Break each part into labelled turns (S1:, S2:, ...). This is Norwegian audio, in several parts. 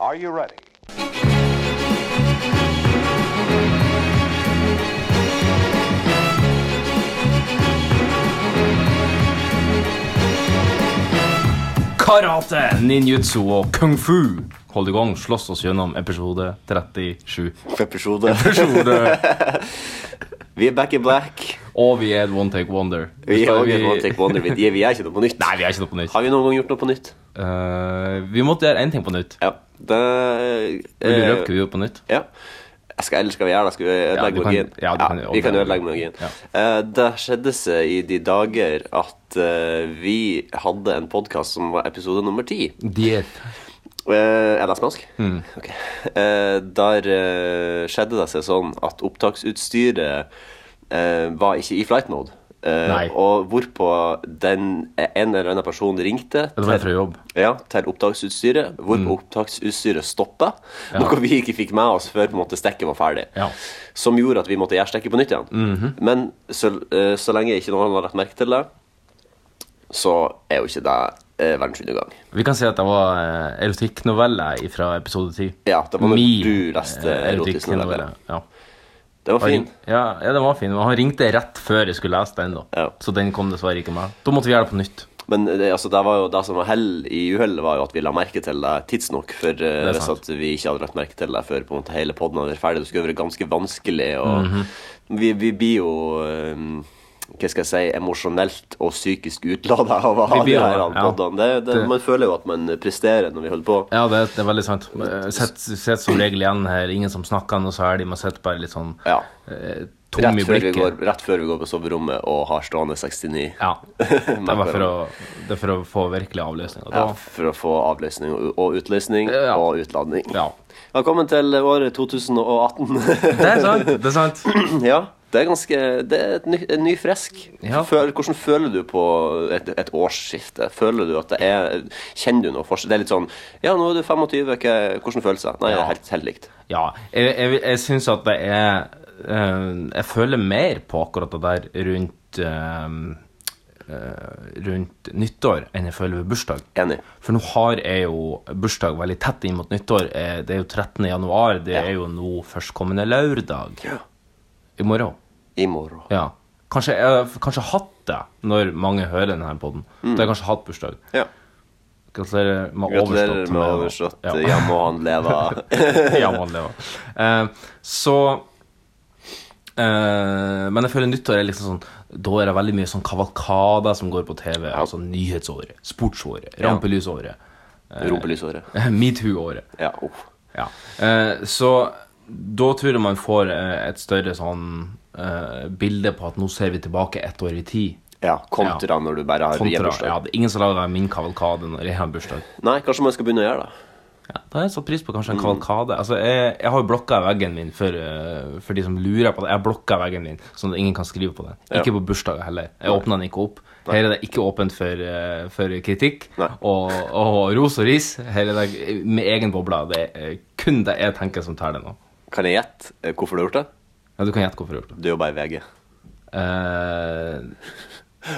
S1: Are you ready?
S2: Karate, ninjutsu og kung fu. Hold i gang, slåss oss gjennom episode 37.
S3: episode.
S2: Episode.
S3: Vi er back in black.
S2: Og vi er et one take wonder.
S3: Vi er også et One Take Wonder. Vi, vi er ikke noe på nytt.
S2: Nei, vi er ikke noe på nytt.
S3: Har vi noen gang gjort noe på nytt?
S2: Eh, vi måtte gjøre én ting på nytt.
S3: Ja. Det
S2: Vil du
S3: eh,
S2: røpe hva vi gjorde på nytt?
S3: Ja. eh, Jeg Skal, eller skal vi gjøre det? Skal vi
S2: du
S3: ødelegge
S2: kan-
S3: magien?
S2: ja, du kan-
S3: vi kan ødelegge magien.
S2: Ja.
S3: Eh, det skjedde seg i de dager at eh, vi hadde en podkast som var episode nummer ti.
S2: Diet.
S3: Eh, Er det spansk?
S2: Mm.
S3: Ok. Eh, Der eh, skjedde det seg sånn at opptaksutstyret eh, var ikke i flight mode. Eh,
S2: Nei.
S3: Og hvorpå den, eh, en eller annen person ringte
S2: Det var en Mm. fra jobb.
S3: ja, til opptaksutstyret, hvor opptaksutstyret stoppa. Noe vi ikke fikk med oss før på en måte stekket var ferdig.
S2: Ja. Mhm.
S3: Som gjorde at vi måtte gjøre stekket på nytt igjen. Men så, eh, så lenge ikke noen har lagt merke til det, så er jo ikke det eh, verdens undergang.
S2: Vi kan si at det var eh, erotikknoveller fra episode 10.
S3: Ja, det var når
S2: Min,
S3: du leste
S2: eh,
S3: erotisk novelle.
S2: Ja.
S3: Det var fin.
S2: Ja, ja, den var fin. Men han ringte rett før jeg skulle lese den, da.
S3: Ja.
S2: Så den kom dessverre ikke med. Da måtte vi gjøre det på nytt.
S3: Men det, altså, det, var jo, det som var hell i uhellet, var jo at vi la merke til det tidsnok. For eh,
S2: er
S3: hvis
S2: sant.
S3: at vi ikke hadde lagt merke til det før på en måte hele poden hadde vært ferdig, det skulle vært ganske vanskelig. Og
S2: Mhm.
S3: vi, vi blir jo eh, hva skal jeg si emosjonelt og psykisk utlada av å ha
S2: Vi blir jo
S3: de her
S2: det, ja.
S3: podene. Det, det,
S2: Det-
S3: man føler jo at man presterer når vi holder på.
S2: Ja, det, det er veldig sant. Eh, Sett, sett som regel igjen her. Ingen som snakker noe særlig. Man sitter bare litt sånn
S3: Ja.
S2: eh, tom
S3: Rett
S2: i
S3: før, vi
S2: blikket.
S3: går, rett før vi går på soverommet og har stående 69.
S2: Ja. Det var for å, det er for å få virkelig avløsning. Og da,
S3: Ja, for å få avløsning og- og utløsning
S2: Ja.
S3: og utladning.
S2: ja.
S3: Velkommen til året 2018.
S2: Det er sant. Det er sant.
S3: Ja, det er ganske Det er et ny, en ny fresk.
S2: Ja.
S3: Føl, hvordan føler du på et, et årsskifte? Føler du at det er Kjenner du noe forskjell? Det er litt sånn Ja, nå er du 25, hva, hvordan føles det? Nei, det
S2: Ja.
S3: er helt, helt likt.
S2: Ja. Jeg, jeg, jeg syns at det er eh, Jeg føler mer på akkurat det der rundt eh, eh, Rundt nyttår enn jeg føler ved bursdag.
S3: Enig.
S2: For nå har jeg jo bursdag veldig tett inn mot nyttår. Eh, Det er jo 13. januar. Det
S3: Ja.
S2: er jo nå førstkommende lørdag. I morgen.
S3: I morgen.
S2: Ja. Kanskje jeg har kanskje hatt det når mange hører denne poden.
S3: Mm.
S2: Da har jeg kanskje hatt bursdag.
S3: Ja.
S2: Gratulerer med
S3: Gratulerer
S2: overstått. eh,
S3: med overstått. Ja.
S2: Ja.
S3: må han leve.
S2: ja, man lever. Eh, så eh, Men jeg føler nyttår er liksom sånn Da er det veldig mye sånn kavalkader som går på TV. Altså nyhetsåret, sportsåret, rampelysåret,
S3: Rumpelysåret.
S2: metoo-året.
S3: Ja. uff.
S2: Ja. Eh, så da tror jeg man får eh, et større sånn eh, bilde på at nå ser vi tilbake ett år i tid.
S3: ja. Kontra når du bare har
S2: Kontra,
S3: hjemmebursdag.
S2: ja, det er ingen som lager min kavalkade når jeg har en bursdag.
S3: Nei, kanskje man skal begynne å gjøre det.
S2: Ja, da har jeg satt pris på kanskje en kavalkade. Altså, jeg, jeg har jo blokka veggen min for, eh, for de som lurer på det. Jeg har blokka veggen min, sånn at ingen kan skrive på den. Ikke på bursdager heller. Jeg åpna den ikke opp. Her er det ikke åpent for, eh, for kritikk
S3: Nei.
S2: og, og ros og ris. Her er det med egen boble. Det er eh, kun det jeg tenker som teller nå.
S3: Kan jeg gjette eh, hvorfor du har gjort det?
S2: Ja, du kan gjette hvorfor jeg har gjort det.
S3: Du jobber i VG.
S2: Eh,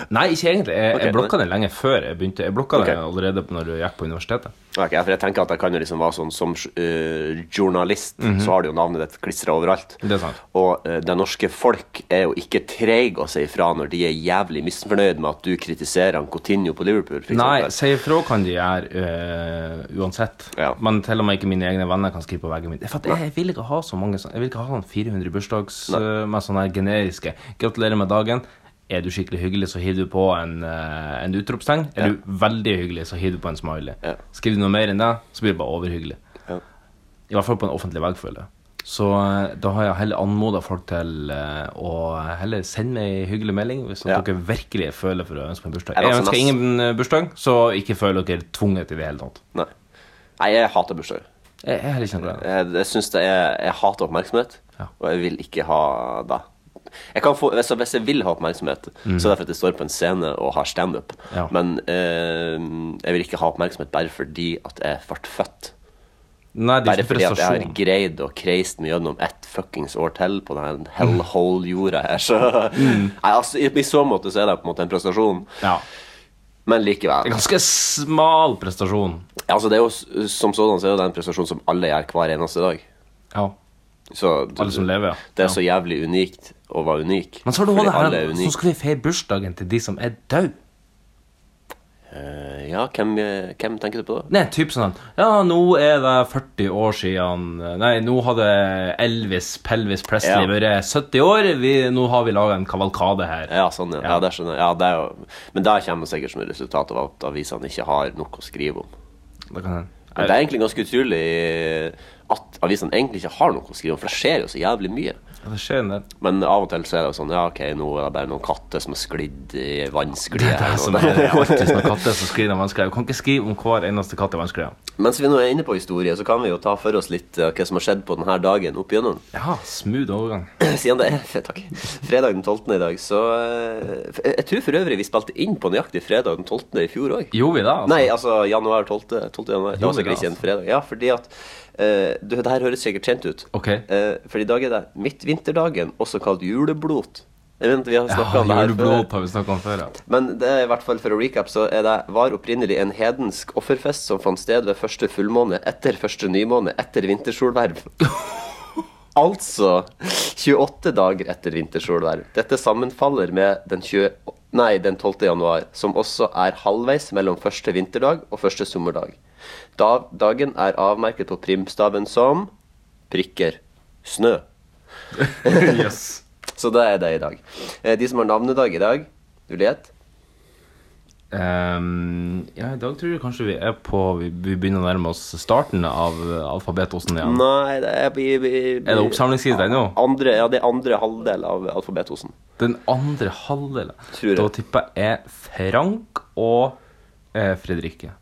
S2: nei, ikke egentlig. Jeg,
S3: Ok,
S2: jeg blokka den lenge før jeg begynte. Jeg blokka
S3: Ok.
S2: den allerede når du gikk på universitetet.
S3: Ok, ja, for jeg tenker at det kan jo liksom være sånn Som eh, journalist så har du jo navnet ditt klistra overalt.
S2: Mhm. Det er sant.
S3: Og eh, det norske folk er jo ikke treige å si ifra når de er jævlig misfornøyd med at du kritiserer han Coutinho på Liverpool. For
S2: Nei,
S3: eksempel.
S2: si ifra kan de gjøre eh, uansett.
S3: Ja.
S2: Men til og med ikke mine egne venner kan skrive på veggen min. For at jeg vil ikke ha så mange sånne. Jeg vil ikke ha sånn 400 bursdags eh, med sånne her generiske 'Gratulerer med dagen'. Er du skikkelig hyggelig, så hiver du på en, eh, en utropstegn. Er du veldig hyggelig, så hiver du på en smiley.
S3: Ja.
S2: Skriver du noe mer enn det, så blir det bare overhyggelig.
S3: Ja.
S2: I hvert fall på en offentlig vegg, føler jeg. Så eh, da har jeg heller anmoda folk til eh, å heller sende meg ei hyggelig melding hvis at
S3: Ja.
S2: dere virkelig føler for å ønske meg bursdag.
S3: Er det
S2: Jeg
S3: altså
S2: ønsker
S3: mest-
S2: ingen eh, bursdag, så ikke føl dere tvunget i det hele tatt.
S3: Nei. Nei, jeg hater bursdager.
S2: Jeg jeg er heller ikke noe glad. i det.
S3: Jeg, jeg synes det er Jeg hater oppmerksomhet,
S2: Ja.
S3: og jeg vil ikke ha det. Jeg kan få, altså, hvis jeg vil ha oppmerksomhet, så er det fordi jeg står på en scene og har standup.
S2: Mhm. Ja.
S3: Men eh, jeg vil ikke ha oppmerksomhet bare fordi at jeg ble født.
S2: Nei, det er
S3: Bare
S2: ikke
S3: fordi at jeg har
S2: prestasjon.
S3: greid å kreist meg gjennom ett fuckings år til på den hellhole-jorda her, så
S2: Mm.
S3: Nei, altså, i, I så måte så er det på en måte en prestasjon,
S2: Ja.
S3: men
S2: Det er
S3: likevel.
S2: ganske smal prestasjon.
S3: Ja, altså det er jo, s- som sådan så er jo det en prestasjon som alle gjør hver eneste dag.
S2: Ja.
S3: Så
S2: Alle som lever, ja.
S3: det er så jævlig unikt å være unik.
S2: Men så har du
S3: fordi
S2: også det
S3: alle er
S2: her, så
S3: unike.
S2: skal vi feire bursdagen til de som er døde.
S3: Eh, ja, hvem, eh, hvem tenker du på da?
S2: Nei, typ sånn Ja, nå er det 40 år siden eh, Nei, nå hadde Elvis Pelvis Presley
S3: Ja.
S2: vært 70 år. Vi, nå har vi laga en kavalkade her.
S3: Ja, sånn, ja. ja. det skjønner jeg. Ja, det er jo... Men der kommer sikkert som et resultat av at avisene ikke har nok å skrive om.
S2: Det kan hende.
S3: Men det er egentlig ganske utrolig eh, at avisene egentlig ikke har noe å skrive om, for det skjer jo så jævlig mye.
S2: Ja, Det skjer en del.
S3: Men av og til så er det jo sånn Ja, OK, nå er det bare noen katter som har sklidd i
S2: Det
S3: vannskliet.
S2: er det
S3: her
S2: som
S3: nå.
S2: er det. Alltid sånne katter som skriver vanskelig. Du kan ikke skrive om hver eneste katt er vanskelig.
S3: Mens vi nå er inne på historie, så kan vi jo ta for oss litt eh, hva som har skjedd på denne dagen opp igjennom.
S2: Ja, smooth overgang.
S3: Siden det er takk, fredag den 12. i dag, så eh, f- Jeg tror for øvrig vi spilte inn på nøyaktig fredag den 12. i fjor òg.
S2: Gjorde vi det? Altså?
S3: Nei, altså januar 12. 12. januar. Det
S2: Jo,
S3: var sikkert
S2: det,
S3: ikke en
S2: altså.
S3: fredag. Ja, fordi at eh, du, Det her høres sikkert kjent ut.
S2: Ok.
S3: Eh, for i dag er det midtvinterdagen, også kalt juleblot. Jeg vet, vi har
S2: Ja,
S3: snakket om det her før.
S2: juleblod har vi snakket om før, ja.
S3: Men det er i hvert fall for å recap, så er det var opprinnelig en hedensk offerfest som fant sted ved første fullmåne etter første nymåne etter vintersolverv. altså 28 dager etter vintersolverv. Dette sammenfaller med den 20... Nei, den 12. januar, som også er halvveis mellom første vinterdag og første sommerdag. Da, dagen er avmerket på primstaven som prikker snø.
S2: yes.
S3: Så det er det i dag. Eh, De som har navnedag i dag, du vet
S2: Ehm, ja, I dag tror jeg kanskje vi er på Vi, vi begynner å nærme oss starten av eh, alfabetosen igjen.
S3: Nei, det er vi, vi, vi,
S2: Er det oppsamlingstid ennå?
S3: Andre, ja, det er andre halvdel av alfabetosen.
S2: Den andre halvdelen
S3: Tror jeg.
S2: Da tipper jeg er Frank og eh, Fredrikke.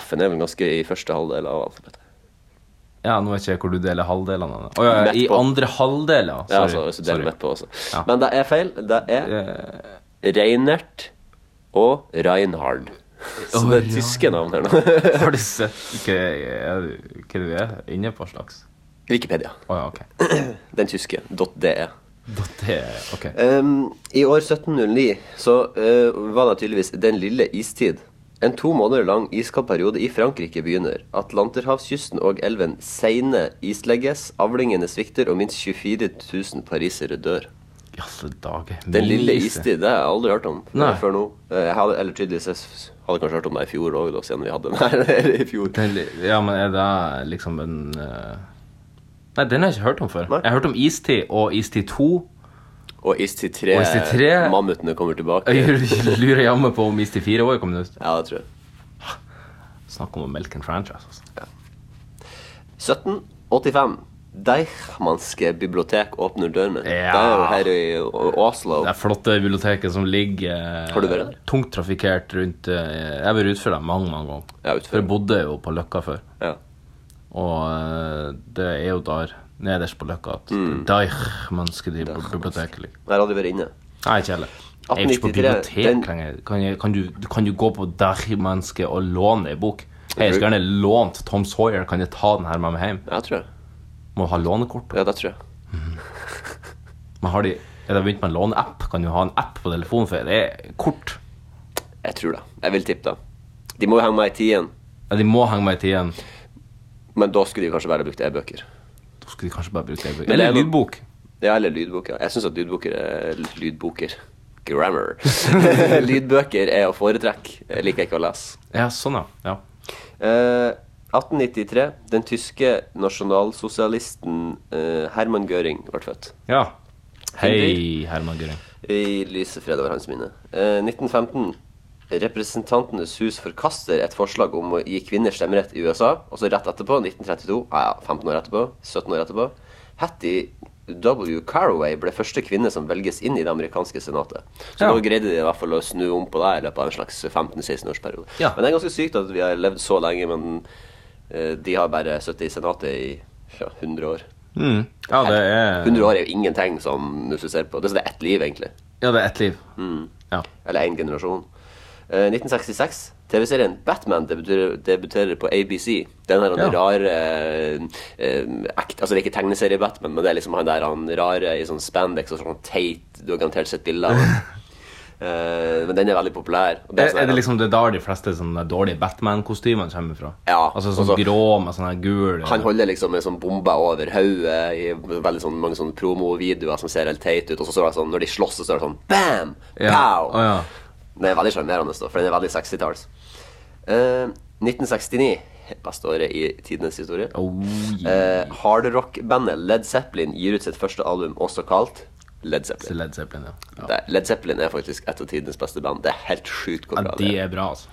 S3: F-en er vel ganske i første halvdel av alfabetet.
S2: Ja, nå vet ikke jeg hvor du deler halvdelene. Å ja,
S3: Midt
S2: i
S3: på.
S2: andre halvdeler. Sorry.
S3: Ja, altså, hvis du deler
S2: Sorry.
S3: midt på også.
S2: Ja.
S3: Men det er feil. Det er Reinert og Reinhard. Så
S2: Å,
S3: det er
S2: ja.
S3: tyske navn her nå.
S2: Eh, Har du sett hva er du- hva du er inne på slags?
S3: Wikipedia.
S2: Å ja, ok.
S3: Den tyske. E. .de.
S2: Det er, ok.
S3: Ehm, I år 1709 så eh, var det tydeligvis den lille istid. En to måneder lang iskald periode i Frankrike begynner. Atlanterhavskysten og elven Seine islegges, avlingene svikter, og minst 24 000 parisere dør.
S2: I alle dager.
S3: Den lille
S2: Minise.
S3: istid, det har jeg aldri hørt om
S2: Nei.
S3: før nå. Eh, Jeg hadde, eller tydeligvis, jeg s- hadde kanskje hørt om det i fjor òg, siden vi hadde den her i fjor.
S2: Den, li- ja, men er det liksom en eh, Nei, den har jeg ikke hørt om før.
S3: Nei.
S2: Jeg har hørt om Istid og Istid 2.
S3: Og istid 3,
S2: Og istid tre-
S3: mammutene kommer tilbake.
S2: Jeg lurer jammen på om Istid 4 òg er kommet ut.
S3: Ja, det tror jeg.
S2: Snakk om å melke en franchise. Altså.
S3: 1785. Deichmanske bibliotek åpner dørene.
S2: Ja.
S3: Det er jo her i Å- Oslo.
S2: Det er flotte biblioteket som ligger eh,
S3: Har du vært der?
S2: tungt trafikkert rundt eh, Jeg har vært utfor der mange, mange ganger.
S3: Ja, utfor.
S2: For jeg bodde jo på Løkka før.
S3: Ja.
S2: Og eh, det er jo der, nederst på Løkka, at mm. Deichmanske de- biblioteket ligger.
S3: Der hadde vi vært inne.
S2: Nei, ikke heller. Jeg er ikke på
S3: 1893, den-
S2: bibliotek lenger. Kan, jeg, kan, du, kan du gå på Deichmanske og låne ei bok? Hei, jeg
S3: tror-
S2: skulle gjerne lånt Tom Sawyer. Kan jeg ta den her med meg hjem?
S3: Ja, tror jeg.
S2: Må ha lånekort.
S3: Ja, det tror jeg.
S2: Men har de, er det begynt med en låneapp? Kan du ha en app på telefonen? For det er kort.
S3: Jeg tror det. Jeg vil tippe det. De må jo henge meg i tiden,
S2: Ja, de må henge meg i tiden.
S3: men da skulle de kanskje bare brukt e-bøker.
S2: Da skulle de kanskje bare bruke e-bok.
S3: Men det er
S2: Eller
S3: noe-
S2: lydbok.
S3: Ja, eller lydboker. Jeg syns at lydboker er lydboker. Grammar. Lydbøker er å foretrekke. Jeg liker ikke å lese.
S2: Ja, sånn, ja. ja.
S3: Eh, 1893. Den tyske nasjonalsosialisten eh, Herman Göring ble født.
S2: ja. Hei,
S3: Henrik.
S2: Herman Gøring.
S3: Vi lyser fred over hans minne. Eh, 1915. Representantenes hus forkaster et forslag om å gi kvinner stemmerett i USA. Og så rett etterpå, 1932, ja, ja, 15 år etterpå, 17 år etterpå, Hattie W. Carraway ble første kvinne som velges inn i det amerikanske senatet. Så
S2: Ja.
S3: nå greide de i hvert fall å snu om på det i løpet av en slags 15-16-årsperiode.
S2: Ja.
S3: Men det er ganske sykt at vi har levd så lenge, men eh, de har bare sittet i senatet i ja, 100 år.
S2: Mm. Ja, det er,
S3: 100 år er jo ingenting, som du ser på. Det er sånn det er ett liv, egentlig. Mm.
S2: ja, det er ett liv. Ja.
S3: Eller én generasjon. Eh, 1966. TV-serien Batman debuterer, debuterer på ABC. Den her han
S2: Ja.
S3: rare eh, eh, act, Altså, det er ikke tegneserie-Batman, men det er liksom han der han rare i sånn spandex og sånn teit Du har garantert sett bilder av han. Eh, men den er veldig populær. Og det
S2: Er,
S3: sånn her-
S2: er det liksom det er der de fleste sånne dårlige Batman-kostymene kommer fra?
S3: Ja,
S2: Altså sånn
S3: og så-
S2: grå med sånn her gul
S3: Han holder liksom med sånn bomber over hodet i veldig sånn mange sånn promovideoer som ser helt teit ut. Og så står det sånn, når de slåss, så står det sånn bam!
S2: ja.
S3: Pow!
S2: Å, ja.
S3: Det er veldig sjarmerende, da, for den er veldig 60-talls. Eh, 1969, beste året i tidenes historie.
S2: Oh, yeah.
S3: Eh, Hardrock-bandet Led Zeppelin gir ut sitt første album, også kalt Led
S2: Så
S3: Zeppelin.
S2: Led Zeppelin, ja. ja.
S3: Eh, Det, Led Zeppelin er faktisk et av tidenes beste band. Det er helt sjukt hvor bra
S2: ja de er bra, altså.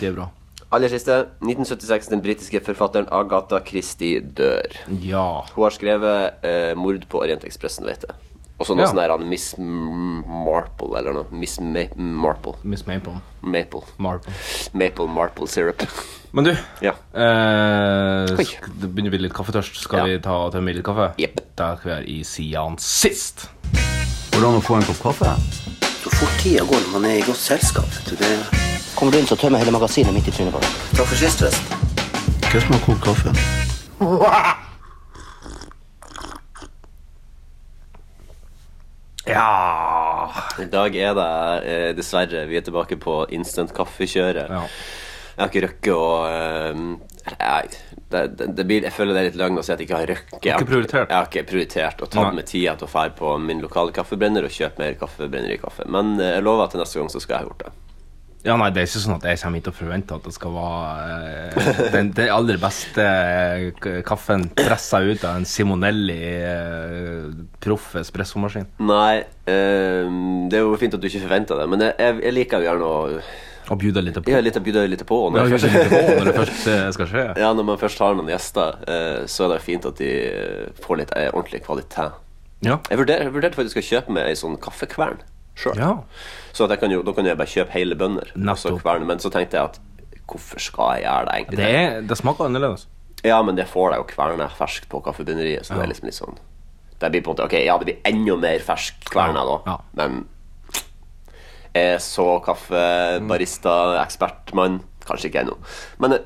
S2: De er bra.
S3: Aller siste, 1976, den britiske forfatteren Agatha Christie dør.
S2: Ja.
S3: Hun har skrevet eh, 'Mord på Orientekspressen', vet jeg. Og så noe
S2: Ja.
S3: sånn der han Miss M- Marple eller noe. Miss Ma Marple.
S2: Miss Maple.
S3: Maple.
S2: Marple.
S3: Maple Marple syrup.
S2: Men du,
S3: Ja.
S2: eh,
S3: Oi.
S2: sk- det begynner å bli litt kaffetørst. Skal
S3: Ja.
S2: vi ta og tømme i litt kaffe?
S3: Jepp.
S2: Da er vi her i Sian sist.
S1: Går det an å få en kopp kaffe?
S4: Så fort tida går når man er i godt selskap. vet du, Det
S5: Kommer du inn, så tømmer jeg hele magasinet midt i trynet på deg.
S4: Takk for sist, forresten.
S1: Hva som har kokt kaffe?
S2: Ja.
S3: I dag er det eh, dessverre Vi er tilbake på instant kaffekjøret.
S2: Ja.
S3: Jeg har ikke røkket å eh, nei, det, det, det blir, Jeg føler det er litt løgn å si at jeg ikke har røkket. Jeg
S2: Ikke prioritert.
S3: Jeg har ikke prioritert å ta
S2: Nei.
S3: med tida til å fære på min lokale kaffebrenner og kjøpe mer kaffebrenneri-kaffe. Men eh, jeg lover at til neste gang så skal jeg ha gjort det.
S2: ja, nei, det er ikke sånn at jeg kommer hit og forventer at det skal være eh, den, den aller beste eh, k- kaffen pressa ut av en Simonelli eh, proff espressomaskin.
S3: Nei, ehm, det er jo fint at du ikke forventa det, men jeg, jeg, jeg liker jo gjerne å
S2: Og bjuda litt på.
S3: Jeg litt, byr litt på.
S2: Ja,
S3: Når, jeg
S2: kanskje
S3: først,
S2: litt på når det først eh, skal skje.
S3: ja, når man først har noen gjester, eh, så er det fint at de eh, får litt eh, ordentlig kvalitet.
S2: Ja.
S3: Jeg vurder- jeg vurderte faktisk å kjøpe meg ei sånn kaffekvern sjøl.
S2: ja.
S3: Så at jeg kan jo, da kan jeg bare kjøpe hele bønder. og så
S2: Nettopp.
S3: kvern, men så tenkte jeg at hvorfor skal jeg gjøre det egentlig?
S2: Det, er, det smaker annerledes.
S3: Ja, men det får deg jo kverna ferskt på kaffebønneriet. Så det
S2: Ja.
S3: er liksom litt sånn Det blir på en måte Ok, ja, det blir enda mer fersk kverna da,
S2: Ja.
S3: men jeg er så
S2: Mm.
S3: kaffebarista-ekspertmann Kanskje ikke ennå. Men jeg,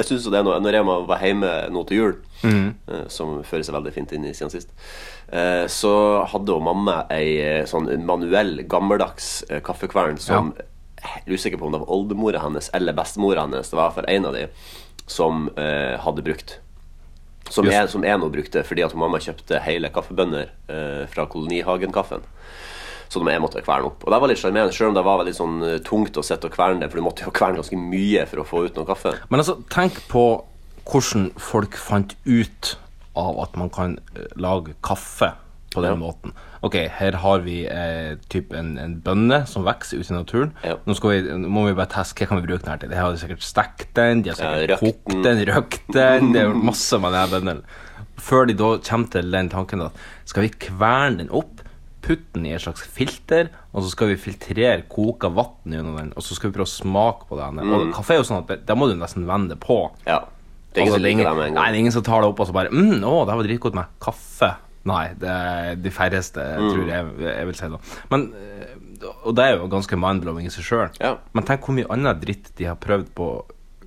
S3: jeg syns jo det er noe Når Rema var hjemme nå til jul,
S2: Mm.
S3: eh, som fører seg veldig fint inn i siden sist, eh, så hadde jo mamma ei eh, sånn manuell, gammeldags eh, kaffekvern som
S2: Ja.
S3: jeg er usikker på om det var oldemora hennes eller bestemora hennes, det var for en av de, som eh, hadde brukt. Som
S2: Just.
S3: jeg, som jeg nå brukte fordi at mamma kjøpte hele kaffebønner eh, fra Kolonihagen-kaffen. Så da må jeg måtte kverne opp. Og det var litt sjarmerende, selv om det var veldig sånn eh, tungt å sitte og kverne det, for du måtte jo kverne ganske mye for å få ut noe kaffe.
S2: Men altså, tenk på hvordan folk fant ut av at man kan eh, lage kaffe på den
S3: Ja.
S2: måten. Ok, her har vi eh, typ en, en bønne som vokser ute i naturen.
S3: Ja.
S2: Nå, skal vi, nå må vi bare teste hva kan vi bruke den her til. De har sikkert stekt den, de har sikkert
S3: Ja, røkt
S2: kokt den, røkt den. Det er gjort masse med denne bønnen. Før de da kommer til den tanken at skal vi kverne den opp, putte den i et slags filter, og så skal vi filtrere koka vann gjennom den, og så skal vi prøve å smake på den. Og kaffe er jo sånn at det- da må du nesten vende det på.
S3: Ja. Det er ingen
S2: Altså,
S3: som liker det med en
S2: Nei, det
S3: gang.
S2: er ingen som tar det opp og så bare mm, 'Å, det her var dritgodt med kaffe'. Nei, det er de færreste,
S3: Mm.
S2: tror jeg jeg vil si. da Men, eh, Og det er jo ganske mind-blowing i seg sjøl.
S3: Ja.
S2: Men tenk hvor mye annen dritt de har prøvd på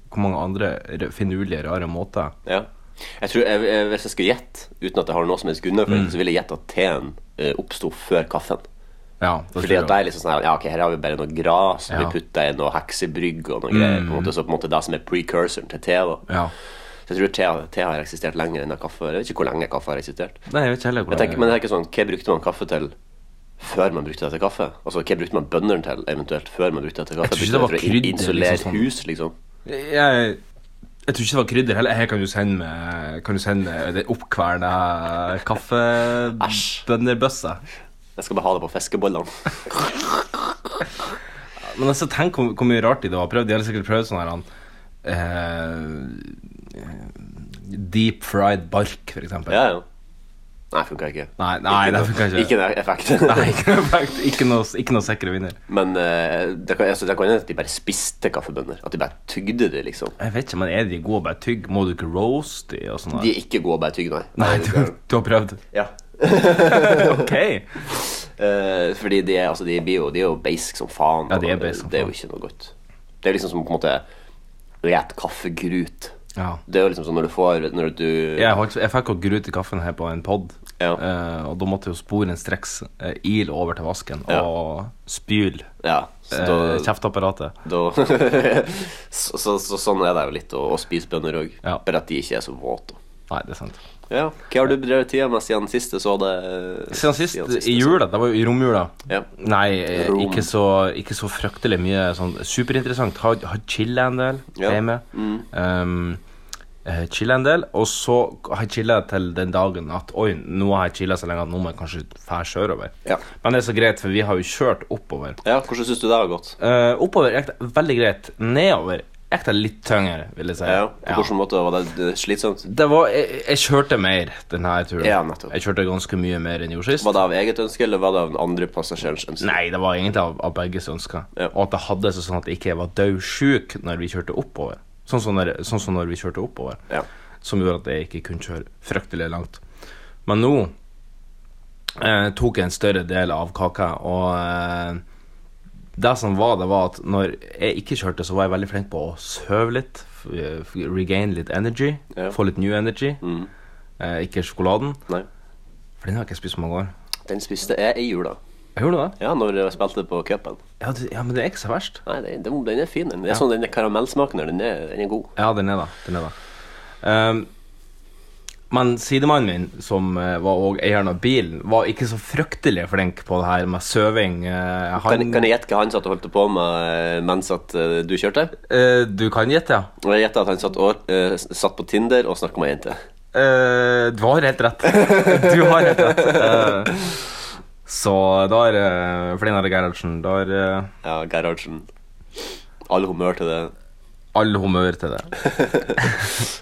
S2: hvor mange andre r- finurlige, rare måter.
S3: Ja. Jeg tror, jeg, jeg, hvis jeg skulle gjette, uten at jeg har noe som helst grunnlag for det, så ville jeg gjette at teen eh, oppsto før kaffen.
S2: Ja, Mm. det
S3: Fordi
S2: tror
S3: at det
S2: jeg.
S3: er liksom sånn her, ja, ok, her har vi bare noe gras som
S2: Ja. Mm.
S3: vi putter i noe heksebrygg og noe greier. På en måte, så på en måte det som er precursoren til te. da.
S2: Ja.
S3: Så jeg tror te, te har eksistert lenger enn kaffe. Jeg vet ikke hvor lenge kaffe har eksistert.
S2: Nei, jeg vet ikke heller
S3: Jeg
S2: hvordan
S3: tenker, men det er ikke sånn, Hva brukte man kaffe til før man brukte det til kaffe? Altså, Hva brukte man bøndene til eventuelt før man brukte det til kaffe?
S2: tror ikke
S3: Brukte
S2: det var
S3: for å in-
S2: krydder,
S3: Insulere
S2: liksom sånn.
S3: hus, liksom.
S2: jeg, jeg tror ikke det var krydder heller. Her kan du sende med Kan du sende den oppkverna
S3: Æsj.
S2: kaffebønnerbøssa.
S3: Jeg skal bare ha det på fiskebollene.
S2: Men altså, tenk hvor, hvor mye rart de da har prøvd. De har sikkert prøvd sånn her han, eh, eh, Deep fried bark, for eksempel.
S3: Ja, ja. Nei, funka ikke.
S2: Nei, nei, det
S3: noe-
S2: funker ikke.
S3: Ikke noe effekt.
S2: Nei, ikke noe effekt. Ikke noe, ikke noe sikre vinner.
S3: Men eh, det kan altså, det kan hende at de bare spiste kaffebønner. At de bare tygde det, liksom.
S2: Jeg vet ikke, men er de gode å bare tygge? Må du ikke roast de og sånn? her?
S3: De er ikke gode å bare tygge, nei.
S2: Nei, du,
S3: det skal-
S2: du har prøvd?
S3: Ja.
S2: Ok.
S3: Eh, fordi de er, altså, de, blir jo, de er jo basic som faen.
S2: Ja, de er
S3: og
S2: basic som
S3: Det er jo
S2: faen.
S3: ikke noe godt. Det er liksom som på en måte å gjete kaffegrut.
S2: Ja.
S3: Det er jo liksom sånn når du får Når du
S2: Jeg, holdt, jeg fikk jo grut i kaffen her på en pod,
S3: Ja.
S2: eh, og da måtte jo sporen streks eh, ile over til vasken
S3: Ja.
S2: og spyle
S3: Ja, så da,
S2: eh, kjeftapparatet.
S3: da så, så, så sånn er det jo litt å, å spise bønner òg.
S2: Ja.
S3: Bare at de ikke er så våte.
S2: Nei, det er sant.
S3: Ja. Hva har du bedrevet tida med siden sist jeg så det? eh,
S2: Siden sist, i
S3: så-
S2: jula, det var jo i romjula
S3: Ja.
S2: Nei, eh,
S3: Rom.
S2: ikke så, ikke så fryktelig mye sånn superinteressant. Har, har chilla en del,
S3: Ja. Mm.
S2: det er med. Um, eh, chilla en del, og så har jeg chilla til den dagen at oi, nå har jeg chilla så lenge at nå må jeg kanskje fære sørover.
S3: Ja.
S2: Men det er så greit, for vi har jo kjørt oppover.
S3: ja, hvordan syns du det har gått?
S2: Eh, oppover gikk det veldig greit. Nedover gikk det litt tyngre, vil jeg si.
S3: Ja, på hvilken måte var det- det slitsomt?
S2: Det var, jeg, jeg kjørte mer denne turen.
S3: Ja, nettopp.
S2: Jeg kjørte ganske mye mer enn jeg gjorde sist.
S3: Var det av eget ønske, eller var det av den andre passasjerens ønske?
S2: Nei, det var egentlig av, av begges ønsker.
S3: Ja.
S2: Og at det hadde seg sånn at jeg ikke var daudsjuk når vi kjørte oppover. Sånn som når, sånn som når vi kjørte oppover.
S3: Ja.
S2: Som gjorde at jeg ikke kunne kjøre fryktelig langt. Men nå eh, tok jeg en større del av kaka, og eh, det som var, det var at når jeg ikke kjørte, så var jeg veldig flink på å søve litt. f- f- Regain litt energy.
S3: Ja.
S2: Få litt new energy. Eh, ikke sjokoladen,
S3: Nei.
S2: for den har jeg ikke spist på mange år.
S3: Den spiste jeg i jula.
S2: Gjorde du det?
S3: Ja, når jeg spilte på cupen.
S2: Ja, det- ja, men det er ikke så verst.
S3: Nei, den, den- den er fin. Den, det er sånn, den karamellsmaken her, den er, den er god.
S2: Ja, den er da. Den er da. Ehm, men sidemannen min, som eh, var også eieren av bilen, var ikke så fryktelig flink på det her med søving. Eh, han,
S3: Kan, kan jeg gjette hva han satt og holdt på med eh, mens at eh, du kjørte?
S2: Eh, du kan gjette, ja.
S3: Og jeg gjetter at han satt, og, eh, s- satt på Tinder og snakka med ei jente.
S2: Eh, du har helt rett. Du har helt rett. Eh, så da er uh, Flinar Gerhardsen Da er eh,
S3: Ja, Gerhardsen. All humør til det.
S2: all humør til det.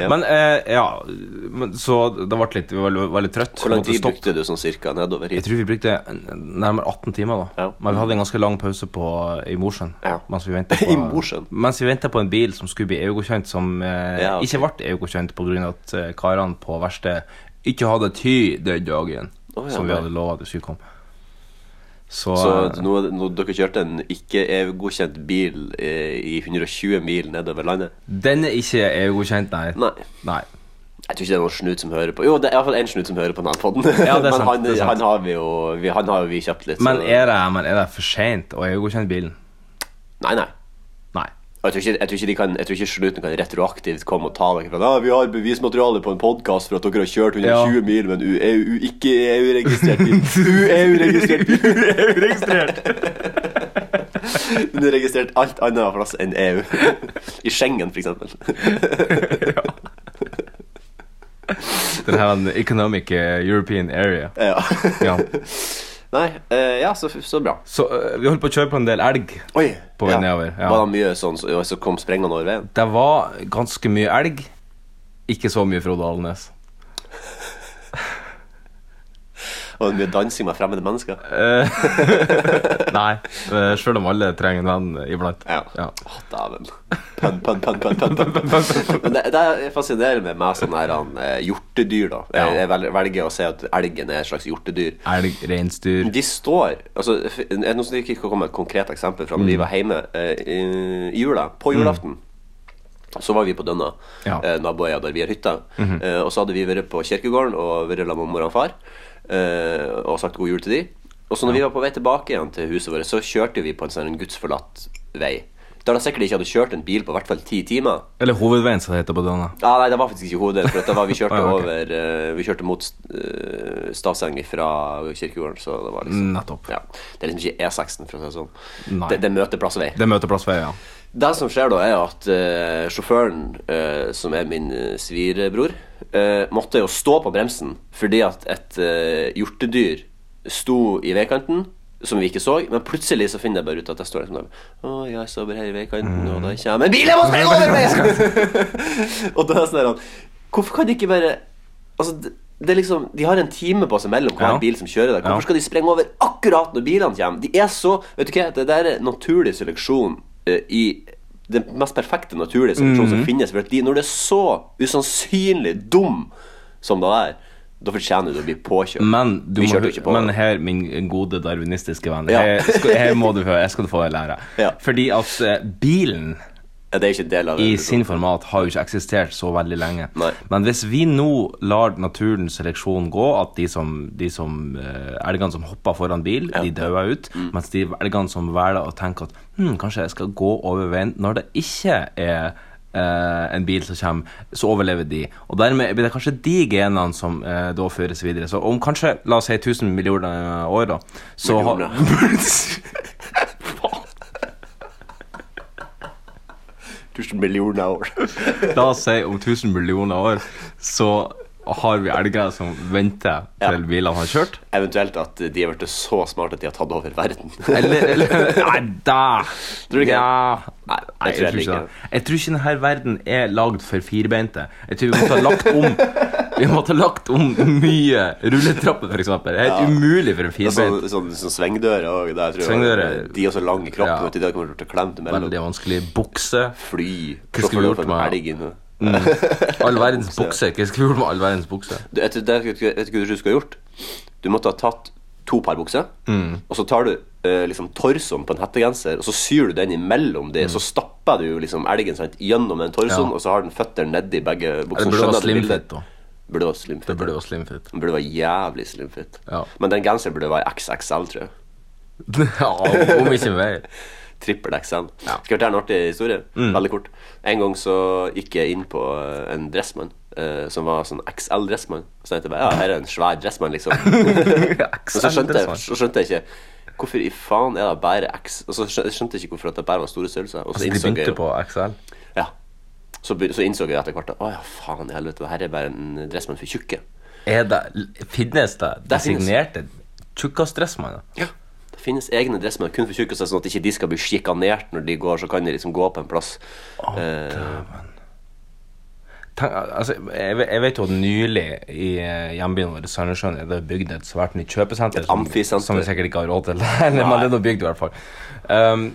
S3: Ja.
S2: Men eh, ja, men, så det ble litt Vi var veldig, veldig trøtt.
S3: Hvor lang
S2: Måtte
S3: tid
S2: stoppe.
S3: brukte du sånn cirka nedover
S2: Jeg
S3: hit?
S2: tror vi brukte nærmere 18 timer, da.
S3: Ja.
S2: Men vi hadde en ganske lang pause på, i Mosjøen.
S3: Ja.
S2: Mens vi ventet
S3: I Mosjøen?
S2: Mens vi ventet på en bil som skulle bli EU-godkjent, som eh,
S3: Ja, ok.
S2: ikke ble EU-godkjent pga. at eh, karene på verkstedet ikke hadde tid den dagen
S3: Å, ja,
S2: som vi
S3: nei.
S2: hadde lova at det skulle komme. Så,
S3: Så
S2: eh,
S3: nå, nå, dere kjørte en ikke-EU-godkjent bil eh, i 120 mil nedover landet?
S2: den er ikke EU-godkjent, nei.
S3: Nei.
S2: Nei.
S3: Jeg tror ikke det er noen snut som hører på. Jo, det er iallfall én snut som hører på denne podden
S2: Ja, det er sant,
S3: Men han,
S2: det er sant.
S3: han har vi jo vi, Han har jo vi kjøpt litt.
S2: Men
S3: så-
S2: er det, men er det for seint å EU-godkjenne bilen?
S3: Nei, nei.
S2: Nei.
S3: Og Jeg tror, ikke, jeg, tror ikke de kan, jeg tror ikke snuten kan retroaktivt komme og ta dere fra «Nei, Vi har bevismateriale på en podkast for at dere har kjørt 120
S2: Ja.
S3: mil med en u- EU, ikke EU-registrert bil.
S2: E
S3: EU-registrert bil.
S2: EU-registrert!
S3: Den er registrert alt annet plass enn EU. I Schengen, for eksempel.
S2: Den her den Economic eh, European Area.
S3: Ja.
S2: Ja.
S3: Nei, eh, ja, så, så bra.
S2: Så eh, vi holdt på å kjøre på en del elg.
S3: Oi.
S2: På vei nedover, ja.
S3: Var det mye sånn som så, kom sprengende over veien?
S2: Det var ganske mye elg. Ikke så mye Frode Alnes.
S3: Og mye dansing med fremmede mennesker?
S2: Nei, eh, sjøl om alle trenger en venn iblant.
S3: Ja. Å, dæven. Pønn, pønn, pønn, pønn, pønn, pønn. Men det, det fascinerer meg med sånne her, han, eh, hjortedyr, da. Jeg,
S2: Ja.
S3: jeg vel- velger å si at elgen er et slags hjortedyr.
S2: Elg, reinsdyr
S3: De står altså, f- er det Noe som ikke kan komme med et konkret eksempel fra
S2: Mm.
S3: når vi var hjemme eh, i i jula, på julaften. Så var vi på Dønna,
S2: Ja. Mhm.
S3: eh, naboøya der vi har hytta. eh, og så hadde vi vært på kirkegården og vært sammen med mor og far eh, og sagt god jul til de. Og så når vi var på vei tilbake igjen til huset vårt, så kjørte vi på en sånn gudsforlatt vei. Der det sikkert ikke hadde kjørt en bil på i hvert fall ti timer.
S2: Eller hovedveien, som det heter på denne.
S3: Ja, nei, det var faktisk ikke hovedet. For det var, vi, kjørte
S2: Ah, ok.
S3: over, eh, vi kjørte mot uh, Stavseng fra kirkegården, så det var liksom
S2: Nettopp.
S3: ja. Det er liksom ikke E16, for å si det sånn.
S2: Nei.
S3: Det, det er møteplassvei.
S2: Det er møteplassvei, ja.
S3: Det som skjer da, er at eh, sjåføren, eh, som er min eh, svirebror, eh, måtte jo stå på bremsen fordi at et eh, hjortedyr sto i veikanten. Som vi ikke så, men plutselig så finner jeg bare ut at jeg står liksom der. Å, jeg står bare her i veikanten, og da kommer en bil! Jeg må sprenge over meg! og da er det sånn der, Hvorfor kan de ikke bare Altså, det, det er liksom De har en time på seg mellom hver
S2: Ja.
S3: bil som kjører der. Hvorfor
S2: Ja.
S3: skal de sprenge over akkurat når bilene kommer? De er så Vet du hva, det der er naturlig seleksjon eh, i den mest perfekte naturlige seleksjonen
S2: Mhm.
S3: som finnes. For at de, når det er så usannsynlig dum som det er, da fortjener du å bli påkjørt.
S2: Men, du
S3: Vi
S2: må,
S3: kjørte jo
S2: hu-
S3: ikke på
S2: men
S3: det.
S2: her, min gode darwinistiske venn,
S3: Ja.
S2: her, skal, her må du høre. Jeg skal få deg lære.
S3: Ja.
S2: Fordi at eh, bilen
S3: Det er ikke en del av
S2: i
S3: det.
S2: sin format har jo ikke eksistert så veldig lenge.
S3: Nei.
S2: Men hvis vi nå lar naturens seleksjon gå, at de som, de som eh, elgene som hopper foran bil, de dauer ut, mens de elgene som velger å tenke at hm, kanskje jeg skal gå over veien når det ikke er eh, en bil som kommer, så overlever de. Og dermed blir det kanskje de genene som eh, da føres videre. Så om kanskje, la oss si 1000 millioner år, da, så har
S3: Tusen millioner år.
S2: La oss si om 1000 millioner år, så har vi elger som venter til bilene har kjørt.
S3: Eventuelt at de har blitt så smarte at de har tatt over verden.
S2: Eller, eller Nei, da!
S3: Tror du ikke det?
S2: Ja. Nei,
S3: Nei,
S2: jeg, tror ikke det. Jeg tror ikke denne verden er lagd for firbeinte. Jeg tror vi måtte ha lagt om Vi måtte ha lagt om mye rulletrapper, f.eks. Det er helt umulig for en
S3: Det er Sånn,
S2: firbeint.
S3: sånn, sånn svengdører og det, jeg tror
S2: Svingdører.
S3: De har så lang kropp
S2: Ja.
S3: vet du, de kommer til å klemme dem mellom
S2: Veldig vanskelig. Bukse.
S3: fly
S2: Hva skulle vi gjort med- Mm.
S3: elgen og-
S2: All verdens bukse. Hva skal vi gjøre med all verdens bukse?
S3: Du, vet, du, det, vet du vet du hva du skulle ha gjort? Du måtte ha tatt to par bukser,
S2: Mm.
S3: og så tar du eh, liksom torsoen på en hettegenser, og så syr du den imellom de, så stapper du liksom elgen sant, gjennom den torsoen,
S2: Mm. Ja.
S3: og så har den føtter nedi begge buksene.
S2: Det burde
S3: Skjønner
S2: være
S3: du bildet?
S2: slimfit, da.
S3: Burde være slimfit.
S2: Det burde
S3: ja.
S2: være slimfit.
S3: Den burde være jævlig slimfit.
S2: Ja.
S3: Men den genseren burde være XXL, tror jeg.
S2: Ja, om ikke mer.
S3: Trippel XL. Skal jeg fortelle en artig historie?
S2: Mm.
S3: Veldig kort. En gang så gikk jeg inn på eh, en dressmann eh, som var sånn XL-dressmann. Så tenkte jeg bare ja, her er en svær dressmann, liksom. Og så skjønte jeg, så skjønte jeg ikke Hvorfor i faen er det bare X? Og så skjø- skjønte jeg ikke hvorfor at det bare var store størrelser. Og
S2: Altså,
S3: så
S2: De
S3: innså jeg
S2: begynte
S3: jo-
S2: på XL.
S3: ja. så, be- så innså jeg etter hvert at å ja, faen i helvete, det her er bare en dressmann for tjukke.
S2: Er det, finnes det
S3: Det finnes.
S2: designerte tjukkasdressmann?
S3: Ja. Det finnes egne dressmenn kun for tjukke, så sånn at ikke de skal bli sjikanert når de går, så kan de liksom gå på en plass. Eh,
S2: Tenk, altså, jeg, ve- jeg vet jo at nylig i eh, hjembyen vår Sandnessjøen er det bygd et svært nytt kjøpesenter. som-
S3: amfisenter.
S2: Som vi sikkert ikke har råd til. Eller, men det er nå bygd, i hvert fall. Um,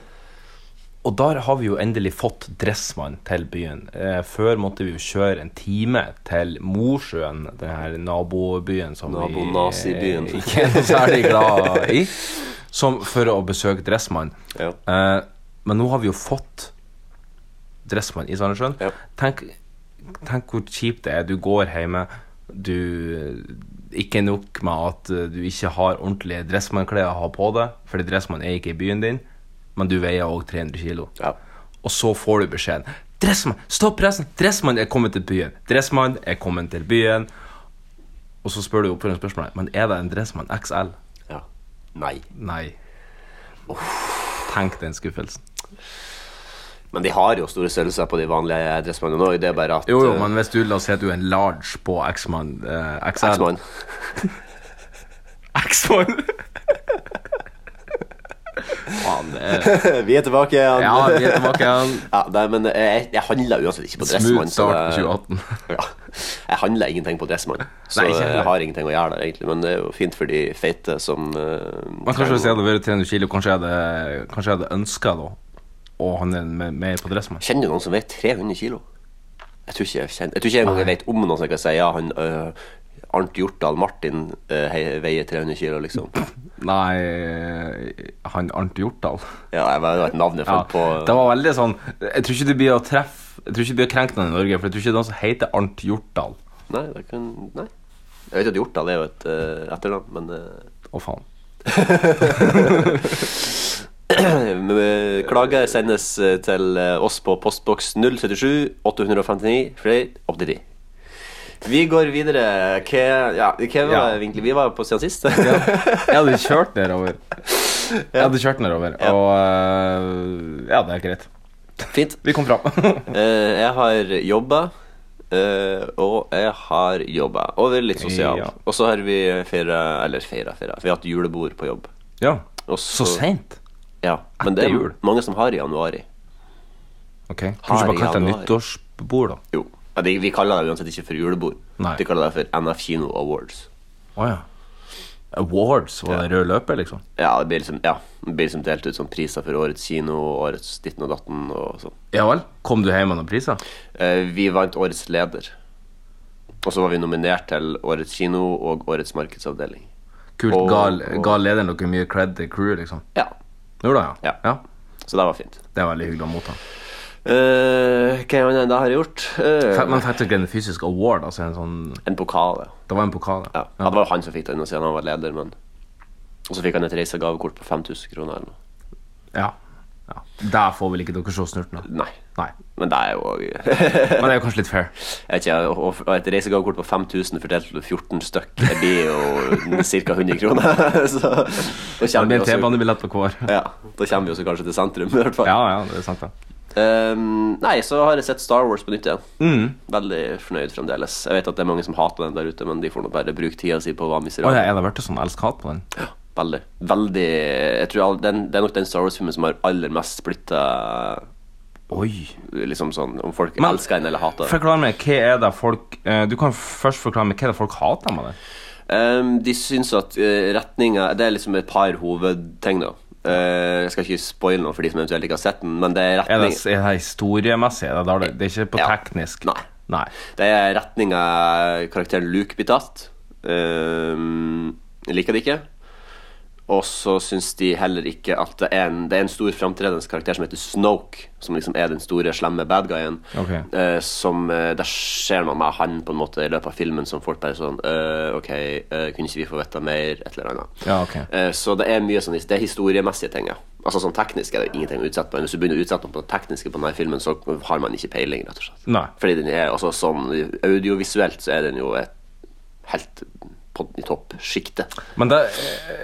S2: og der har vi jo endelig fått Dressmann til byen. Eh, før måtte vi jo kjøre en time til Mosjøen, den her nabobyen som
S3: Nabo-nazibyen.
S2: vi eh, ikke er noe særlig glad i, som, for å besøke Dressmann.
S3: Ja.
S2: Eh, men nå har vi jo fått Dressmann i Sandnessjøen.
S3: Ja.
S2: Tenk, tenk hvor kjipt det er. Du går hjemme, du Ikke nok med at eh, du ikke har ordentlige dressmannklær å ha på deg, fordi dressmann er ikke i byen din, men du veier òg 300 kilo.
S3: Ja.
S2: Og så får du beskjeden. Dressmann, stopp pressen! Dressmann er kommet til byen! Dressmann er kommet til byen! Og så spør du oppfølgingsspørsmålet. Men er det en dressmann XL?
S3: ja. Nei.
S2: Nei. Tenk den skuffelsen.
S3: Men de har jo store størrelser på de vanlige dressmannene òg, det er bare at
S2: Jo, jo,
S3: eh,
S2: men hvis du la oss si at du er en large på X-Man eh, XL
S3: X-mann.
S2: X-Man! Faen, det er
S3: Vi er tilbake igjen.
S2: Ja, vi er tilbake igjen.
S3: Ja, nei, men eh, jeg, jeg handla uansett ikke på
S2: Smooth
S3: Dressmann. så
S2: start på
S3: det-
S2: 2018.
S3: Ja. Jeg handla ingenting på Dressmann, så
S2: Nei, ikke heller.
S3: jeg har ingenting å gjøre der, egentlig. Men det er jo fint for de feite som eh,
S2: Men kanskje hvis jeg hadde vært 300 kilo, kanskje jeg hadde, kanskje jeg hadde ønska da å handle med- mer på Dressmann.
S3: Kjenner du noen som veier 300 kilo? Jeg tror ikke jeg kjenner Jeg tror ikke engang jeg vet om noen som kan si ja, han øh, Arnt Hjortdal Martin øh, hei- veier 300 kilo, liksom.
S2: Nei, han Arnt Hjortdal.
S3: Ja, jeg bare det var et navn jeg
S2: Ja,
S3: fant på.
S2: det var veldig sånn Jeg tror ikke du blir å treffe Jeg tror ikke du blir å krenke noen i Norge, for jeg tror ikke det er noen som heter Arnt Hjortdal.
S3: Nei, det kan Nei. Jeg vet at Hjortdal er jo et øh, etternavn, men øh,
S2: Å, faen.
S3: Klager sendes eh, til eh, oss på postboks 077 859 flere 89. Vi går videre. Hva, ja, hva var
S2: Ja.
S3: det egentlig vi var på siden sist?
S2: Jeg hadde kjørt nedover. Jeg hadde kjørt nedover, og eh, Ja, det er greit.
S3: Fint.
S2: Vi kom fram.
S3: Eh, jeg har jobba, eh, og jeg har jobba. Og vært litt sosial.
S2: Ja.
S3: Og så har vi feira Eller feira, feira. Vi har hatt julebord på jobb.
S2: ja.
S3: Og
S2: Så seint.
S3: Ja. Men det
S2: Etter
S3: er
S2: jul.
S3: mange som har i januar. i.
S2: Ok. Kanskje bare kalt det
S3: januar.
S2: nyttårsbord, da.
S3: Jo. Ja, de, vi kaller det uansett ikke for julebord.
S2: Nei.
S3: De kaller det for NF Kino Awards.
S2: Å ja. Awards var det rød løper, liksom?
S3: Ja, det blir liksom, ja, det blir liksom delt ut sånn priser for årets kino, årets ditten og datten og sånn.
S2: Ja vel? Kom du hjem med noen priser?
S3: Eh, vi vant årets leder. Og så var vi nominert til årets kino og årets markedsavdeling.
S2: Kult.
S3: Og-
S2: Gal,
S3: og-
S2: gal lederen dere mye cred til crew, liksom?
S3: Ja,
S2: Gjorde det,
S3: Ja. så det var fint.
S2: Det er veldig hyggelig å motta.
S3: Eh, Hva annet enn det har jeg gjort? Eh,
S2: Fe- Men faktisk en fysisk award, altså en sånn
S3: en pokal. ja.
S2: Det var en pokal,
S3: Ja. ja, Det var jo han som fikk den, og siden han var leder, men Og så fikk han et reisegavekort på 5000 kroner eller noe.
S2: Ja. ja. Der får vel ikke dere se snurten av.
S3: Nei.
S2: Nei.
S3: Men det er jo Jeg
S2: Men det er jo kanskje litt fair.
S3: vet ikke, og- og et reisegavekort på 5000 fordelt på 14 stykk, det blir jo ca. 100 kroner. Så da
S2: Det
S3: kommer vi
S2: blir en
S3: oss jo-
S2: T-banebillett på hver.
S3: ja, da kommer vi oss jo kanskje til sentrum, i hvert fall.
S2: Ja, ja, det er sant, det.
S3: Ehm, nei, så har jeg sett Star Wars på nytt igjen.
S2: Mm.
S3: Veldig fornøyd fremdeles. Jeg vet at det er mange som hater den der ute, men de får nå bare bruke tida si på å være
S2: Å ja,
S3: miserable.
S2: er det blitt sånn elsk-hat på den?
S3: Veldig. Veldig Jeg tror all, den, Det er nok den Star Wars-filmen som har aller mest splitta
S2: Oi.
S3: Liksom sånn om folk
S2: Men-
S3: elsker den eller hater den.
S2: Forklar meg, hva er det folk eh, Du kan først forklare meg hva er det folk hater med det?
S3: Ehm, de syns at uh, retninga Det er liksom et par hovedting, da. Eh, jeg skal ikke spoile noe for de som eventuelt ikke har sett den, men det er
S2: Er det,
S3: retning
S2: er det historiemessig? Er det, da det, det er ikke på
S3: Ja.
S2: teknisk?
S3: Nei.
S2: Nei.
S3: Det er retninga karakteren Luke blir tatt. Ehm, jeg liker det ikke. Og så syns de heller ikke at det er en, det er en stor framtredende karakter som heter Snoke, som liksom er den store, slemme bad guyen.
S2: Ok.
S3: Eh, som, eh, der ser man med han på en måte i løpet av filmen som folk bare sånn «Øh, OK, øh, kunne ikke vi få vite mer? Et eller annet.
S2: Ja, ok.
S3: Eh, Så det er mye sånn, det er historiemessige ting, ja. Altså sånn teknisk er det ingenting å utsette på. Hvis du begynner å utsette noe på det tekniske på denne filmen, så har man ikke peiling, rett og slett.
S2: Nei.
S3: Fordi den er, altså sånn audiovisuelt så er den jo et helt på i toppsjiktet.
S2: Men det,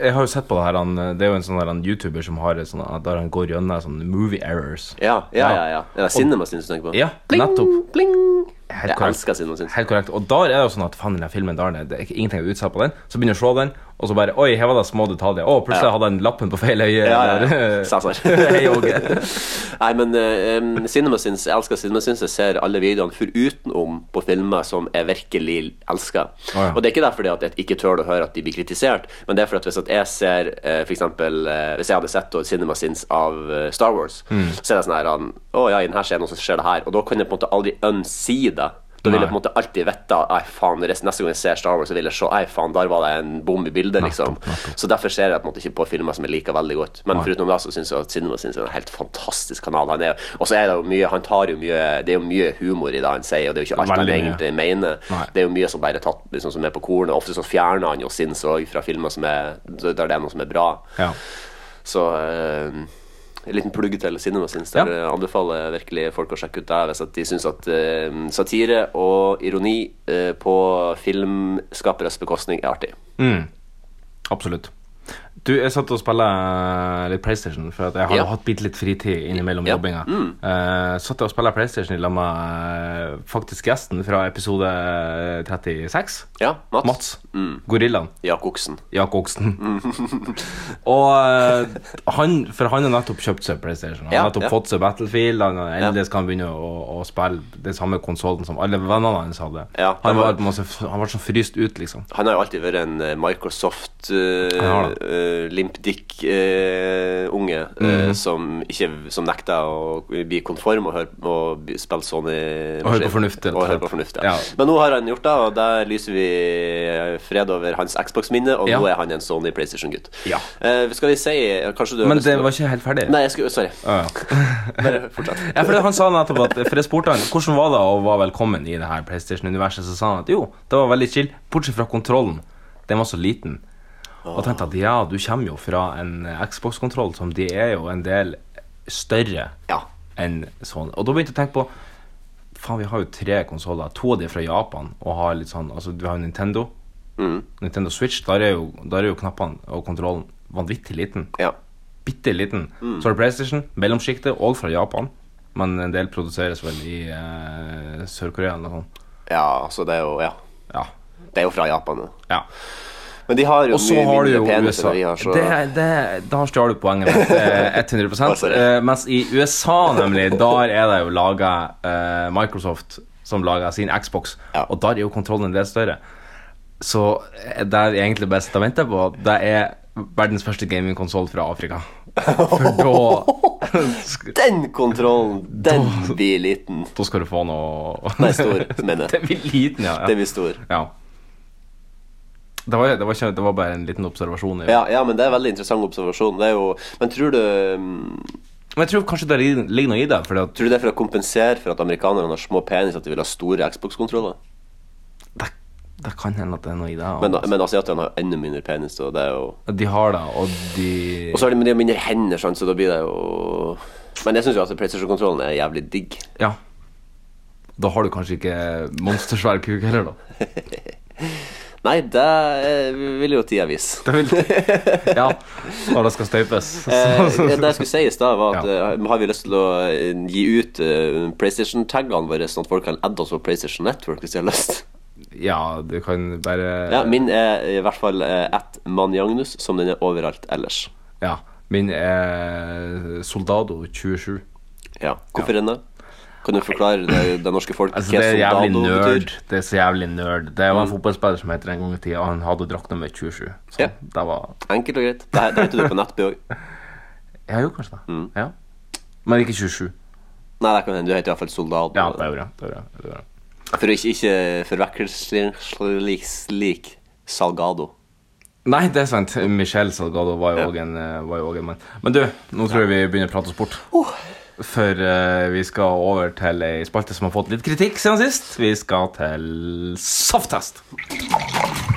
S2: jeg har jo sett på det her han, Det er jo en sånn der, han YouTuber som har et sånn der han går gjennom sånn movie errors.
S3: Ja, ja, ja. ja. Er det Cinema sin du tenker på?
S2: Ja,
S3: Bling,
S2: nettopp.
S3: Bling.
S2: Helt
S3: Jeg
S2: korrekt.
S3: elsker Cinema sin.
S2: Helt korrekt. Og da er det jo sånn at faen, den her filmen der, det er ikke ingenting å utsette på den. Så begynner jeg å se den, og så bare Oi, her var det små detaljer. Å, plutselig
S3: Ja.
S2: hadde han lappen på feil øye.
S3: Ja, ja, ja.
S2: eller-
S3: Cæsar.
S2: Hei, Åge.
S3: Nei, men eh, em, Cinema Sins, jeg elsker Cinema Sins. Jeg ser alle videoene forutenom på filmer som jeg virkelig elsker.
S2: Å, ja.
S3: Og det er ikke derfor det at jeg ikke tør å høre at de blir kritisert, men det er for at hvis at jeg ser eh, for eksempel, eh, Hvis jeg hadde sett da Cinema Sins av eh, Star Wars,
S2: Mm.
S3: så er det sånn her han, Å ja, i denne scenen så skjer det her. Og da kan jeg på en måte aldri unsee det. Da vil jeg
S2: Nei.
S3: på en måte alltid vite at, Ei, faen, rest- neste gang jeg ser Star Wars, så vil jeg se Ei, faen, der var det en bom i bildet, liksom. Så derfor ser jeg på en måte ikke på filmer som jeg liker veldig godt. Men foruten det så syns jeg at Cinema Sins er en helt fantastisk kanal. Han er, og så er det jo mye Han tar jo mye Det er jo mye humor i det han sier, og det er jo ikke alt
S2: Veldig mye.
S3: han egentlig mener.
S2: Nei.
S3: Det er jo mye som bare er tatt liksom, som er på kornet. Ofte så fjerner han jo Sins òg fra filmer som er der det er noe som er bra.
S2: Ja.
S3: Så eh, en liten plugg til Cinema Sins.
S2: Ja.
S3: Der eh, anbefaler jeg virkelig folk å sjekke ut det hvis at de syns at eh, satire og ironi eh, på filmskaperes bekostning er artig.
S2: Mm. Absolutt. Du, jeg satt og spilte eh, litt PlayStation, for at jeg har
S3: Ja.
S2: jo hatt bitte litt fritid innimellom
S3: Ja. Mm.
S2: jobbinga. Eh, satt jeg og spilte PlayStation i lag med eh, faktisk gjesten fra episode 36.
S3: Ja, Mats? Mm.
S2: Mats. Gorillaen.
S3: Ja, Koksen.
S2: Jak Oksen. og eh, han, for han har nettopp kjøpt seg PlayStation. Han har
S3: Ja,
S2: nettopp
S3: ja.
S2: fått seg Battlefield. Han, har- endelig skal han begynne å, å spille den samme konsollen som alle vennene hans hadde.
S3: Ja,
S2: han, var,
S3: det var-
S2: på en måte- han var så fryst ut, liksom.
S3: Han har jo alltid vært en eh, Microsoft eh,
S2: har det.
S3: Limp Dick-unge eh,
S2: Mhm.
S3: som, ikke- som nekter å bli konform og, høre, og b- spille Sony-maskin.
S2: Og høre på fornuft, rett og
S3: Og høre
S2: slett.
S3: på fornuft, ja.
S2: Ja.
S3: Men nå har han gjort det, og der lyser vi eh, fred over hans Xbox-minne, og
S2: Ja.
S3: nå er han en Sony PlayStation-gutt.
S2: Ja.
S3: Eh, skal vi si Kanskje du har
S2: Men
S3: lyst til
S2: det
S3: å-
S2: var ikke helt ferdig.
S3: Nei, jeg skulle, sorry.
S2: Ja, ja.
S3: Bare fortsett.
S2: Ja, for det, han sa nettopp at For jeg spurte han hvordan var det å være velkommen i det her PlayStation-universet. Så sa han at jo, det var veldig chill, bortsett fra kontrollen. Den var så liten. Og jeg tenkte at ja, du kommer jo fra en eh, Xbox-kontroll som de er jo en del større
S3: Ja.
S2: enn sånn. Og da begynte jeg å tenke på Faen, vi har jo tre konsoller. To av de er fra Japan og har litt sånn Altså, vi har jo Nintendo. Nintendo Switch. Der er jo, der er jo knappene og kontrollen vanvittig liten
S3: ja.
S2: bitte liten. Så har du PlayStation, mellomsjiktet, og fra Japan. Men en del produseres vel i eh, Sør-Korea eller noe sånt.
S3: Ja, så det er jo Ja.
S2: Ja.
S3: Det er jo fra Japan nå.
S2: ja.
S3: Men de har jo
S2: Og så
S3: mye
S2: har du jo
S3: mindre penis
S2: USA.
S3: enn vi har, så
S2: Det, det, da stjal du poenget mitt. eh, 100
S3: Hva sa du?
S2: Eh, Mens i USA, nemlig, der er det jo laga Microsoft som lager sin Xbox,
S3: Ja.
S2: og der er jo kontrollen en del større. Så eh, det er egentlig best å vente på. Det er verdens første gamingkonsoll fra Afrika. For da
S3: Den kontrollen, den blir liten.
S2: Da skal du få noe
S3: Nei, stor, mener jeg.
S2: Den blir liten, ja.
S3: Den
S2: ja.
S3: blir stor.
S2: ja. Det, var, det, var ikke, det var bare en liten observasjon. i-
S3: Ja, ja, men det er en veldig interessant observasjon. Det er jo, men tror du mm,
S2: Men jeg tror kanskje det ligger noe i det. Fordi at
S3: Tror du det er for å kompensere for at amerikanerne har små penis, at de vil ha store Xbox-kontroller?
S2: det, det kan hende at det er noe i det.
S3: Men,
S2: og-
S3: men asiaterne har jo enda mindre penis, og det er jo
S2: de har det, og de
S3: Og så har de, men de har mindre hender, sant, så da blir det jo Men jeg syns jo at PlayStation-kontrollen er jævlig digg.
S2: Ja. Da har du kanskje ikke monstersvær kuk heller, da.
S3: Nei, det eh, vil jo tida vise.
S2: Det vil Ja. Når det skal støypes.
S3: Eh,
S2: Så-
S3: det jeg skulle si i stad, var at
S2: Ja.
S3: eh, har vi lyst til å eh, gi ut eh, PlayStation-taggene våre, sånn at folk kan adde oss på PlayStation Network hvis de har lyst?
S2: Ja, du kan bare
S3: Ja, min er i hvert fall eh, at Manjagnus, som den er overalt ellers.
S2: Ja. Min er Soldado 27.
S3: Ja, Hvorfor denne? Kan du forklare det, det norske folk
S2: Altså, det er
S3: hva
S2: jævlig
S3: soldado
S2: nerd.
S3: betyr? Mm.
S2: Det er så jævlig nerd. Det var en fotballspiller som het det en gang i tida, og han hadde drakta med 27. Så
S3: Ja.
S2: det var
S3: Enkelt og greit. Det henter du på NetB òg.
S2: Ja, jo, kanskje det.
S3: Mm.
S2: Ja. Men ikke 27.
S3: Nei, det kan hende. Du heter i hvert fall soldat.
S2: Ja, det gjorde jeg. Det gjorde jeg. Det gjorde jeg.
S3: For å ikke, ikke forveksle slik Salgado.
S2: Nei, det er sant. Michel Salgado var jo
S3: Ja.
S2: òg en, eh, var jo også en mann. Men du, nå tror jeg vi begynner å prate sport. For eh, vi skal over til ei spalte som har fått litt kritikk siden sist. Vi skal til safttest.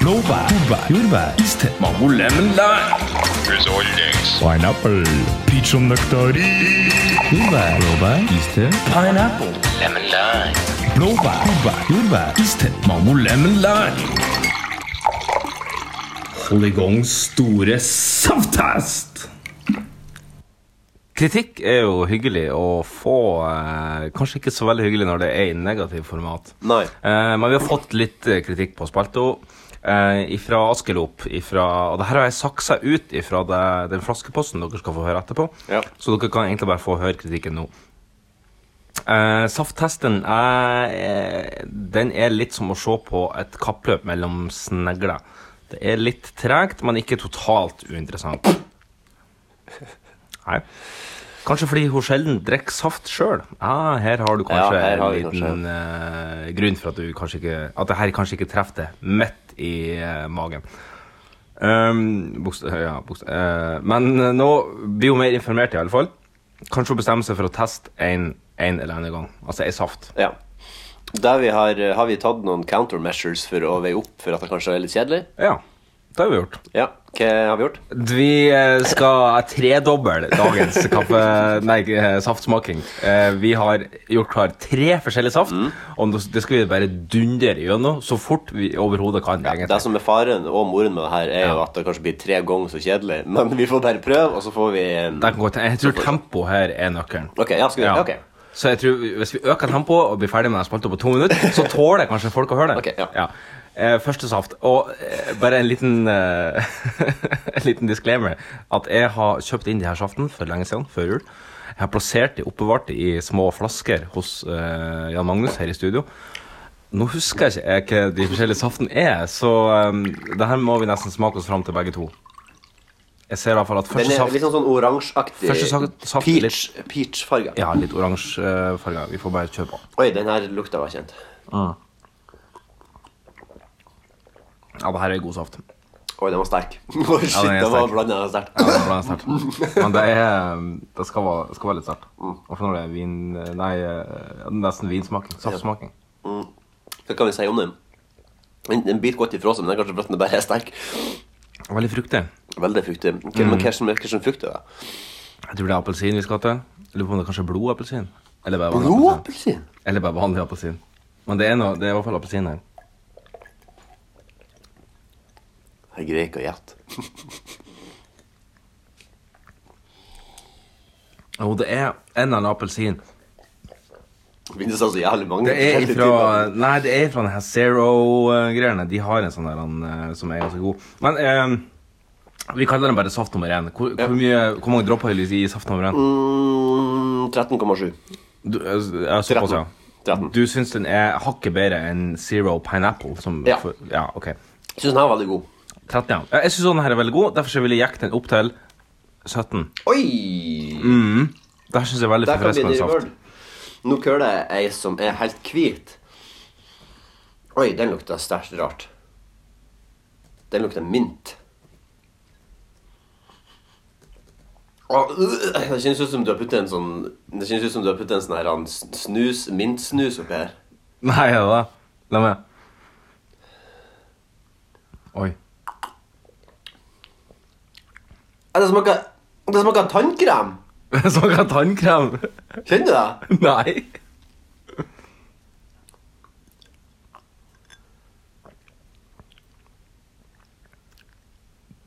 S6: Blåbær, jordbær, jordbær, iste,
S2: Mango lemon lime.
S6: pineapple, peach og nøkter, jordbær, blåbær, iste,
S2: Pineapple.
S6: blåbær, jordbær, jordbær, iste, mango, lemon, lime.
S2: Hold i gang store safttest! Kritikk er jo hyggelig å få. Eh, kanskje ikke så veldig hyggelig når det er i negativt format.
S3: Nei.
S2: Eh, men vi har fått litt eh, kritikk på Spalto. Eh, ifra Askelop. Ifra, og det her har jeg saksa ut ifra det, den flaskeposten dere skal få høre etterpå.
S3: Ja.
S2: Så dere kan egentlig bare få høre kritikken nå. Eh, Safttesten er, eh, den er litt som å se på et kappløp mellom snegler. Det er litt tregt, men ikke totalt uinteressant. Nei. Kanskje fordi hun sjelden drikker saft sjøl. Ah, her har du kanskje
S3: Ja, her har vi
S2: en liten eh, grunn for at, du kanskje ikke, at det her kanskje ikke treffer det midt i eh, magen. Um, bokst ja, bokst eh, men eh, nå blir hun mer informert, i alle fall. Kanskje hun bestemmer seg for å teste en, en eller annen gang. Altså ei saft.
S3: Ja. Der vi har, har vi tatt noen countermeasures for å veie opp for at det kanskje er litt kjedelig?
S2: Ja, det har vi gjort.
S3: Ja. Hva har vi gjort?
S2: Vi eh, skal tredoble dagens kaffe... Nei, eh, saftsmaking. Eh, Vi har gjort klar tre forskjellige saft,
S3: Mm.
S2: og nå- det skal vi bare dundre gjennom så fort vi overhodet kan.
S3: Det
S2: egentlig.
S3: som er faren og moren med det her, er jo at det kanskje blir tre ganger så kjedelig. Men vi får bare prøve, og så får vi um,
S2: Det kan gå til. Jeg tror tempo her er nøkkelen.
S3: Ok, ja, skal vi
S2: Ja.
S3: Ok.
S2: Så jeg tror vi- hvis vi øker tempoet og blir ferdig med den spalta på to minutter, så tåler kanskje folk å høre det.
S3: Ok, ja.
S2: Eh, Første saft. Og eh, bare en liten, eh, en liten disclaimer. At jeg har kjøpt inn de her saften for lenge siden, før jul. Jeg har plassert de oppbevart de i små flasker hos eh, Jan Magnus her i studio. Nå husker jeg ikke jeg hva de forskjellige saftene er, så eh, det her må vi nesten smake oss fram til begge to. Jeg ser i hvert fall at
S3: Den
S2: første
S3: er
S2: saft
S3: litt sånn, sånn oransjeaktig.
S2: Første saft- saft-
S3: Peach, peachfarge.
S2: Ja, litt oransje eh, farger. Vi får bare kjøre på.
S3: Oi, den her lukta var kjent.
S2: Mm. Ja, det her er god saft.
S3: Oi, den var sterk. Oi, shit,
S2: den er
S3: den var
S2: sterk.
S3: blanda sterk.
S2: Ja, det er bra sterkt. Men det, er, um, det skal, være, skal være litt sterkt. Hvorfor når det er vin... Nei, eh, nesten vinsmaking. Saftsmaking.
S3: Hva kan vi si om den? Den, den biter godt ifra seg, men den er kanskje fordi den bare er sterk.
S2: Veldig fruktig.
S3: Veldig fruktig.
S2: Mm.
S3: Hva- Men hva som hva som frukt er det?
S2: Jeg tror det er appelsin vi skal til. Jeg Lurer på om det kanskje er blodappelsin. Eller bare vanlig appelsin.
S3: Blåappelsin?
S2: Eller bare vanlig appelsin. Men det er, noe, det er i hvert fall appelsin her.
S3: Jeg greier ikke å gjette.
S2: Jo, det er en eller annen appelsin.
S3: Det finnes altså jævlig mange.
S2: Det er
S3: forskjellige
S2: ifra
S3: typer.
S2: Nei, det er ifra den her Zero-greiene. De har en sånn der han, eh, som er ganske god. Men eh, vi kaller den bare saft nummer én. Hvor, hvor, mye, hvor mange dropper vil du gi i saft nummer én?
S3: Mm, 13,7.
S2: Du, eh, ja, såpass, ja.
S3: 13.
S2: Du syns den er hakket bedre enn Zero Pineapple? Som,
S3: Ja.
S2: for- ja ok.
S3: Syns den her var veldig god.
S2: 13, ja. Ja, Jeg syns den her er veldig god, derfor så vil jeg jekke den opp til 17.
S3: Oi!
S2: Det her synes Mm, jeg er veldig
S3: Der kan bli
S2: forfriskende
S3: Dirty
S2: saft.
S3: Bird. Nå køler jeg ei som er helt hvit. Oi, den lukta sterkt rart. Den lukter mint. Åh, øh, Det kjennes ut som du har puttet en sånn Det kjennes ut som du har puttet en sånn her han, s- snus, mintsnus oppi her.
S2: Nei, ja da. La meg Oi.
S3: Ja, Det smaker Det smaker tannkrem!
S2: Smaker Sånn tannkrem?
S3: Kjenner du det?
S2: Nei.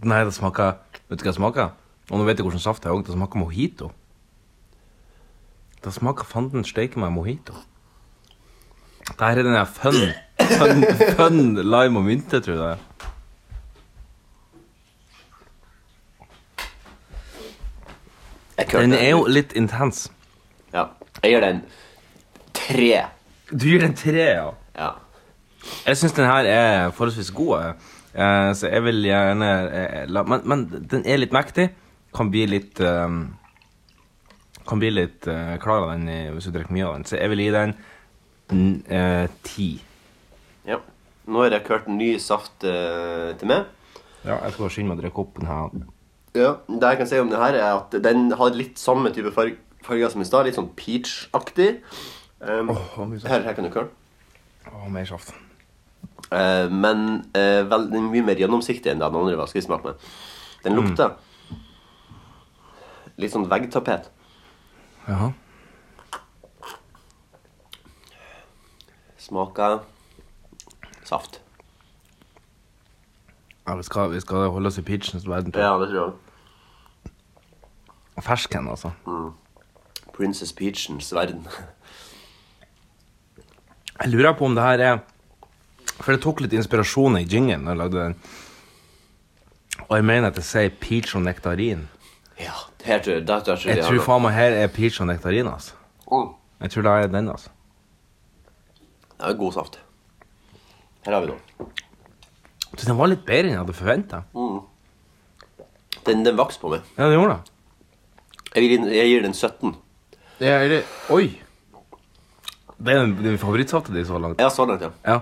S2: Nei, det smaker Vet du hva det smaker? Og nå vet jeg hvordan saft det er òg. Det smaker mojito. Det smaker fanden steike meg mojito. Det her er den der fun, fun, fun lime og mynte, tror jeg det er.
S3: Jeg
S2: Den
S3: kørte
S2: er jo litt intens.
S3: Ja. Jeg gir den tre.
S2: Du gir den tre, ja.
S3: Ja.
S2: Jeg syns den her er forholdsvis god, eh, så jeg vil gjerne eh, la men, men den er litt mektig. Kan bli litt eh, Kan bli litt eh, klar av den eh, hvis du drikker mye av den. Så jeg vil gi den mm, eh, ti.
S3: ja. Nå har jeg kørt ny saft eh, til meg.
S2: Ja, jeg skal skynde meg å drikke opp den her.
S3: Ja, Det jeg kan si om den her, er at den har litt samme type farg, farger som i stad. Litt sånn peach-aktig. Um, her, her kan du køre.
S2: Å, mer saft.
S3: Eh, men eh, vel, den er mye mer gjennomsiktig enn det den andre var. Skal vi smake med. Den lukter litt sånn veggtapet.
S2: Jaha.
S3: Smaker saft.
S2: Ja, vi skal, vi skal holde oss i peachens verden.
S3: Ja, det tror jeg.
S2: Fersken, altså.
S3: Princess Peachens verden.
S2: Jeg lurer på om det her er For det tok litt inspirasjon i jingen når jeg lagde den. Og jeg mener at jeg sier peach og nektarin.
S3: ja, det her tror jeg, det tror jeg,
S2: Jeg
S3: de har
S2: tror
S3: noe.
S2: faen meg her er peach og nektarin, altså.
S3: Mm.
S2: Jeg tror det er den, altså.
S3: Det er god saft. Her har vi noe.
S2: Så den var litt bedre enn jeg hadde forventa.
S3: Den, den vokste på meg.
S2: Ja, den gjorde det.
S3: Jeg gir, den- jeg gir den 17.
S2: Det er det. Oi! Det er den- den favorittsafta di så langt.
S3: Ja, så langt, ja.
S2: Ja.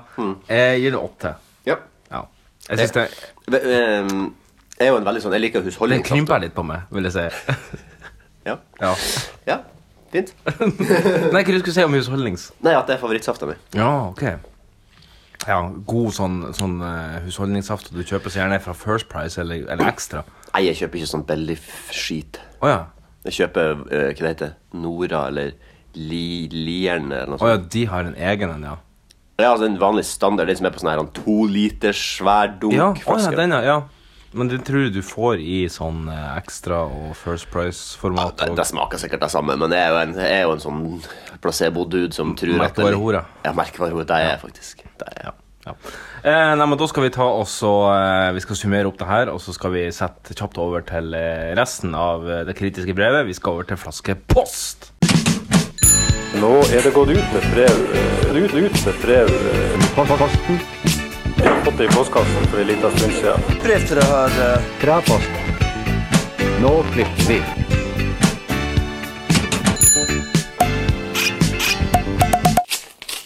S2: Jeg gir det åtte.
S3: ja.
S2: Ja. Jeg syns Mm. det
S3: Ve- ehm, Jeg er jo en veldig sånn Jeg liker
S2: Den
S3: husholdningssaft.
S2: krymper litt på meg, vil jeg si.
S3: Ja.
S2: Ja.
S3: ja, fint.
S2: Nei, hva du skulle si om husholdnings?
S3: Nei, at det er favorittsafta mi.
S2: Ja, ok. Ja, god sånn, sånn eh, husholdningssaft du kjøper så gjerne fra First Price eller, eller ekstra.
S3: Nei, jeg kjøper ikke sånn Bellif-skit.
S2: Å ja.
S3: Jeg kjøper eh, hva det heter Nora eller li, Lieren eller noe
S2: Å ja,
S3: sånt.
S2: de har en egen en, ja.
S3: Ja, altså En vanlig standard, den som er på sånn her en to liters svær dunk
S2: Ja, å ja,
S3: flaske.
S2: den, ja. ja. Men den tror du du får i sånn eh, ekstra og First Price-format.
S3: Det,
S2: og-
S3: det smaker sikkert det samme, men jeg er jo en, jeg er jo en sånn placebo-dude som tror at det-
S2: Merkevarehore.
S3: Ja, merkevarehore. Det er jeg faktisk. Det er jeg.
S2: Ja. Eh, nei, men Da skal vi ta oss og eh, Vi skal summere opp det her, og så skal vi sette kjapt over til eh, resten av eh, det kritiske brevet. Vi skal over til flaskepost.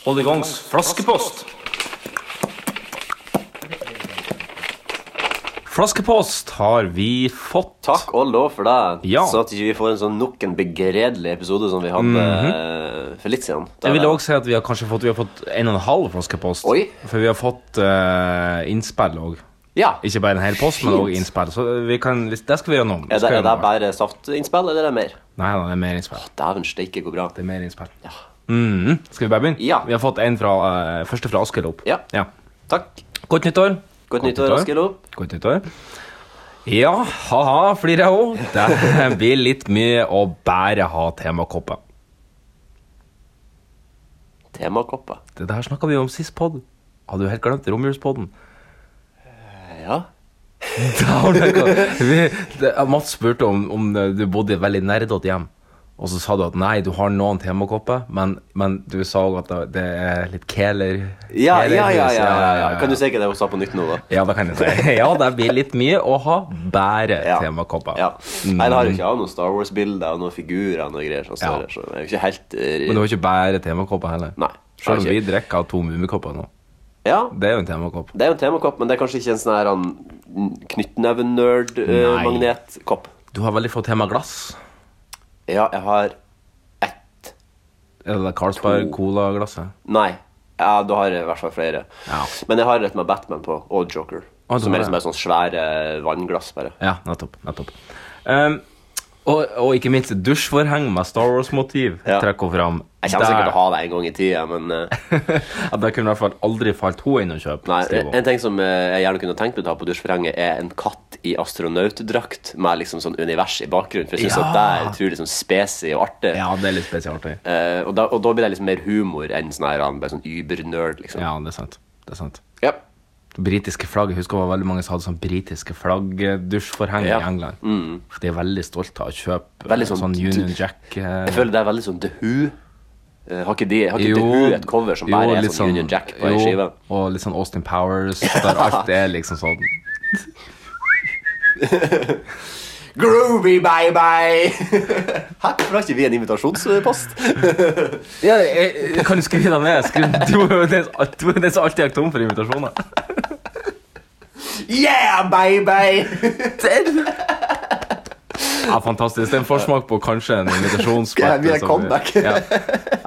S2: Hold i gangs flaskepost. Flaskepost har vi fått.
S3: Takk og lov for det,
S2: Ja.
S3: så at ikke vi får en sånn nok en begredelig episode som vi hadde eh, for litt siden. Da-
S2: Jeg vil også si at vi har kanskje fått, vi har fått en og en halv flaskepost.
S3: Oi.
S2: For vi har fått eh, innspill òg.
S3: Ja.
S2: Ikke bare en hel post, men òg innspill. Så vi kan, hvis- det skal vi gjøre noe med.
S3: Er det,
S2: Skal vi
S3: er det
S2: gjøre noe med.
S3: bare saftinnspill, eller er det mer?
S2: Nei, da, det er mer innspill.
S3: Dæven steike, går bra.
S2: Det er mer innspill.
S3: Ja.
S2: Mhm. Skal vi bare begynne?
S3: Ja.
S2: Vi har fått en fra, eh, første fra Askild opp.
S3: Ja. Takk.
S2: Godt nyttår.
S3: Godt nyttår, Askild opp.
S2: Godt nyttår. Ja, haha, flirer jeg òg. Det blir litt mye å bare ha temakopper.
S3: Temakopper.
S2: Det der snakka vi om sist pod. Hadde du helt glemt romjulspodden?
S3: Ja.
S2: Da har du ikke- Vi- det- Mats spurte om, om eh, du bodde i et veldig nerdete hjem. Og så sa du at nei, du har noen temakopper, men, men du sa òg at det- det er litt kæler...
S3: Ja,
S2: kælerhus.
S3: ja, ja, ja, ja, ja. Kan du si hva det hun sa på nytt nå, da?
S2: Ja, det kan jeg si. Ja, det blir litt mye å ha bare
S3: Ja.
S2: temakopper.
S3: Ja. Mm. Nei, det har jo ikke av noen Star Wars-bilder og noen figurer og noe greier. Sånn større, så jeg er jo ikke helt eh,
S2: Men du har ikke bare temakopper heller.
S3: Nei.
S2: Selv om
S3: Har
S2: vi
S3: ikke.
S2: drikker av to mummikopper nå.
S3: Ja.
S2: Det er jo en temakopp.
S3: eh, Det er jo en temakopp, men det er kanskje ikke en sånn her han, knyttneven-nerd-magnet-kopp.
S2: Du har veldig få tema glass.
S3: Ja, jeg har ett
S2: Er det det Carlsberg
S3: To.
S2: Cola-glasset?
S3: Nei. Ja, da har jeg i hvert fall flere.
S2: Ja.
S3: Men jeg har et med Batman på, og Joker.
S2: Å, du
S3: som
S2: har
S3: er liksom
S2: det.
S3: et sånt svære vannglass, bare.
S2: Ja, nettopp. nettopp. Ehm, og, og ikke minst dusjforheng med Star Wars-motiv.
S3: Ja.
S2: Trekk henne fram.
S3: Jeg kommer
S2: Der-
S3: sikkert til å ha det en gang i tida, men eh,
S2: Ja, Der kunne i hvert fall aldri falt hun inn å kjøpe.
S3: Nei,
S2: Stivo.
S3: En ting som eh, jeg gjerne kunne tenkt meg å ta på dusjforhenget, er en katt i astronautdrakt med liksom sånn univers i bakgrunnen. For jeg syns
S2: Ja.
S3: at det er utrolig sånn spesig og artig.
S2: Ja, det er litt spesialartig.
S3: Eh, og, da, og da blir det liksom mer humor enn sånn her han bare sånn übernerd, liksom.
S2: Ja, det er sant. Det er sant.
S3: Ja.
S2: Det britiske flagget. Jeg husker det var veldig mange som hadde sånn britiske flaggdusjforheng
S3: Ja. Mm.
S2: i England. For de er veldig stolte av å kjøpe
S3: Veldig
S2: eh,
S3: sånn-
S2: sånn Union Jack eh,
S3: Jeg føler det er veldig sånn The Who. Eh, har ikke, de, har ikke
S2: jo,
S3: The Who et cover som
S2: jo,
S3: bare er
S2: litt
S3: sånn, Union Jack på ei
S2: jo,
S3: skive?
S2: Og litt sånn Austin Powers, der alt er liksom sånn
S3: Groovy, bye, bye! Hæ? Hvorfor har ikke vi en invitasjonspost?
S2: ja, jeg, jeg- Kan du skrive deg ned? Skriv, du er jo den som- du er jo den som alltid er tom for invitasjoner.
S3: Yeah, bye, bye!
S2: Ja, fantastisk. Det er en forsmak på kanskje en invitasjonsspalte.
S3: Ja, vi er
S2: som
S3: comeback.
S2: ja.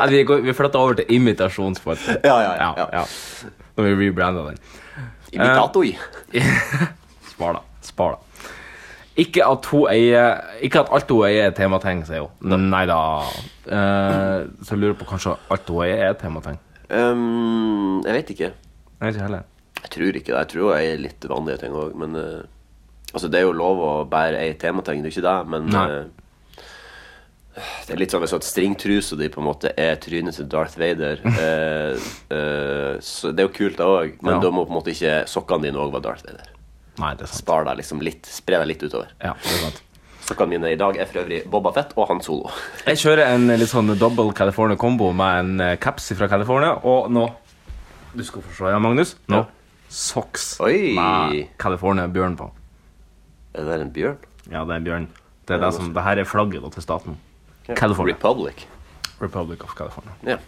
S2: Nei, vi, går, vi flytter over til imitasjonsspalte.
S3: Ja, ja, ja, ja.
S2: Når vi rebrander den.
S3: Imitatoi.
S2: Spar, da. Spar, da. Ikke at, hun eier, ikke at alt hun eier, er temating, sier hun. Nei da. Eh, så jeg lurer på kanskje alt hun eier, er temating.
S3: Um, jeg vet ikke.
S2: Jeg vet ikke heller.
S3: Jeg tror ikke det. Jeg tror jeg er litt vanlige ting òg, men eh, Altså, det er jo lov å bære ei temateng, det er ikke det, men
S2: Nei.
S3: eh, Det er litt sånn hvis at stringtrusa di på en måte er trynet til Darth Vader. eh, eh, så det er jo kult, det òg,
S2: Ja.
S3: men da må på en måte ikke sokkene dine òg være Darth Vader.
S2: Nei, det er sant.
S3: Spar deg liksom litt, Spre deg litt utover.
S2: Ja, det er sant.
S3: Sokkene mine i dag er for øvrig Boba Fett og Han Solo.
S2: Jeg kjører en litt sånn double California combo med en eh, caps fra California og nå Du skal få se, ja, Magnus. Nå
S3: Ja.
S2: socks
S3: Oi.
S2: med California-bjørn på.
S3: Er det der en bjørn?
S2: Ja, det er en bjørn. Det, er det, som, det her er flagget da, til staten. California.
S3: Republic.
S2: Republic of California.
S3: Ja.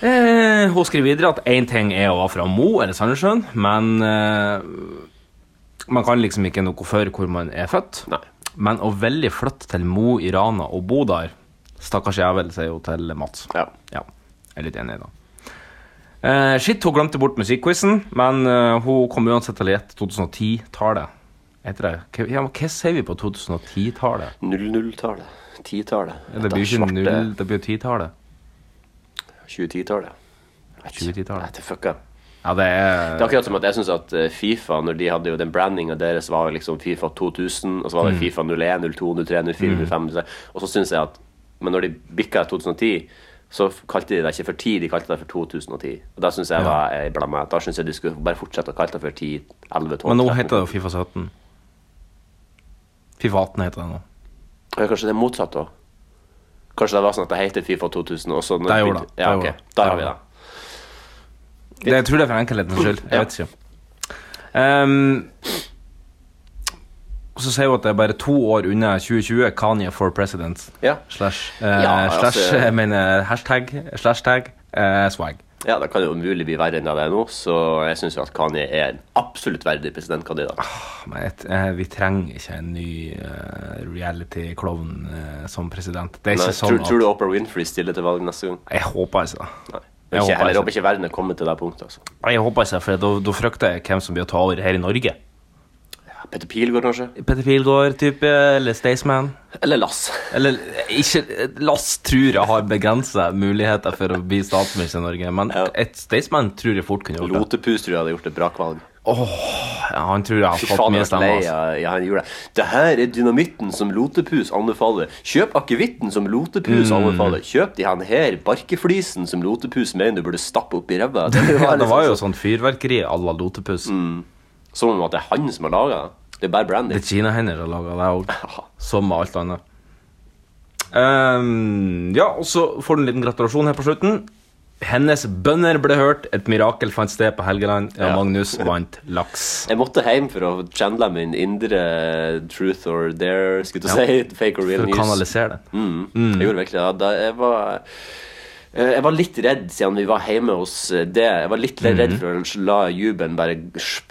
S2: Eh, hun skriver videre at én ting er å være fra Mo eller Sandnessjøen, men eh, man kan liksom ikke noe for hvor man er født.
S3: Nei.
S2: Men å velge flytte til Mo i Rana og bo der Stakkars jævel, sier hun til Mats.
S3: Ja.
S2: Ja, jeg er litt enig i det. Eh, shit, hun glemte bort musikkquizen, men eh, hun kom uansett til å gjette 2010-tallet. Heter det? Hva, ja, men hva sier vi på 2010-tallet?
S3: 00-tallet. 10-tallet.
S2: Det blir jo ikke null, det blir jo 10-tallet.
S3: 2010-tallet.
S2: 2010-tallet.
S3: Nei, det fucka.
S2: Ja, det
S3: Det er
S2: er
S3: akkurat som at jeg synes at eh, Fifa, når de hadde jo den brandinga deres, var jo liksom Fifa 2000, og så var
S2: Mm.
S3: det Fifa 01, 02, 03, 04, 05 06. Og så synes jeg at Men når de bikka 2010, så f- kalte de det ikke for 10, de kalte det for 2010. Og da synes jeg var jeg blandet. Da synes jeg de skulle bare fortsette å kalle det for 10, 11, 12
S2: Men nå
S3: 13.
S2: heter det jo Fifa 17. Fifa 18 heter det nå.
S3: Ja, Kanskje det er motsatt, da? Kanskje det var sånn at det heter Fifa 2000, og så når
S2: Der
S3: de
S2: gjorde
S3: begynte-
S2: det. Der gjorde
S3: Ja, ok.
S2: det. Der
S3: Der har vi
S2: gjorde
S3: det.
S2: Det, jeg tror det er for enkelhetens skyld. Jeg vet ikke. Ehm, og så sier hun at det er bare to år unna 2020 Kanye for president.
S3: Ja.
S2: Slash, eh,
S3: Ja, altså-
S2: slash jeg mener hashtag, slash tag, eh, swag.
S3: Ja, det kan jo umulig bli verre enn det er nå, så jeg syns jo at Kanye er en absolutt verdig
S2: Ah,
S3: presidentkandidat.
S2: Men jeg, eh, vi trenger ikke en ny eh, reality-klovn eh, som president. Det er
S3: Men
S2: ikke
S3: tror,
S2: sånn
S3: tror du
S2: at
S3: Oprah Winfrey stiller til valg neste gang?
S2: Jeg håper ikke det.
S3: Nei.
S2: Jeg
S3: Jeg
S2: håper
S3: ikke,
S2: ikke.
S3: eller håper ikke verden er kommet til det punktet. altså.
S2: Jeg håper ikke, for da- da frykter jeg hvem som blir å ta over her i Norge.
S3: Ja, Petter Pilgaard, kanskje?
S2: Petter Pilgaard-type, eller Staysman.
S3: Eller Lass.
S2: Eller eh, ikke eh, Lass tror jeg har begrensa muligheter for å bli statsminister i Norge, men
S3: Ja.
S2: et Staysman tror jeg fort kunne gjort det.
S3: Lotepus tror jeg hadde gjort et brakvalg.
S2: Ja, han tror jeg har
S3: Fy
S2: fått
S3: faen, jeg
S2: mye
S3: ble lei
S2: stemmer. altså.
S3: av ja, han gjorde det. Det her er dynamitten som Lotepus anbefaler. Kjøp akevitten som
S2: Mm.
S3: Lotepus anbefaler. Kjøp de han her barkeflisen som Lotepus mener du burde stappe opp i ræva. Det, Mm.
S2: Ja, det
S3: liksom
S2: var jo
S3: sånn-
S2: sånn fyrverkeri à la Lotepus.
S3: Som om at det er han som har laga det. Det er bare brandy.
S2: Det er kinahender som lager det òg, som med alt annet. Ehm, ja, og så får du en liten gratulasjon her på slutten. Hennes bønner ble hørt, et mirakel fant sted på Helgeland, ja,
S3: Ja.
S2: Magnus vant laks.
S3: Jeg måtte hjem for å chandle min indre truth or dare, skulle jeg til å si. Fake or real
S2: For å
S3: news.
S2: kanalisere det.
S3: Mm. Jeg gjorde virkelig det. Da jeg var eh, jeg var litt redd siden vi var
S2: Mhm.
S3: hjemme hos eh, det. Jeg var litt redd for å la jubelen bare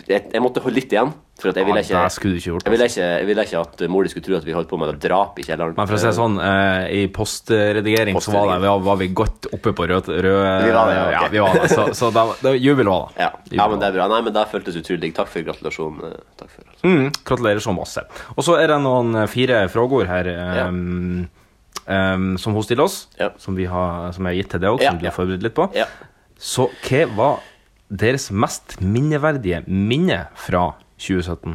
S3: Jeg jeg måtte holde litt igjen. For
S2: Ah,
S3: at jeg ville ikke
S2: det skulle du ikke gjort.
S3: jeg ville ikke, jeg ville ikke at mor di skulle tro at vi holdt på med noe drap i kjelleren.
S2: Men for å si det sånn, eh, i postredigering så var, det, var vi godt oppe på rød, rød
S3: Vi var det, ja, ok.
S2: ja, vi var det. Så, så da, da, jubel var det.
S3: Ja. ja, men det er bra. Nei, men det føltes utrolig digg. Takk for gratulasjonen. eh, Takk for alt.
S2: Mm, gratulerer så masse. Og så er det noen eh, fire frågord her eh,
S3: Ja.
S2: eh, som hun stiller oss,
S3: Ja.
S2: som, vi har, som jeg har gitt til deg òg,
S3: Ja,
S2: som du
S3: ja.
S2: har forberedt litt på.
S3: Ja.
S2: Så hva var deres mest minneverdige minne fra 2017?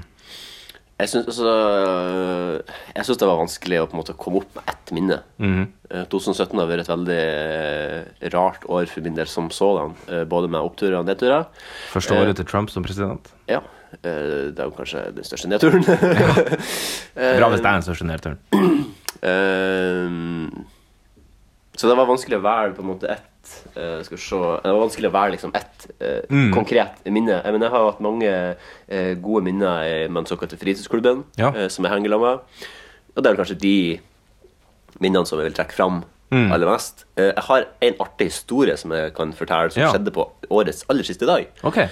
S3: Jeg syns altså øh, Jeg synes det var vanskelig å på en måte komme opp med ett minne. Eh, 2017 har vært et veldig eh, rart år for min del som sådan. eh, Både med oppturer og nedturer. Eh,
S2: Første året til Trump som president?
S3: Ja. eh, Det er jo kanskje den største nedturen. eh,
S2: Bra hvis det er den største nedturen.
S3: Ehm, så det var vanskelig å være på en måte ett eh, Skal vi se Det var vanskelig å være liksom ett eh,
S2: Mm.
S3: konkret minne. Jeg, mener, jeg har hatt mange eh, gode minner i med den såkalte fritidsklubben,
S2: Ja.
S3: eh, som jeg henger sammen med. Og det er vel kanskje de minnene som jeg vil trekke fram
S2: Mm.
S3: aller mest. Eh, jeg har en artig historie som jeg kan fortelle, som
S2: Ja.
S3: skjedde på årets aller siste dag.
S2: Ok.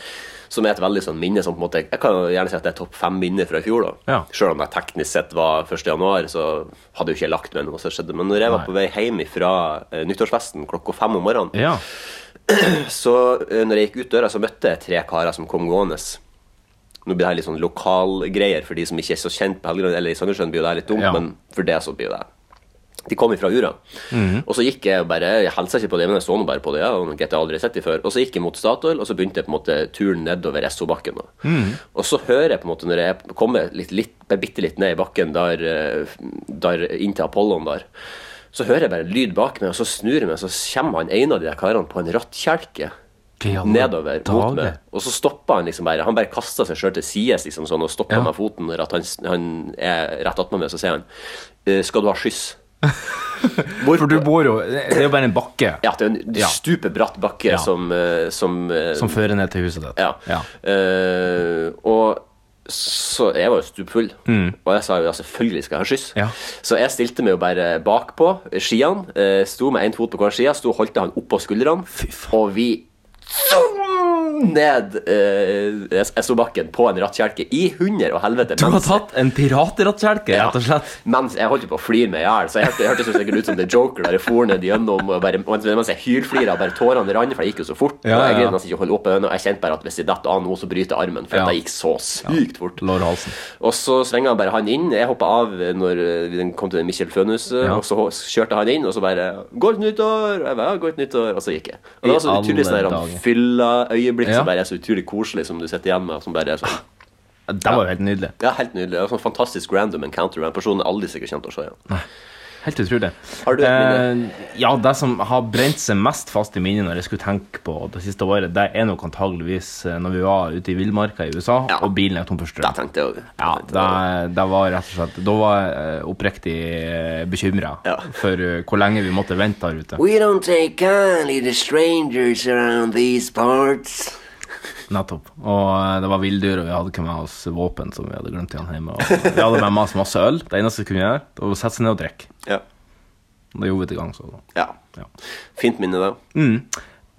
S3: Som er et veldig sånn minne som på en måte Jeg kan jo gjerne si at det er topp fem minner fra i fjor. da
S2: Ja.
S3: Selv om det teknisk sett var 1. januar, så hadde jo ikke jeg lagt meg noe som skjedde. Men når jeg var
S2: Nei.
S3: på vei hjem fra eh, nyttårsfesten klokka fem om morgenen,
S2: Ja.
S3: så eh, når jeg gikk ut døra, så møtte jeg tre karer som kom gående. Nå blir det her litt sånn lokalgreier for de som ikke er så kjent på Helgeland eller i Sandnessjøen, blir jo det her litt dumt,
S2: Ja.
S3: men for det så blir jo det De kom ifra Ura. Og så gikk jeg og bare Jeg hilsa ikke på det, men jeg så nå bare på det. Ja, og jeg aldri sett de før. Og så gikk jeg mot Statoil, og så begynte jeg på en måte turen nedover Essobakken. da. Og så hører jeg på en måte, når jeg kommer litt, litt, bitte litt ned i bakken der, eh, der inn til Apollon der, så hører jeg bare lyd bak meg, og så snur jeg meg, og så kommer han ene av de der karene på en rattkjelke
S2: Hva i alle
S3: nedover
S2: dager?
S3: mot meg. Og så stoppa han liksom bare. Han bare kasta seg sjøl til sides liksom, sånn, og stoppa med foten. når At han, han er rett attmed meg, så sier han «Eh, Skal du ha skyss?
S2: For du bor jo Det er jo bare en bakke
S3: Ja, det er en
S2: Ja.
S3: stupebratt bakke
S2: Ja.
S3: som, eh, som, eh,
S2: som fører ned til huset ditt.
S3: Ja. Eh, og så jeg var jo stupfull, og jeg sa jo ja, selvfølgelig skal jeg ha skyss.
S2: Mm. Ja.
S3: Så jeg stilte meg jo bare bakpå skiene, eh, sto med én fot på hver side, sto og holdt han oppå skuldrene, og vi zoom ned eh, jeg- jeg sto bakken på en rattkjelke i hunder og helvete.
S2: Du har
S3: mens-
S2: tatt en piraterattkjelke, rett og slett.
S3: Mens jeg holdt jo på å flire meg i hjel, så jeg hørte- jeg hørtes jo sikkert ut som The Joker der jeg for ned gjennom og bare, mens mens jeg hylflira, bare tårene rant, for jeg gikk jo så fort.
S2: Ja,
S3: og jeg
S2: ja, ja.
S3: greide nesten ikke å holde opp øynene. og Jeg kjente bare at hvis jeg detter av nå, så bryter jeg armen, for
S2: Ja.
S3: det gikk så sykt fort.
S2: Lår og halsen.
S3: Og så svinga han bare han inn. Jeg hoppa av når eh, den kom til Mikkjel Fønhus, eh,
S2: Ja.
S3: og så kjørte han inn, og så bare 'Godt nyttår!' Og jeg bare, ja, godt nyttår, og så gikk jeg. Og det var så
S2: I
S3: utrolig
S2: alle
S3: sånn
S2: dager.
S3: fylla øyeblikk
S2: Ja.
S3: som bare er så utrolig koselig, som du sitter igjen med, og som bare er sånn
S2: Det var jo helt nydelig.
S3: Ja, helt nydelig. Det er en sånn fantastisk random encounter med en person jeg aldri sikkert kommer til å se igjen.
S2: Helt utrolig.
S3: Har du et
S2: Eh, ja, det som har brent seg mest fast i minnet når jeg skulle tenke på det siste året, det er nok antageligvis eh, når vi var ute i villmarka i USA,
S3: Ja.
S2: og bilen er tom for strøm.
S3: Det tenkte jeg òg.
S2: Ja, da, da var rett og slett Da var jeg eh, oppriktig bekymra
S3: Ja.
S2: for eh, hvor lenge vi måtte vente her ute.
S4: We don't take kindly to strangers around these parts.
S2: Nettopp. Og eh, det var villdyr, og vi hadde ikke med oss våpen som vi hadde glemt igjen hjemme. Og vi hadde med oss masse øl. Det eneste vi kunne gjøre, det var å sette seg ned og drikke.
S3: Ja.
S2: Det gjorde vi til gang, så.
S3: ja.
S2: Ja.
S3: Fint minne, det.
S2: Mm.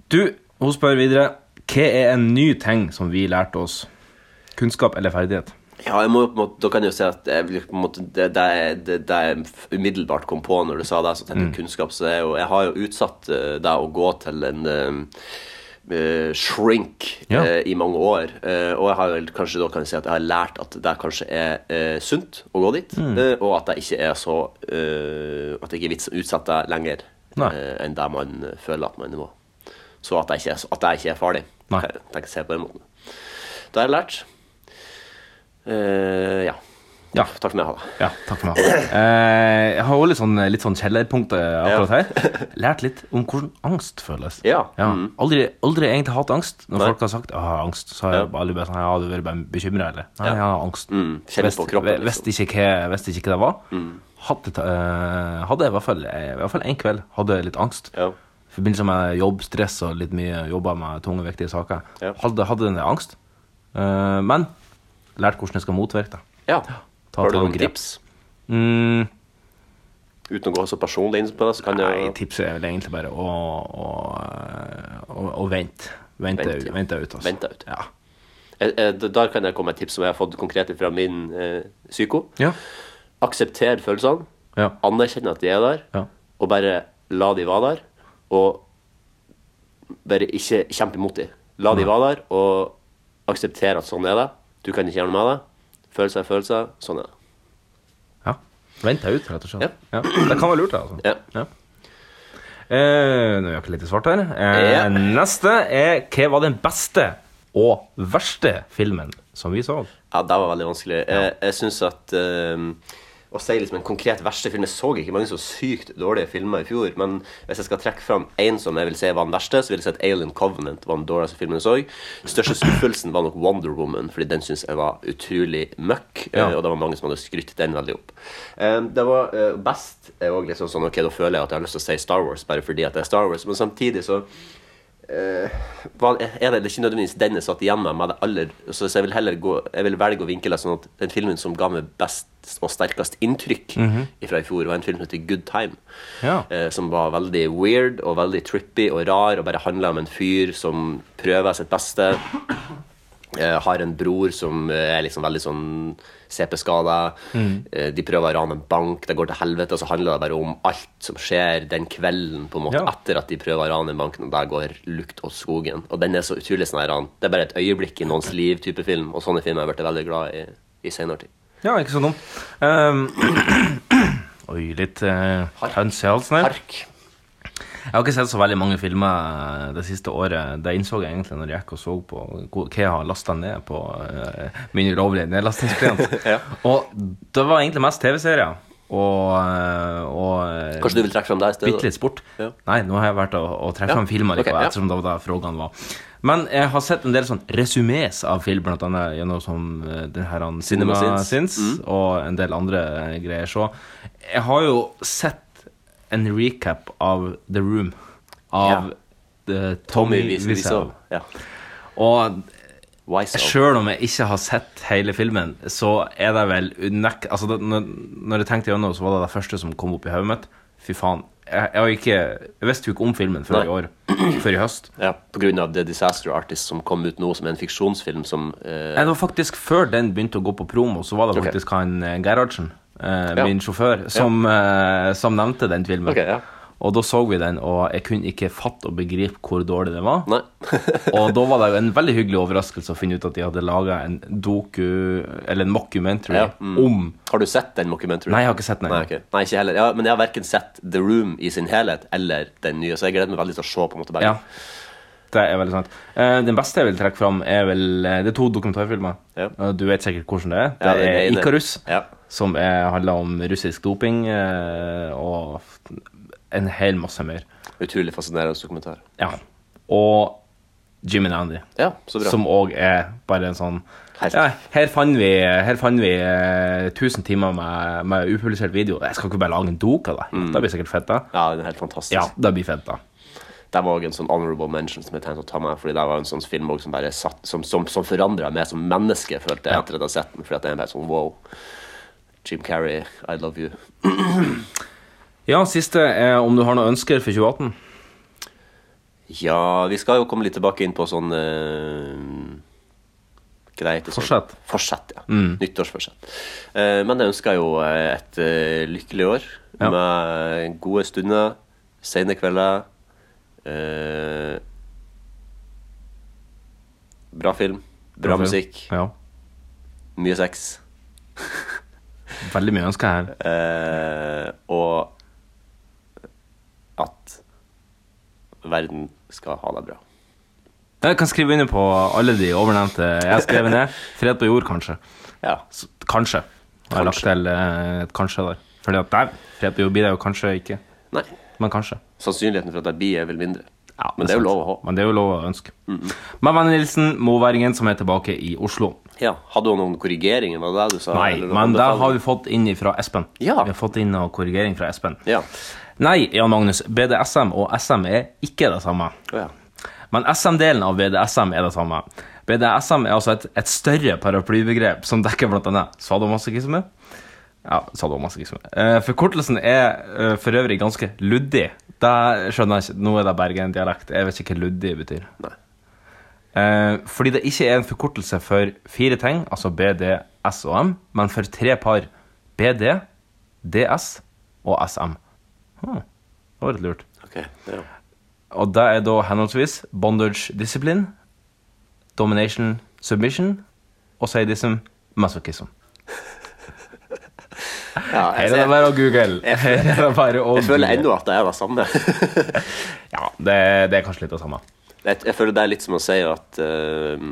S2: Du, hun spør videre Hva er en ny ting som vi lærte oss? Kunnskap eller ferdighet?
S3: Ja, jeg må jo på en måte, da kan jeg jo si at jeg, vil på en måte, det, det, det, det jeg umiddelbart kom på når du sa det, så tenkte
S2: Mm.
S3: jeg kunnskap, så det er jo, jeg har jo utsatt eh, det å gå til en eh, eh, shrink
S2: Ja.
S3: eh, i mange år. eh, og jeg har vel kanskje da kan jeg si at jeg har lært at det kanskje er eh, sunt å gå dit,
S2: Mm.
S3: eh, og at det ikke er så eh, At det ikke er vits å utsette det lenger
S2: Nei.
S3: eh, enn det man føler at man må. Så at det ikke er, så- at det ikke er farlig.
S2: Nei.
S3: Kan jeg tenker å se på den måten. Da har jeg lært. Eh, ja.
S2: Ja.
S3: Takk for meg, ha det.
S2: Ja, takk for meg. Eh, jeg har også litt sånn, litt sånn kjellerpunkter akkurat her. Lært litt om hvordan angst føles.
S3: Ja, Mm.
S2: Aldri, aldri egentlig hatt angst. Når
S3: Nei.
S2: folk har sagt 'jeg har angst', så har jeg bare aldri bare sånn 'ja, du har vært bekymra', eller 'nei, jeg har angst'.
S3: Mm, kjenner
S2: Visst-
S3: på kroppen, Mm.
S2: vi- visste ikke, hva- visste ikke hva det var. Hadde, ta- eh, hadde jeg i hvert fall, eh, i hvert fall en kveld hadde jeg litt angst.
S3: Ja.
S2: I forbindelse med jobbstress og litt mye jobber med tunge, viktige saker.
S3: Ja.
S2: Hadde, hadde den der angst. Eh, men lært hvordan jeg skal motvirke det.
S3: Ja.
S2: Ta
S3: har du
S2: til noen
S3: noen
S2: grep.
S3: tips?
S2: Mm.
S3: Uten å gå så personlig inn på det, så kan
S2: Nei,
S3: jeg
S2: tipset er vel egentlig bare å, eh, å, å, å vente. Vente,
S3: Vent, ja.
S2: vente ut. Altså.
S3: Vente ut.
S2: Ja.
S3: Jeg eh, eh, Der kan jeg komme med et tips som jeg har fått konkret fra min eh, psyko.
S2: Ja.
S3: Aksepter følelsene.
S2: Ja.
S3: Anerkjenn at de er der,
S2: Ja.
S3: og bare la de være der. Og bare ikke kjempe imot de. La de være der, og akseptere at sånn er det. Du kan ikke gjøre noe med det. Følelser er følelser. Sånn er det.
S2: ja. Vent deg ut, rett og
S3: Ja.
S2: slett. Ja. Det kan være lurt, det, altså.
S3: Ja.
S2: Eh, nå er jeg litt i svart her. Eh,
S3: Ja.
S2: Neste er hva var den beste og verste filmen som vi så?
S3: Ja, det var veldig vanskelig. Jeg, jeg syns at ehm, å si liksom en konkret verste film Jeg så ikke mange så sykt dårlige filmer i fjor, men hvis jeg skal trekke fram én som jeg vil si var den verste, så vil jeg si at Alien Covenant var den dårligste filmen jeg så. Største skuffelsen var nok Wonder Woman, fordi den syns jeg var utrolig møkk, eh, og det var mange som hadde skrytt den veldig opp. Ehm, det var eh, best er også liksom sånn Ok, da føler jeg at jeg har lyst til å si Star Wars bare fordi at det er Star Wars, men samtidig så hva- er det, det er ikke nødvendigvis den jeg satt igjen med, med det aller, så jeg vil heller gå, jeg vil velge å vinkle det sånn at den filmen som ga meg best og sterkest inntrykk fra i fjor, var en film som heter Good Time.
S2: Ja.
S3: Eh, som var veldig weird og veldig trippy og rar, og bare handla om en fyr som prøver sitt beste. Eh, har en bror som eh, er liksom veldig sånn CP-skada.
S2: Mm.
S3: Eh, de prøver å rane en bank, det går til helvete. Og så handler det bare om alt som skjer den kvelden på en måte
S2: Ja.
S3: etter at de prøver å rane banken, og der går lukt og skogen. Og den er så utrolig sånn her han- Det er bare et øyeblikk i noens liv-type film, og sånne filmer har jeg blitt veldig glad i i senere tid.
S2: Ja, ikke så dum. Ehm, oi, litt eh, høns i halsen her.
S3: Hark.
S2: Jeg har ikke sett så veldig mange filmer eh, det siste året. Det innså jeg egentlig når jeg gikk og så på hvor- hva jeg har lasta ned på eh, min ulovlige nedlastingsklient.
S3: Ja.
S2: Og det var egentlig mest TV-serier. Og, eh, og eh,
S3: Kanskje du vil trekke fram deg i stedet?
S2: Bitte litt sport.
S3: Ja.
S2: Nei, nå har jeg vært og, og treffe
S3: Ja,
S2: fram filmer
S3: ok,
S2: likevel,
S3: ja.
S2: ettersom det var da frågan var. Men jeg har sett en del sånn resumés av film, blant annet gjennom som eh, den her han
S3: Cinema Sins. Mm.
S2: Sins, og en del andre eh, greier. Så jeg har jo sett en recap av The Room av eh, Tommy
S3: Tommy Wiseau.
S2: Wiseau.
S3: Ja.
S2: Og
S3: Wiseau.
S2: Sjøl om jeg ikke har sett hele filmen, så er det vel unek... Altså, det, når, når jeg tenkte gjennom, så var det det første som kom opp i hodet mitt. Fy faen. Jeg, jeg, har ikke, jeg visste jo ikke om filmen før
S3: Nei.
S2: i år. Før i høst.
S3: Ja, på grunn av The Disaster Artist som kom ut nå, som er en fiksjonsfilm som eh,
S2: Nei, det var faktisk før den begynte å gå på promo, så var det
S3: Ok.
S2: faktisk han eh, Gerhardsen, eh,
S3: Ja.
S2: min sjåfør, som, eh, som nevnte den filmen.
S3: Ok, ja.
S2: Og da så vi den, og jeg kunne ikke fatte og begripe hvor dårlig den var.
S3: Nei.
S2: Og da var det jo en veldig hyggelig overraskelse å finne ut at de hadde laga en doku, eller en mockumentary,
S3: Ja, mm.
S2: om
S3: Har du sett den mockumentaryen?
S2: Nei, jeg har ikke sett den
S3: Nei,
S2: ennå.
S3: ok. Nei, ikke heller. Ja, men jeg har verken sett The Room i sin helhet eller den nye, så jeg gleder meg veldig til å se på en måte begge.
S2: Ja. Det er veldig sant. Eh, den beste jeg vil trekke fram, er vel eh, Det er to dokumentarfilmer.
S3: Ja.
S2: Og Du vet sikkert hvordan det er. Det
S3: Ja, den
S2: er
S3: ene.
S2: Ikarus,
S3: Ja.
S2: som er, handler om russisk doping, eh, og en hel masse mer.
S3: Utrolig fascinerende dokumentar.
S2: Ja. Og Jim and Andy.
S3: Ja, så bra.
S2: Som òg er bare en sånn
S3: Helt.
S2: ja, Her fant vi, her fant vi eh, 1000 timer med, med upublisert video. Jeg skal ikke bare lage en dok av det.
S3: Mm.
S2: Det blir sikkert fett, da.
S3: Ja, den er helt fantastisk.
S2: Ja, det blir fett, da.
S3: Det var også en sånn honorable mention som jeg tenkte å ta med, fordi det var en sånn film også som bare satt, som, som, som forandra meg som menneske, følte jeg etter at jeg hadde sett den. Fordi at jeg er bare sånn wow. Jim Carrey, I love you.
S2: Ja, siste er om du har noen ønsker for 2018.
S3: Ja, vi skal jo komme litt tilbake inn på sånn eh, Greit. Sånn.
S2: Forsett.
S3: Forsett, ja. Nyttårsforsett. Eh, men jeg ønsker jo eh, et eh, lykkelig år
S2: Ja.
S3: med gode stunder, sene kvelder eh, Bra film, bra musikk,
S2: Ja.
S3: mye sex.
S2: Veldig mye ønsker her.
S3: eh, og at verden skal ha det bra.
S2: Jeg kan skrive under på alle de overnevnte jeg skrev ned. Fred på jord, kanskje.
S3: Ja.
S2: S- Kanskje. Jeg har lagt
S3: Kanskje.
S2: til eh, et kanskje der. Fordi at der, fred på jord blir det jo kanskje ikke.
S3: Nei.
S2: Men kanskje.
S3: Sannsynligheten for at jeg blir, er vel mindre.
S2: Ja,
S3: Men det er jo
S2: sant.
S3: lov å ha.
S2: Men det er jo lov å ønske. Men vennen Nilsen, moværingen som er tilbake i Oslo.
S3: Ja, Hadde hun noen korrigeringer? Var det det du sa?
S2: Nei,
S3: Eller noen
S2: men det har
S3: anbefalinger?
S2: vi fått inn fra Espen.
S3: Ja.
S2: Vi har fått inn noe korrigering fra Espen.
S3: Ja.
S2: Nei, Jan Magnus, BDSM og SM er ikke det samme.
S3: Å ja.
S2: Men SM-delen av BDSM er det samme. BDSM er altså et, et større paraplybegrep som dekker bl.a. sadomasochisme. Ja, sadomasochisme. Eh, forkortelsen er eh, for øvrig ganske luddig. Det skjønner jeg ikke. Nå er det Bergen-dialekt. Jeg vet ikke hva luddig betyr.
S3: Nei.
S2: Eh, fordi det ikke er en forkortelse for fire ting, altså BD, S og M, men for tre par. BD, DS og SM. Hm, Det var litt lurt.
S3: Ok, ja.
S2: Og det er da henholdsvis bondage discipline, domination submission og sadism masochism.
S3: Ja,
S2: Her er
S3: jeg,
S2: det
S3: jeg,
S2: bare å google. Her er det bare å
S3: jeg
S2: google.
S3: føler ennå at det er det samme.
S2: Ja, det, det er kanskje litt det samme.
S3: Jeg, jeg føler det er litt som å si at eh,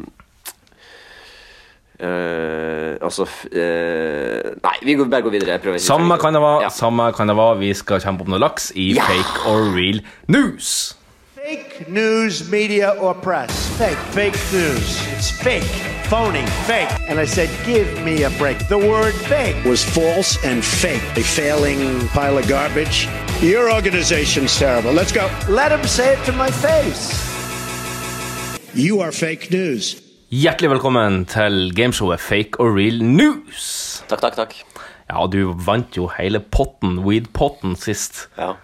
S3: eh, altså f- eh, Nei, vi går, bare går videre. Jeg prøver ikke.
S2: Samme kan det være.
S3: Ja.
S2: Samme kan det være. Vi skal kjempe om noe laks i
S3: Ja!
S2: fake or real news.
S7: Fake news, media, or press. Fake. Fake news. It's fake. Phony. Fake. And I said, give me a break. The word fake was false and fake. A failing pile of garbage. Your organization's terrible. Let's go. Let him say it to my face. You are fake news.
S2: Hjertelig velkommen til gameshowet Fake or real news.
S3: Takk, takk, takk.
S2: Ja, du vant jo hele potten, weed-potten, sist.
S3: Ja.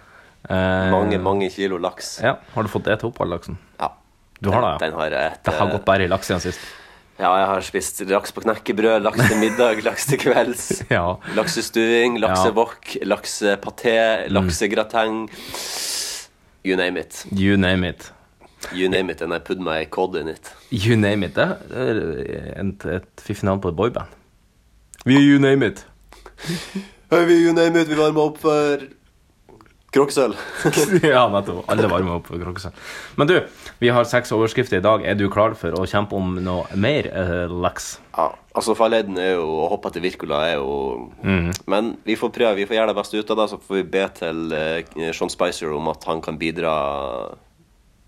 S2: Eh,
S3: Mange, mange kilo laks.
S2: Ja, Har du fått det til opp, all laksen?
S3: Ja.
S2: Du har det, ja.
S3: Den har jeg et,
S2: Det har
S3: eh,
S2: gått bare i laks siden sist.
S3: Ja, jeg har spist laks på knekkebrød, laks til middag, laks til kvelds.
S2: Ja.
S3: Laksestuing, laksewok, laksepaté, laksegrateng. You name it.
S2: You name it.
S3: You name it, and I put my cod in it.
S2: You name it. Det er et, et fiffig navn på et boyband. Vi er You name it.
S3: Hey, vi, you name it, vi varmer opp for Kroksøl.
S2: ja, nettopp. Alle varmer opp for krokodille. Men du, vi har seks overskrifter i dag. Er du klar for å kjempe om noe mer eh, laks?
S3: ja, altså farleiden er jo å hoppe til Virkola er jo Men vi får prøve, vi får gjøre det beste ut av det, så får vi be til eh, Sean Spicer om at han kan bidra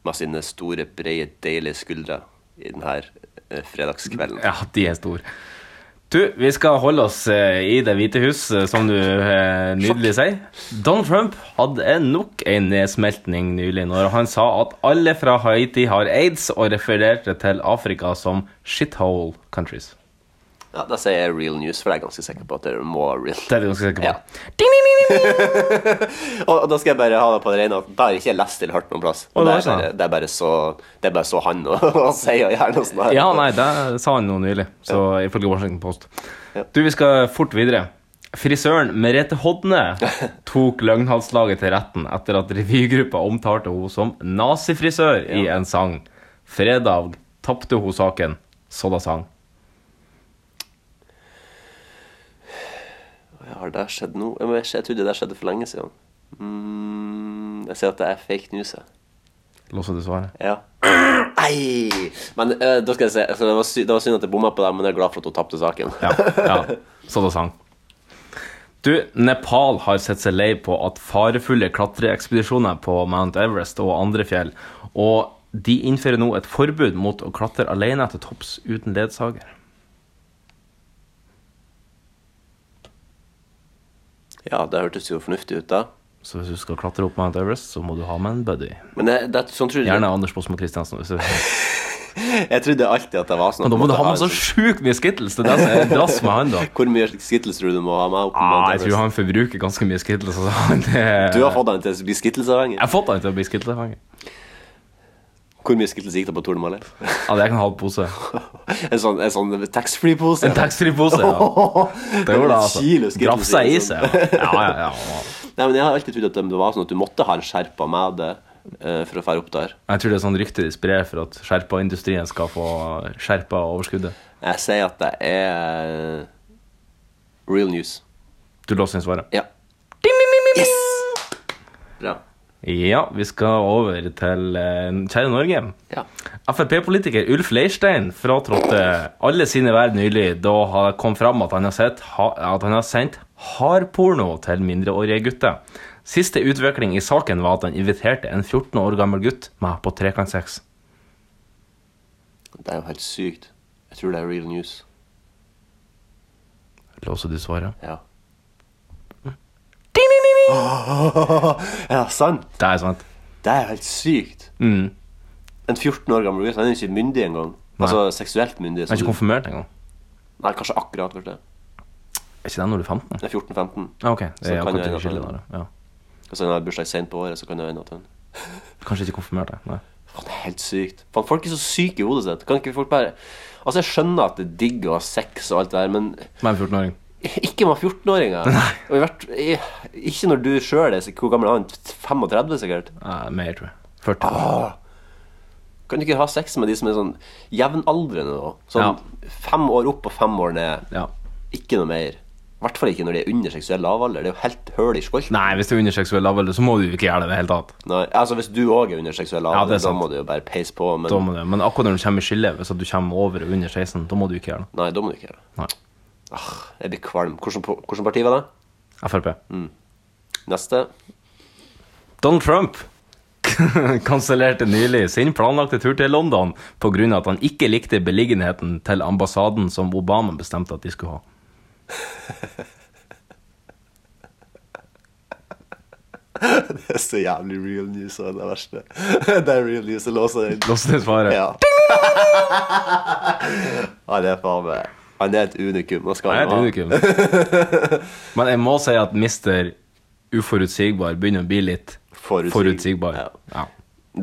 S3: med sine store, brede, deilige skuldre i denne eh, fredagskvelden.
S2: Ja, de er store. Du, vi skal holde oss eh, i Det hvite hus, eh, som du eh, nydelig sier. Donald Trump hadde nok en nedsmeltning nylig når han sa at alle fra Haiti har aids, og refererte til Afrika som shithole countries.
S3: Ja, Da sier jeg real news, for jeg er ganske sikker på at det må være real.
S2: Det er vi ganske sikre på.
S3: Ja. Og, og da skal jeg bare ha det på det rene at det har jeg ikke lest eller hørt noen plass.
S2: Å,
S3: det,
S2: det
S3: er
S2: var
S3: bare, det, er bare så, det er bare så han og, og sier og gjør noe sånt. her.
S2: Ja, nei, det sa han nå nylig, så ifølge Washington Post.
S3: Ja.
S2: Du, vi skal fort videre. Frisøren Merete Hodne tok løgnhalslaget til retten etter at revygruppa omtalte henne som nazifrisør i en sang. Fredag tapte hun saken, så da sang.
S3: Ja, Har det skjedd nå? Jeg, må- jeg trodde det skjedde for lenge siden. Mm, jeg ser at det er fake news. jeg.
S2: Låser du svaret?
S3: Ja. Nei! Men eh, da skal jeg si altså, det, var sy det var synd at jeg bomma på det, men jeg er glad for at hun tapte saken.
S2: Ja, ja. Så da sang. Du, Nepal har sett seg lei på at farefulle klatreekspedisjoner på Mount Everest og andre fjell, og de innfører nå et forbud mot å klatre alene til topps uten ledsager.
S3: Ja, det hørtes jo fornuftig ut, da.
S2: Så hvis du skal klatre opp Mount Everest, så må du ha med en buddy.
S3: Men jeg, det, sånn trodde jeg,
S2: Gjerne Anders Bosmo Christiansen. Hvis du...
S3: jeg trodde alltid at det var sånn. at
S2: Men da
S3: man
S2: må du ha
S3: måtte
S2: med så
S3: en sånn-
S2: sjukt mye skittles! Det er det som er drass med han, da.
S3: Hvor mye skittles tror du du må ha med? opp på
S2: Ah,
S3: Mount
S2: jeg tror
S3: Everest?
S2: han forbruker ganske mye skittles. Altså. Han er-
S3: Du har fått han til å bli skittelsavhengig.
S2: Jeg har fått han til å bli skittlesanger.
S3: Hvor mye skittles gikk det på Tour de Malais?
S2: Ja, det er ikke en halv pose.
S3: En sånn, en sånn taxfree-pose?
S2: En taxfree-pose, ja. Det gjorde det,
S3: Kilo
S2: altså.
S3: skittles
S2: Grafsa
S3: i
S2: i
S3: en
S2: seg. altså.
S3: sånn.
S2: Ja, ja, ja, ja.
S3: Nei, men Jeg har alltid trodd at det var sånn at du måtte ha en skjerpa med det eh, for å fære opp der.
S2: Jeg tror det er sånn rykte de sprer for at skjerpa-industrien skal få skjerpa overskuddet.
S3: Jeg sier at det er real news.
S2: Du låser inn svaret.
S3: Ja. Yes! Bra.
S2: Ja, vi skal over til eh, kjære Norge.
S3: Ja.
S2: Frp-politiker Ulf Leirstein fratrådte alle sine verv nylig da han kom fram at han har, sett, ha, at han har sendt hardporno til mindreårige gutter. Siste utvikling i saken var at han inviterte en 14 år gammel gutt med på trekantsex.
S3: Det er jo helt sykt. Jeg tror det er real news.
S2: Låser du svaret?
S3: Ja. Ja, sant?
S2: Det er sant.
S3: Det er helt sykt.
S2: Mm.
S3: En 14 år gammel gutt. Han er jo ikke myndig engang.
S2: Nei.
S3: Altså seksuelt myndig.
S2: Han er
S3: så
S2: ikke
S3: du-
S2: konfirmert engang.
S3: Nei, kanskje akkurat. kanskje det
S2: Er ikke det når du er 15?
S3: Det er 14-15.
S2: Ah, ok,
S3: Så
S2: det er
S3: kan
S2: akkurat
S3: jeg-
S2: i skillet der, ja.
S3: Altså, når han har bursdag sent på året, så kan det hende at han
S2: Kanskje ikke konfirmert deg, nei.
S3: Faen, det er helt sykt. Faen, folk er så syke i hodet sitt. Kan ikke folk bare Altså, jeg skjønner at det er digg å ha sex og alt det der, men
S2: Som er en 14-åring.
S3: ikke med 14-åringer. Og i hvert i- Ikke når du sjøl er så- Hvor gammel er han? 35, sikkert?
S2: Nei, mer, tror jeg. 40.
S3: Kan du ikke ha sex med de som er sånn jevnaldrende nå? Sånn fem år opp og fem år ned.
S2: Ja.
S3: Ikke noe mer. I hvert fall ikke når de er under seksuell lavalder. Det er jo helt høl i skolten.
S2: Nei, hvis det er under seksuell lavalder, så må du ikke gjøre det i det hele tatt.
S3: Nei, altså Hvis du òg er under seksuell
S2: Ja, det
S3: lavalder,
S2: er
S3: da
S2: sant.
S3: må du jo bare peise på. Men
S2: Da må du, men akkurat når du kommer i skille, hvis at du kommer over og under 16, da må du ikke gjøre det.
S3: nei, da må du ikke gjøre det.
S2: Nei.
S3: Ah, jeg blir kvalm. Hvilket parti var det?
S2: Frp.
S3: Neste.
S2: Donald Trump kansellerte nylig sin planlagte tur til London pga. at han ikke likte beliggenheten til ambassaden som Obama bestemte at de skulle ha.
S3: Det er så jævlig real news, og det verste. det er real news, jeg låser den.
S2: Låste det svaret.
S3: Ja. Han er faen meg Han er et unikum. og skal
S2: Jeg er
S3: han ha.
S2: et unikum. Men jeg må si at mister uforutsigbar begynner å bli litt
S3: Forutsig-
S2: forutsigbar.
S3: Ja.
S2: Ja.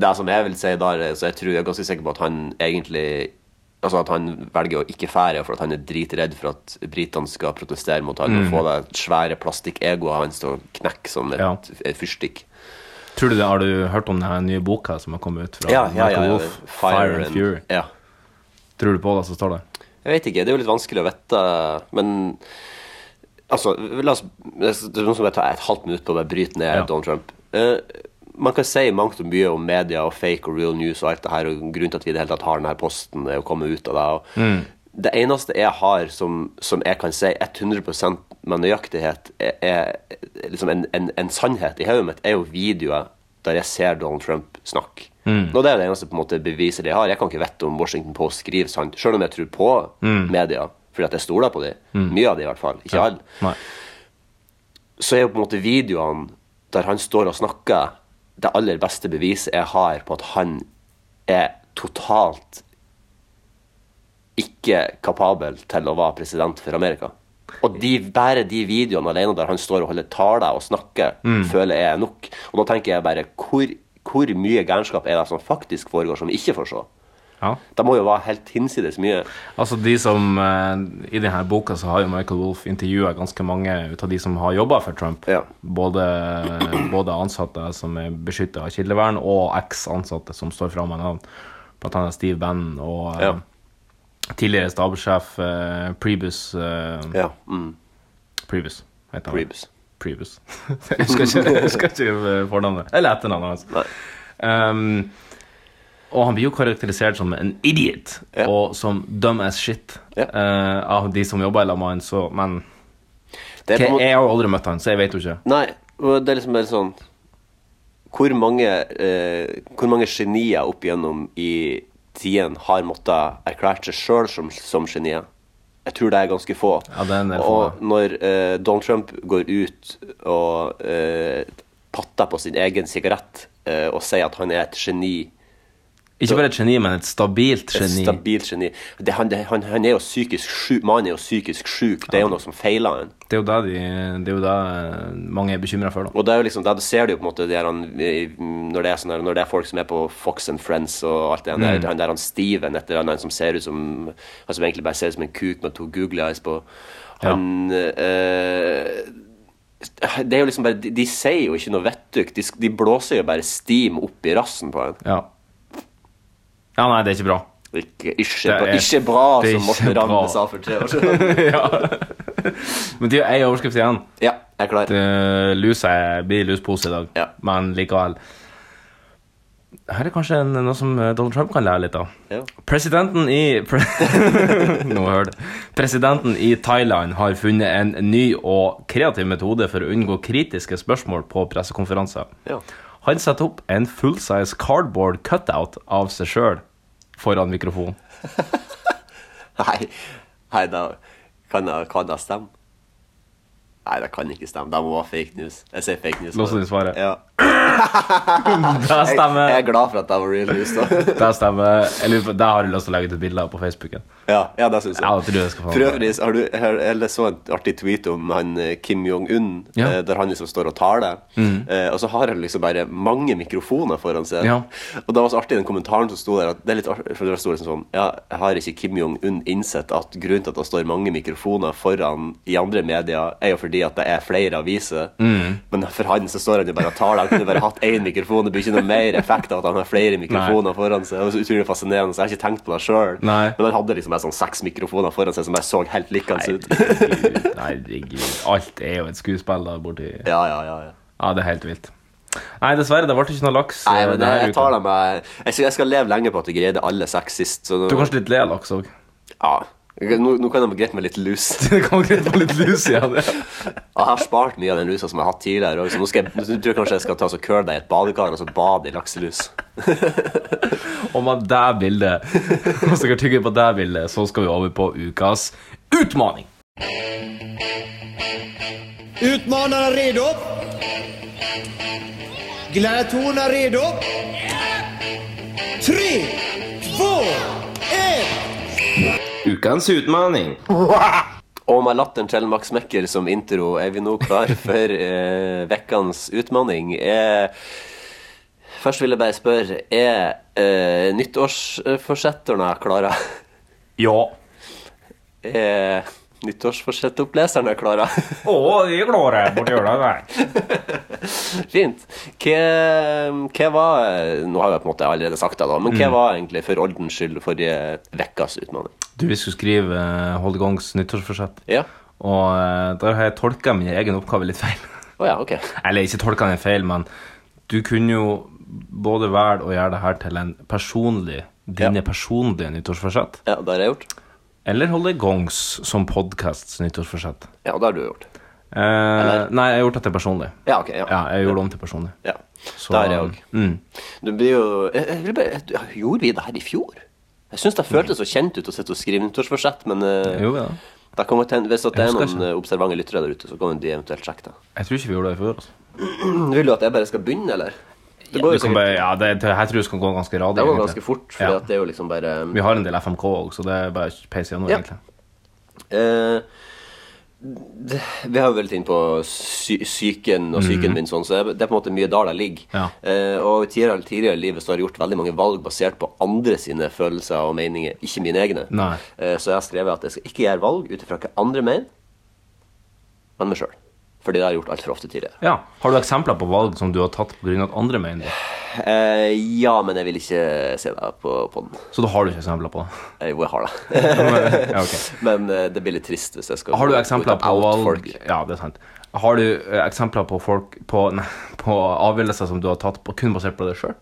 S3: Det som jeg vil si der, er- så jeg tror jeg er ganske sikker på at han egentlig Altså at han velger å ikke fære for at han er dritredd for at britene skal protestere mot han
S2: Mm.
S3: og få det svære plastikkegoet hans til å knekke som et,
S2: Ja.
S3: et fyrstikk.
S2: Tror du det, Har du hørt om den nye boka som har kommet ut fra
S3: Ja, ja, ja,
S2: Michael
S3: ja,
S2: Wolff? Fire, and Fury.
S3: Ja.
S2: Tror du på det som står der?
S3: Jeg vet ikke, det er jo litt vanskelig å vite, men Altså, la oss Det er noen som bare tar et halvt minutt på å bare bryte ned
S2: Ja.
S3: Donald Trump. Eh, man kan si mangt og mye om media og fake og real news og alt det her, og grunnen til at vi i det hele tatt har denne posten, er å komme ut av det. Og Det eneste jeg har som, som jeg kan si 100 med nøyaktighet, er, er liksom en, en, en sannhet i hodet mitt, er jo videoer der jeg ser Donald Trump snakke. Og det er det eneste på en måte beviset jeg har. Jeg kan ikke vite om Washington Post skriver sant, selv om jeg tror på media, fordi at jeg stoler på dem. Mye av dem, i hvert fall. Ikke alle
S2: Nei.
S3: så er jo på en måte videoene der han står og snakker, det aller beste beviset jeg har på at han er totalt ikke kapabel til å være president for Amerika. Og de, bare de videoene alene der han står og holder taler og snakker, føler jeg er nok. Og da tenker jeg bare hvor, hvor mye gærenskap er det som faktisk foregår, som vi ikke får se?
S2: Ja.
S3: Det må jo være helt hinsides mye.
S2: Altså de som eh, I denne boka så har jo Michael Wolff intervjua ganske mange ut av de som har jobba for Trump.
S3: Ja.
S2: Både, både ansatte som er beskytta av kildevern, og eks-ansatte som står fram med navn. Blant annet Steve Bannon og eh,
S3: Ja.
S2: tidligere stabssjef eh, Prebus eh,
S3: Ja. Mm.
S2: Prebus, heter han.
S3: Prebus.
S2: Prebus. jeg husker ikke, jeg husker ikke fornavnet. Eller etternavnet hans.
S3: Nei.
S2: Ehm, og han blir jo karakterisert som en idiot
S3: Ja.
S2: og som dumb as shit
S3: Ja.
S2: eh, av de som jobber i lag med han, så Men
S3: Det er på en måte-
S2: jeg har jo aldri møtt han, så jeg vet jo ikke.
S3: Nei, og det er liksom bare sånn Hvor mange, eh, hvor mange genier opp igjennom i tiden har måttet erklært seg sjøl som, som genier? Jeg tror det er ganske få.
S2: Ja, det er en del få,
S3: og når eh, Donald Trump går ut og eh, patter på sin egen sigarett eh, og sier at han er et geni
S2: Ikke bare et geni, men et stabilt
S3: et
S2: geni.
S3: Stabilt geni. Det, han, det, han, han er jo psykisk sjuk. Mannen er jo psykisk sjuk. Det er jo noe som feiler han.
S2: Det er jo det, de, det er jo det eh, mange er bekymra for, da.
S3: Og det er jo liksom, der ser du jo på en måte de her, han, i- når, det er sånn her, når det er folk som er på Fox and Friends og alt det der,
S2: Mm.
S3: han der han Steven, et eller annet, han som ser ut som Han som egentlig bare ser ut som en kuk med to googly eyes på Han eh, Det er jo liksom bare De, de sier jo ikke noe vettug. De, sk- de blåser jo bare steam opp i rassen på han.
S2: Ja. ja, nei, det er ikke bra.
S3: Ikke, ikke,
S2: Det er-
S3: ikke bra,
S2: det er
S3: som Morten
S2: ikke bra.
S3: Ramm sa for tre år siden.
S2: ja. Men det er jo ei overskrift igjen.
S3: ja, jeg er klar.
S2: uh, lusa er- blir luspose i dag,
S3: Ja.
S2: men likevel. Her er kanskje en, noe som eh, Donald Trump kan lære litt av.
S3: Ja.
S2: Presidenten i pre Nå hør det. Presidenten i Thailand har funnet en ny og kreativ metode for å unngå kritiske spørsmål på pressekonferanser.
S3: Ja.
S2: Han setter opp en full-size cardboard cutout av seg sjøl foran mikrofonen.
S3: Nei, nei da kan det, kan det stemme? Nei, det kan ikke stemme. Det må være fake news. Jeg sier fake news.
S2: Låser du svaret?
S3: Ja.
S2: Det
S3: Jeg, jeg
S2: stemmer.
S3: er glad for at det var real news, da.
S2: Det stemmer. Jeg lurer på, det har du lyst til å legge ut et bilde av på Facebooken.
S3: Ja, ja det syns jeg.
S2: Ja, det tror jeg skal få.
S3: For øvrig så har du, her, jeg så en artig tweet om han eh, Kim Jong-un,
S2: Ja. Mm.
S3: eh, der han liksom står og taler. Eh, og så har han liksom bare mange mikrofoner foran seg.
S2: Ja.
S3: Og det var så artig den kommentaren som sto der, at det er litt artig, for det sto liksom sånn Ja, har ikke Kim Jong-un innsett at grunnen til at det står mange mikrofoner foran i andre medier, er jo fordi at det er flere aviser?
S2: Mm.
S3: Men for han så står han jo bare og taler. Han kunne bare hatt én mikrofon. Det blir ikke noe mer effekt av at han har flere mikrofoner foran seg. Det var så utrolig fascinerende. Så jeg har ikke tenkt på det sjøl.
S2: Nei.
S3: Men han hadde liksom bare sånn seks mikrofoner foran seg som bare så helt likende ut.
S2: Herregud, herregud. Alt er jo et skuespill der borti
S3: Ja, ja, ja, ja.
S2: Ja, det er helt vilt. Nei, dessverre, det ble ikke noe laks.
S3: Nei,
S2: eh,
S3: men det,
S2: denne
S3: jeg
S2: uka.
S3: tar dem jeg, jeg, skal- jeg skal leve lenge på at jeg greide alle seks sist. Så nå,
S2: Du er kanskje litt le av laks òg.
S3: ja. nå, nå kan de greit med litt lus.
S2: Det kan greit være litt lus i ja, det.
S3: Jeg har spart mye av den lusa som jeg har hatt tidligere også, så nå, skal jeg, nå tror jeg kanskje jeg skal ta så curl deg i et badekar og så bade i lakselus.
S2: Og med det bildet, og så kan tygge på det bildet, så skal vi over på ukas utmaning.
S8: Utmanarna redo? Gladiatorerna redo? Tre, två, ett!
S2: Ukens utmaning.
S3: Og med latteren til Max Mekker som intro er vi nå klar for eh, vekkans utmanning. Eh, først vil jeg bare spørre, er eh, nyttårsforsetterne klare?
S2: Ja.
S3: Er nyttårsforsettoppleserne klare?
S2: Å, de er klare borti hjørnet der.
S3: Fint. Hva, hva var Nå har jeg på en måte allerede sagt det, da, men hva var egentlig for ordens skyld forrige ukas utmanning?
S2: Du, vi skulle skrive uh, Holdegongs nyttårsforsett,
S3: Ja?
S2: og eh, der har jeg tolka min egen oppgave litt feil.
S3: Å ja, ok.
S2: Eller ikke tolka den feil, men du kunne jo både velge å gjøre det her til en personlig, dine
S3: Ja.
S2: personlige nyttårsforsett,
S3: Ja, det har jeg gjort.
S2: eller holde gongs som podkasts nyttårsforsett.
S3: Ja, det har du gjort.
S2: Eh, nei, jeg har gjort det til personlig.
S3: Ja, ok. Ja.
S2: Ja, jeg gjorde det om til personlig.
S3: Ja.
S2: Så-
S3: det har jeg òg.
S2: Mm.
S3: Du blir jo jeg, jeg, vil bare- jeg, Gjorde vi det her i fjor? Jeg syns det føltes så kjent ut å sitte og skrive nyttårsforsett, men eh,
S2: Jo, ja.
S3: da kan godt hende- hvis at det
S2: Jeg
S3: er
S2: husker
S3: noen eh, observante lyttere der ute, så kan de eventuelt sjekke det. Mm,
S2: Jeg tror ikke vi gjorde det i fjor. Altså.
S3: Vil du at jeg bare skal begynne, eller? Det
S2: Du
S3: går jo
S2: kan
S3: sikkert
S2: bare, ja, det, det- jeg tror det skal gå ganske radig.
S3: Det går
S2: egentlig.
S3: ganske fort, for
S2: Ja.
S3: det er jo liksom bare
S2: Vi har en del FMK òg, så det er bare å peise gjennom.
S3: Ja.
S2: egentlig.
S3: eh, det, Vi har jo vært inne på sy psyken og psyken min, sånn, så jeg- det er på en måte mye der det ligger.
S2: Mhm. Ja.
S3: Eh, og tidligere, tidligere i livet så har jeg gjort veldig mange valg basert på andre sine følelser og meninger, ikke mine egne.
S2: Nei.
S3: Eh, så jeg har skrevet at jeg skal ikke gjøre valg ut ifra hva andre mener, men meg sjøl. Fordi det har jeg gjort altfor ofte tidligere.
S2: Ja. Har du eksempler på valg som du har tatt pga. at andre mener det?
S3: Eh, ja, men jeg vil ikke se deg på podden.
S2: Så da har du ikke eksempler på det?
S3: Eh, Jo, jeg har det.
S2: ja, ok.
S3: Men eh, det blir litt trist hvis jeg skal
S2: Har du
S3: gå ut
S2: eksempler
S3: og
S2: på
S3: out
S2: valg
S3: folk.
S2: Ja, det er sant. Har du eh, eksempler på folk på, nei, på avgjørelser som du har tatt på, kun basert på deg sjøl?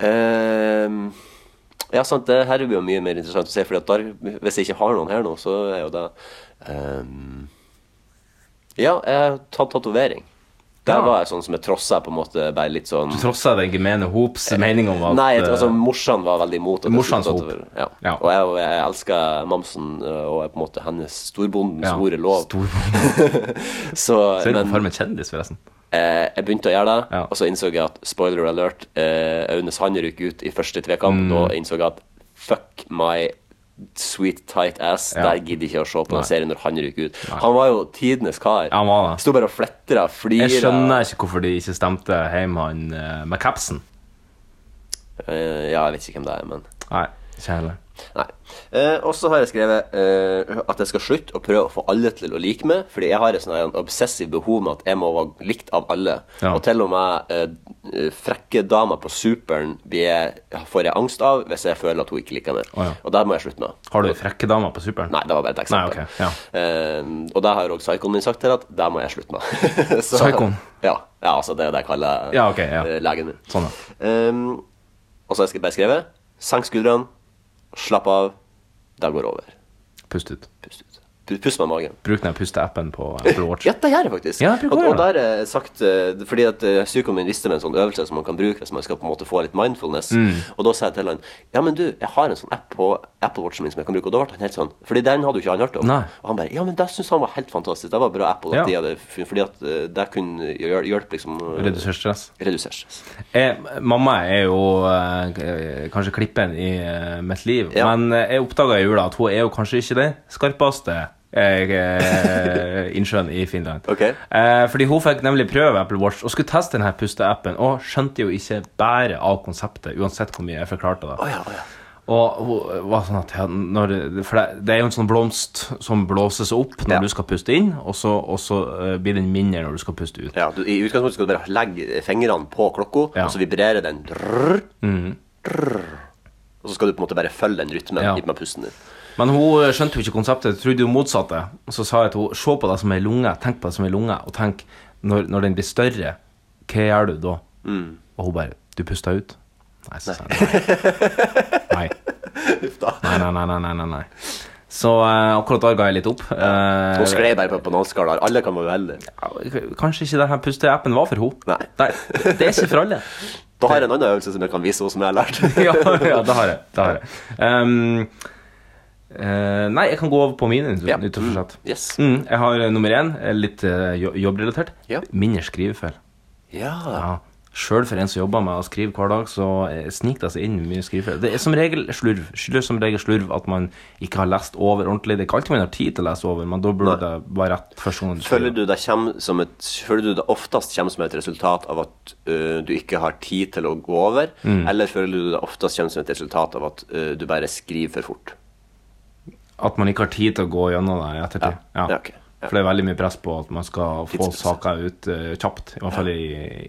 S3: Ehm, ja, sant, det her blir jo mye mer interessant å se, for hvis jeg ikke har noen her nå, så er jo det ehm, Ja, jeg har tatt tatovering. Der
S2: Ja.
S3: var jeg sånn som jeg trossa på en måte bare litt sånn
S2: Du trosser den gemene hops mening om at
S3: Eh, Nei, jeg, tror-
S2: eh,
S3: altså, morsan var veldig imot at jeg
S2: Morsans
S3: skulle
S2: hop.
S3: tatovere. Ja.
S2: Ja.
S3: Og jeg, og jeg elsker mamsen, eh, og er på en måte hennes storbondens
S2: ja,
S3: ord er lov.
S2: Stor,
S3: Så,
S2: ser du
S3: men
S2: på formen kjendis, forresten?
S3: eh, jeg begynte å gjøre det,
S2: Ja.
S3: og så innså jeg at spoiler alert, eh, Aune Sand røk ut i første
S2: Mm.
S3: tvekamp. Da innså jeg at fuck my sweet tight ass,
S2: Ja.
S3: der gidder jeg ikke å se på
S2: Nei.
S3: den serien når han røk ut. Han var jo tidenes kar.
S2: Ja, han var det.
S3: Sto bare og fletra, flira.
S2: Jeg skjønner ikke hvorfor de ikke stemte hjem han eh, med capsen.
S3: Eh, ja, jeg vet ikke hvem det er, men
S2: Nei, ikke heller.
S3: Nei. Eh, og så har jeg skrevet eh, at jeg skal slutte å prøve å få alle til å like meg, fordi jeg har et sånn her en obsessiv behov med at jeg må være likt av alle.
S2: Ja.
S3: Og til og med eh, frekke damer på Superen blir jeg- får jeg angst av hvis jeg føler at hun ikke liker meg.
S2: Å, ja.
S3: Og det må jeg slutte med.
S2: Har du frekke damer på Superen?
S3: Nei, det var bare et eksempel.
S2: Nei, ok, ja.
S3: Eh, og det har også psykoen min sagt til at det må jeg slutte med. Så-
S2: Psykoen?
S3: Ja, ja, altså det er det jeg kaller
S2: Ja, ok, ja.
S3: eh, legen min.
S2: Sånn, ja.
S3: Ehm, og så har jeg skrevet- bare skrevet Senk skuldrene, slapp av, det går over.
S2: Pust ut.
S3: Pust ut. Pust med magen.
S2: Bruk den pusteappen på eh, Apple Watch.
S3: Ja, det gjør jeg faktisk.
S2: Ja, jeg bruker
S3: og, og
S2: det.
S3: der er sagt eh, Fordi at eh, psykoen min visste med en sånn øvelse som man kan bruke hvis man skal på en måte få litt mindfulness.
S2: Mm.
S3: Og da sa jeg til han Ja, men du, jeg har en sånn app på Apple Watchen min som jeg kan bruke. Og da ble han helt sånn Fordi den hadde jo ikke han hørt om.
S2: Nei.
S3: Og han bare Ja, men det syns han var helt fantastisk. Det var bra app. Og
S2: Ja.
S3: at de hadde, fun- fordi at eh, det kunne hjøl- hjelpe liksom eh,
S2: Redusere stress.
S3: redusere stress.
S2: Jeg, mamma er jo eh, kanskje klippen i eh, mitt liv,
S3: Ja.
S2: men eh, jeg oppdaga i jula at hun er jo kanskje ikke den skarpeste eh, eh, innsjøen i Finland.
S3: Ok.
S2: Eh, fordi hun fikk nemlig prøve Apple Watch og skulle teste denne pusteappen, og skjønte jo ikke bæret av konseptet, uansett hvor mye jeg forklarte det.
S3: Å ja, å ja.
S2: Og hun var sånn at ja, når, For det, det er jo en sånn blomst som blåses opp når
S3: Ja.
S2: du skal puste inn, og så, og så eh, blir den mindre når du skal puste ut.
S3: ja du, I utgangspunktet skal du bare legge fingrene på klokka,
S2: Ja. Mm.
S3: og så vibrerer den. Drrr, drrr. Og så skal du på en måte bare følge den rytmen
S2: Ja.
S3: i- med pusten din.
S2: Men hun eh, skjønte jo ikke konseptet, trodde jo motsatte. Og så sa jeg til henne se på det som ei lunge, tenk på det som ei lunge, og tenk når, når den blir større, hva gjør du da? Og hun bare du puster ut. Nei, så sa jeg nei. Nei, nei, nei, nei, nei, nei, nei. Så eh, akkurat da ga jeg litt opp. Eh,
S3: Nå sklei jeg bare på en bananskall her. Alle kan være uheldige.
S2: ja, Kanskje ikke denne pusteappen var for henne.
S3: Nei.
S2: Det er ikke for alle.
S3: Da har jeg en annen øvelse som jeg kan vise henne, som jeg har lært.
S2: ja, ja, det har jeg. Det har jeg. Ehm, eh, nei, jeg kan gå over på mine.
S3: Ja.
S2: nytt og fortsatt.
S3: Yes.
S2: Mm, jeg har eh, nummer én, eh, litt eh, jo- jobbrelatert.
S3: Ja.
S2: Mindre skrivefeil.
S3: Ja.
S2: Ja. Sjøl for en som jobber med å skrive hver dag, så eh, sniker det seg inn mye skrivefeil. Det er som regel slurv. Skyldes som regel slurv at man ikke har lest over ordentlig. Det er ikke alltid man har tid til å lese over, men da burde det være rett første gang du skriver.
S3: Føler du, det kommer som et, føler du det oftest kommer som et resultat av at ø, du ikke har tid til å gå over,
S2: Mm.
S3: eller føler du det oftest kommer som et resultat av at ø, du bare skriver for fort?
S2: At man ikke har tid til å gå gjennom det i ettertid.
S3: Ja. Ja, ok. Ja.
S2: For det er veldig mye press på at man skal få
S3: Tidspress.
S2: saker ut eh, kjapt. I hvert fall i,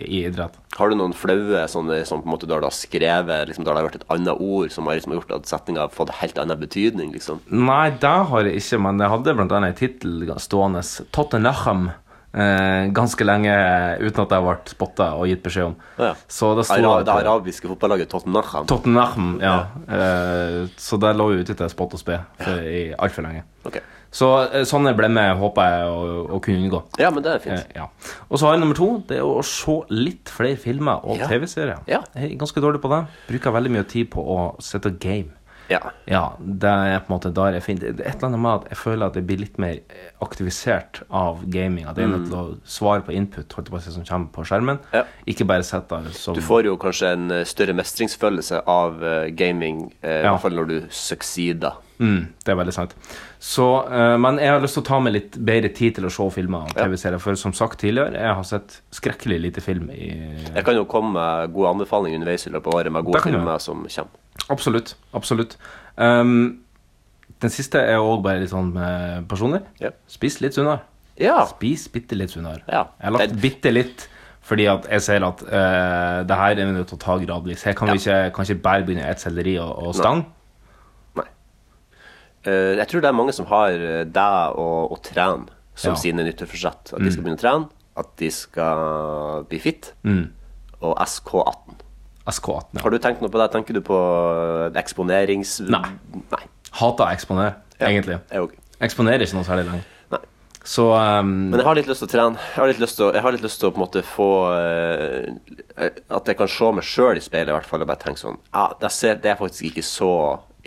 S2: i idrett.
S3: Har du noen flaue sånne som på en måte da du har skrevet liksom, Da det har vært et annet ord som har liksom, gjort at setninga har fått helt annen betydning, liksom?
S2: Nei, det har jeg ikke, men jeg hadde blant annet en tittel stående Tottenham eh, ganske lenge eh, uten at jeg ble spotta og gitt beskjed om.
S3: Ja.
S2: Så det sto
S3: Ara,
S2: at-
S3: det arabiske fotballaget Tottenham.
S2: Tottenham, ja. Eh, så det lå jo ute til spott og spe for, i altfor lenge.
S3: Ok.
S2: Så eh, sånne blemmer håper jeg å, å kunne unngå.
S3: Ja, men det er fint.
S2: Eh, ja. Og så har jeg nummer to. Det er å se litt flere filmer og
S3: Ja.
S2: TV-serier.
S3: Ja.
S2: Jeg er ganske dårlig på det. Bruker veldig mye tid på å sitte og game.
S3: Ja.
S2: Ja, det er på en måte der jeg finner Det er et eller annet med at jeg føler at jeg blir litt mer eh, aktivisert av gaming. At jeg er nødt til å svare på input holdt jeg på å si, som kommer på skjermen.
S3: Mm. Ja.
S2: Ikke bare sitte der som
S3: Du får jo kanskje en eh, større mestringsfølelse av eh, gaming, eh, i
S2: Ja.
S3: hvert fall når du succeeder.
S2: Mm, det er veldig sant. Så, eh, men jeg har lyst til å ta meg litt bedre tid til å se filmer og TV-serier. For som sagt tidligere, jeg har sett skrekkelig lite film i
S3: Jeg kan jo komme med gode anbefalinger underveis i løpet av året med
S2: Det
S3: gode
S2: kan du
S3: filmer
S2: gjøre.
S3: som kommer.
S2: Absolutt. Absolutt. Ehm, den siste er òg bare litt sånn eh, personlig.
S3: Ja.
S2: Spis litt sunnere.
S3: Ja.
S2: Spis bitte litt sunnere.
S3: Ja.
S2: Jeg har lagt
S3: Den-
S2: bitte litt fordi at jeg ser at eh, det her er vi nødt til å ta gradvis. Her kan vi ikke, kan ikke bare begynne å ete selleri og, og stang.
S3: Nei. Eh, jeg tror det er mange som har eh, deg og å trene
S2: Ja.
S3: som
S2: Mm.
S3: sine nyttårsforsett. At de skal begynne å trene, at de skal bli fit,
S2: Mm.
S3: og SK18.
S2: SK18. Ja.
S3: Har du tenkt noe på det? Tenker du på eh, eksponerings...
S2: Nei.
S3: Nei.
S2: Hater å eksponere,
S3: Ja.
S2: egentlig.
S3: Jeg òg.
S2: Eksponerer ikke noe særlig lenger.
S3: Nei.
S2: Så ehm,
S3: Men jeg har litt lyst til å trene. Jeg har litt lyst til å, jeg har litt lyst til å på en måte få eh, At jeg kan se meg sjøl i speilet i hvert fall og bare tenke sånn Ja, det, ser, det er faktisk ikke så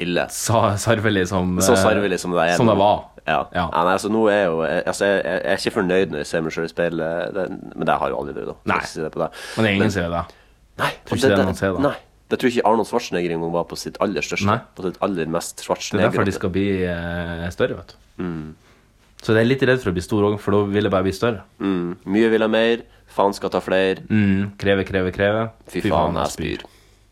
S3: ille.
S2: sa sarvelig som
S3: Så
S2: eh,
S3: sarvelig som det er.
S2: Som
S3: nå.
S2: det var.
S3: Ja. ja.
S2: Ja.
S3: nei, altså, nå er jeg jo jeg- altså, jeg, jeg er ikke fornøyd når jeg ser meg sjøl i speilet, det- men det har jo aldri vært, da.
S2: Nei.
S3: Skal jeg Si det på det.
S2: Men det er ingen som gjør det.
S3: Nei,
S2: Tror
S3: og
S2: ikke det er noen som sier det.
S3: Nei. Det tror jeg ikke Arnold Schwarzenegger engang var på sitt aller største.
S2: Nei.
S3: På sitt aller
S2: Det
S3: mest
S2: er derfor de
S3: Schwarzenegger.
S2: skal bli eh, større, vet du. Så jeg er litt redd for å bli stor òg, for da vil jeg bare bli større.
S3: Mm. Mye vil ha mer, faen skal ta flere,
S2: Mm. Kreve, kreve, kreve.
S3: fy faen, jeg spyr.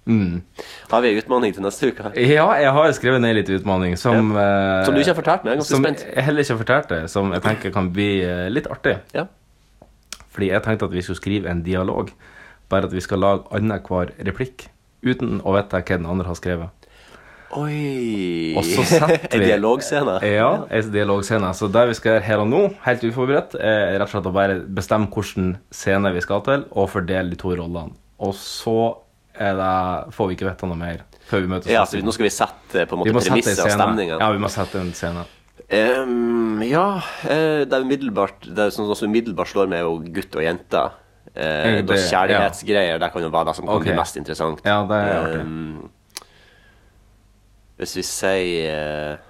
S2: Mm.
S3: Har vi en utfordring til neste uke? her?
S2: Ja, jeg har skrevet ned litt utfordring som eh,
S3: Som du ikke har fortalt meg, jeg er ganske
S2: som
S3: spent.
S2: jeg heller ikke har fortalt deg, som jeg tenker kan bli eh, litt artig.
S3: Ja.
S2: Fordi jeg tenkte at vi skulle skrive en dialog, bare at vi skal lage annenhver replikk. Uten å vite hva den andre har skrevet.
S3: Oi!
S2: Og så setter vi
S3: En dialogscene.
S2: Ja, en dialogscene. Så det vi skal gjøre her og nå, helt uforberedt, er rett og slett å bare bestemme hvilken scene vi skal til, og fordele de to rollene. Og så er det, får vi ikke vite noe mer før vi møtes.
S3: Ja,
S2: neste
S3: så
S2: uke.
S3: nå skal vi sette eh, på en
S2: vi
S3: måte
S2: må sette en
S3: premisset og
S2: scene.
S3: stemningen.
S2: Ja, vi må sette en scene.
S3: Ehm, ja eh, Det er umiddelbart Det er sånn som umiddelbart slår meg, er jo gutt og jente.
S2: Det-
S3: Eh, da
S2: ja.
S3: kjærlighetsgreier, det kan jo være det som kan
S2: Ok.
S3: bli mest interessant.
S2: Ja, det er artig.
S3: Ehm, hvis vi sier eh,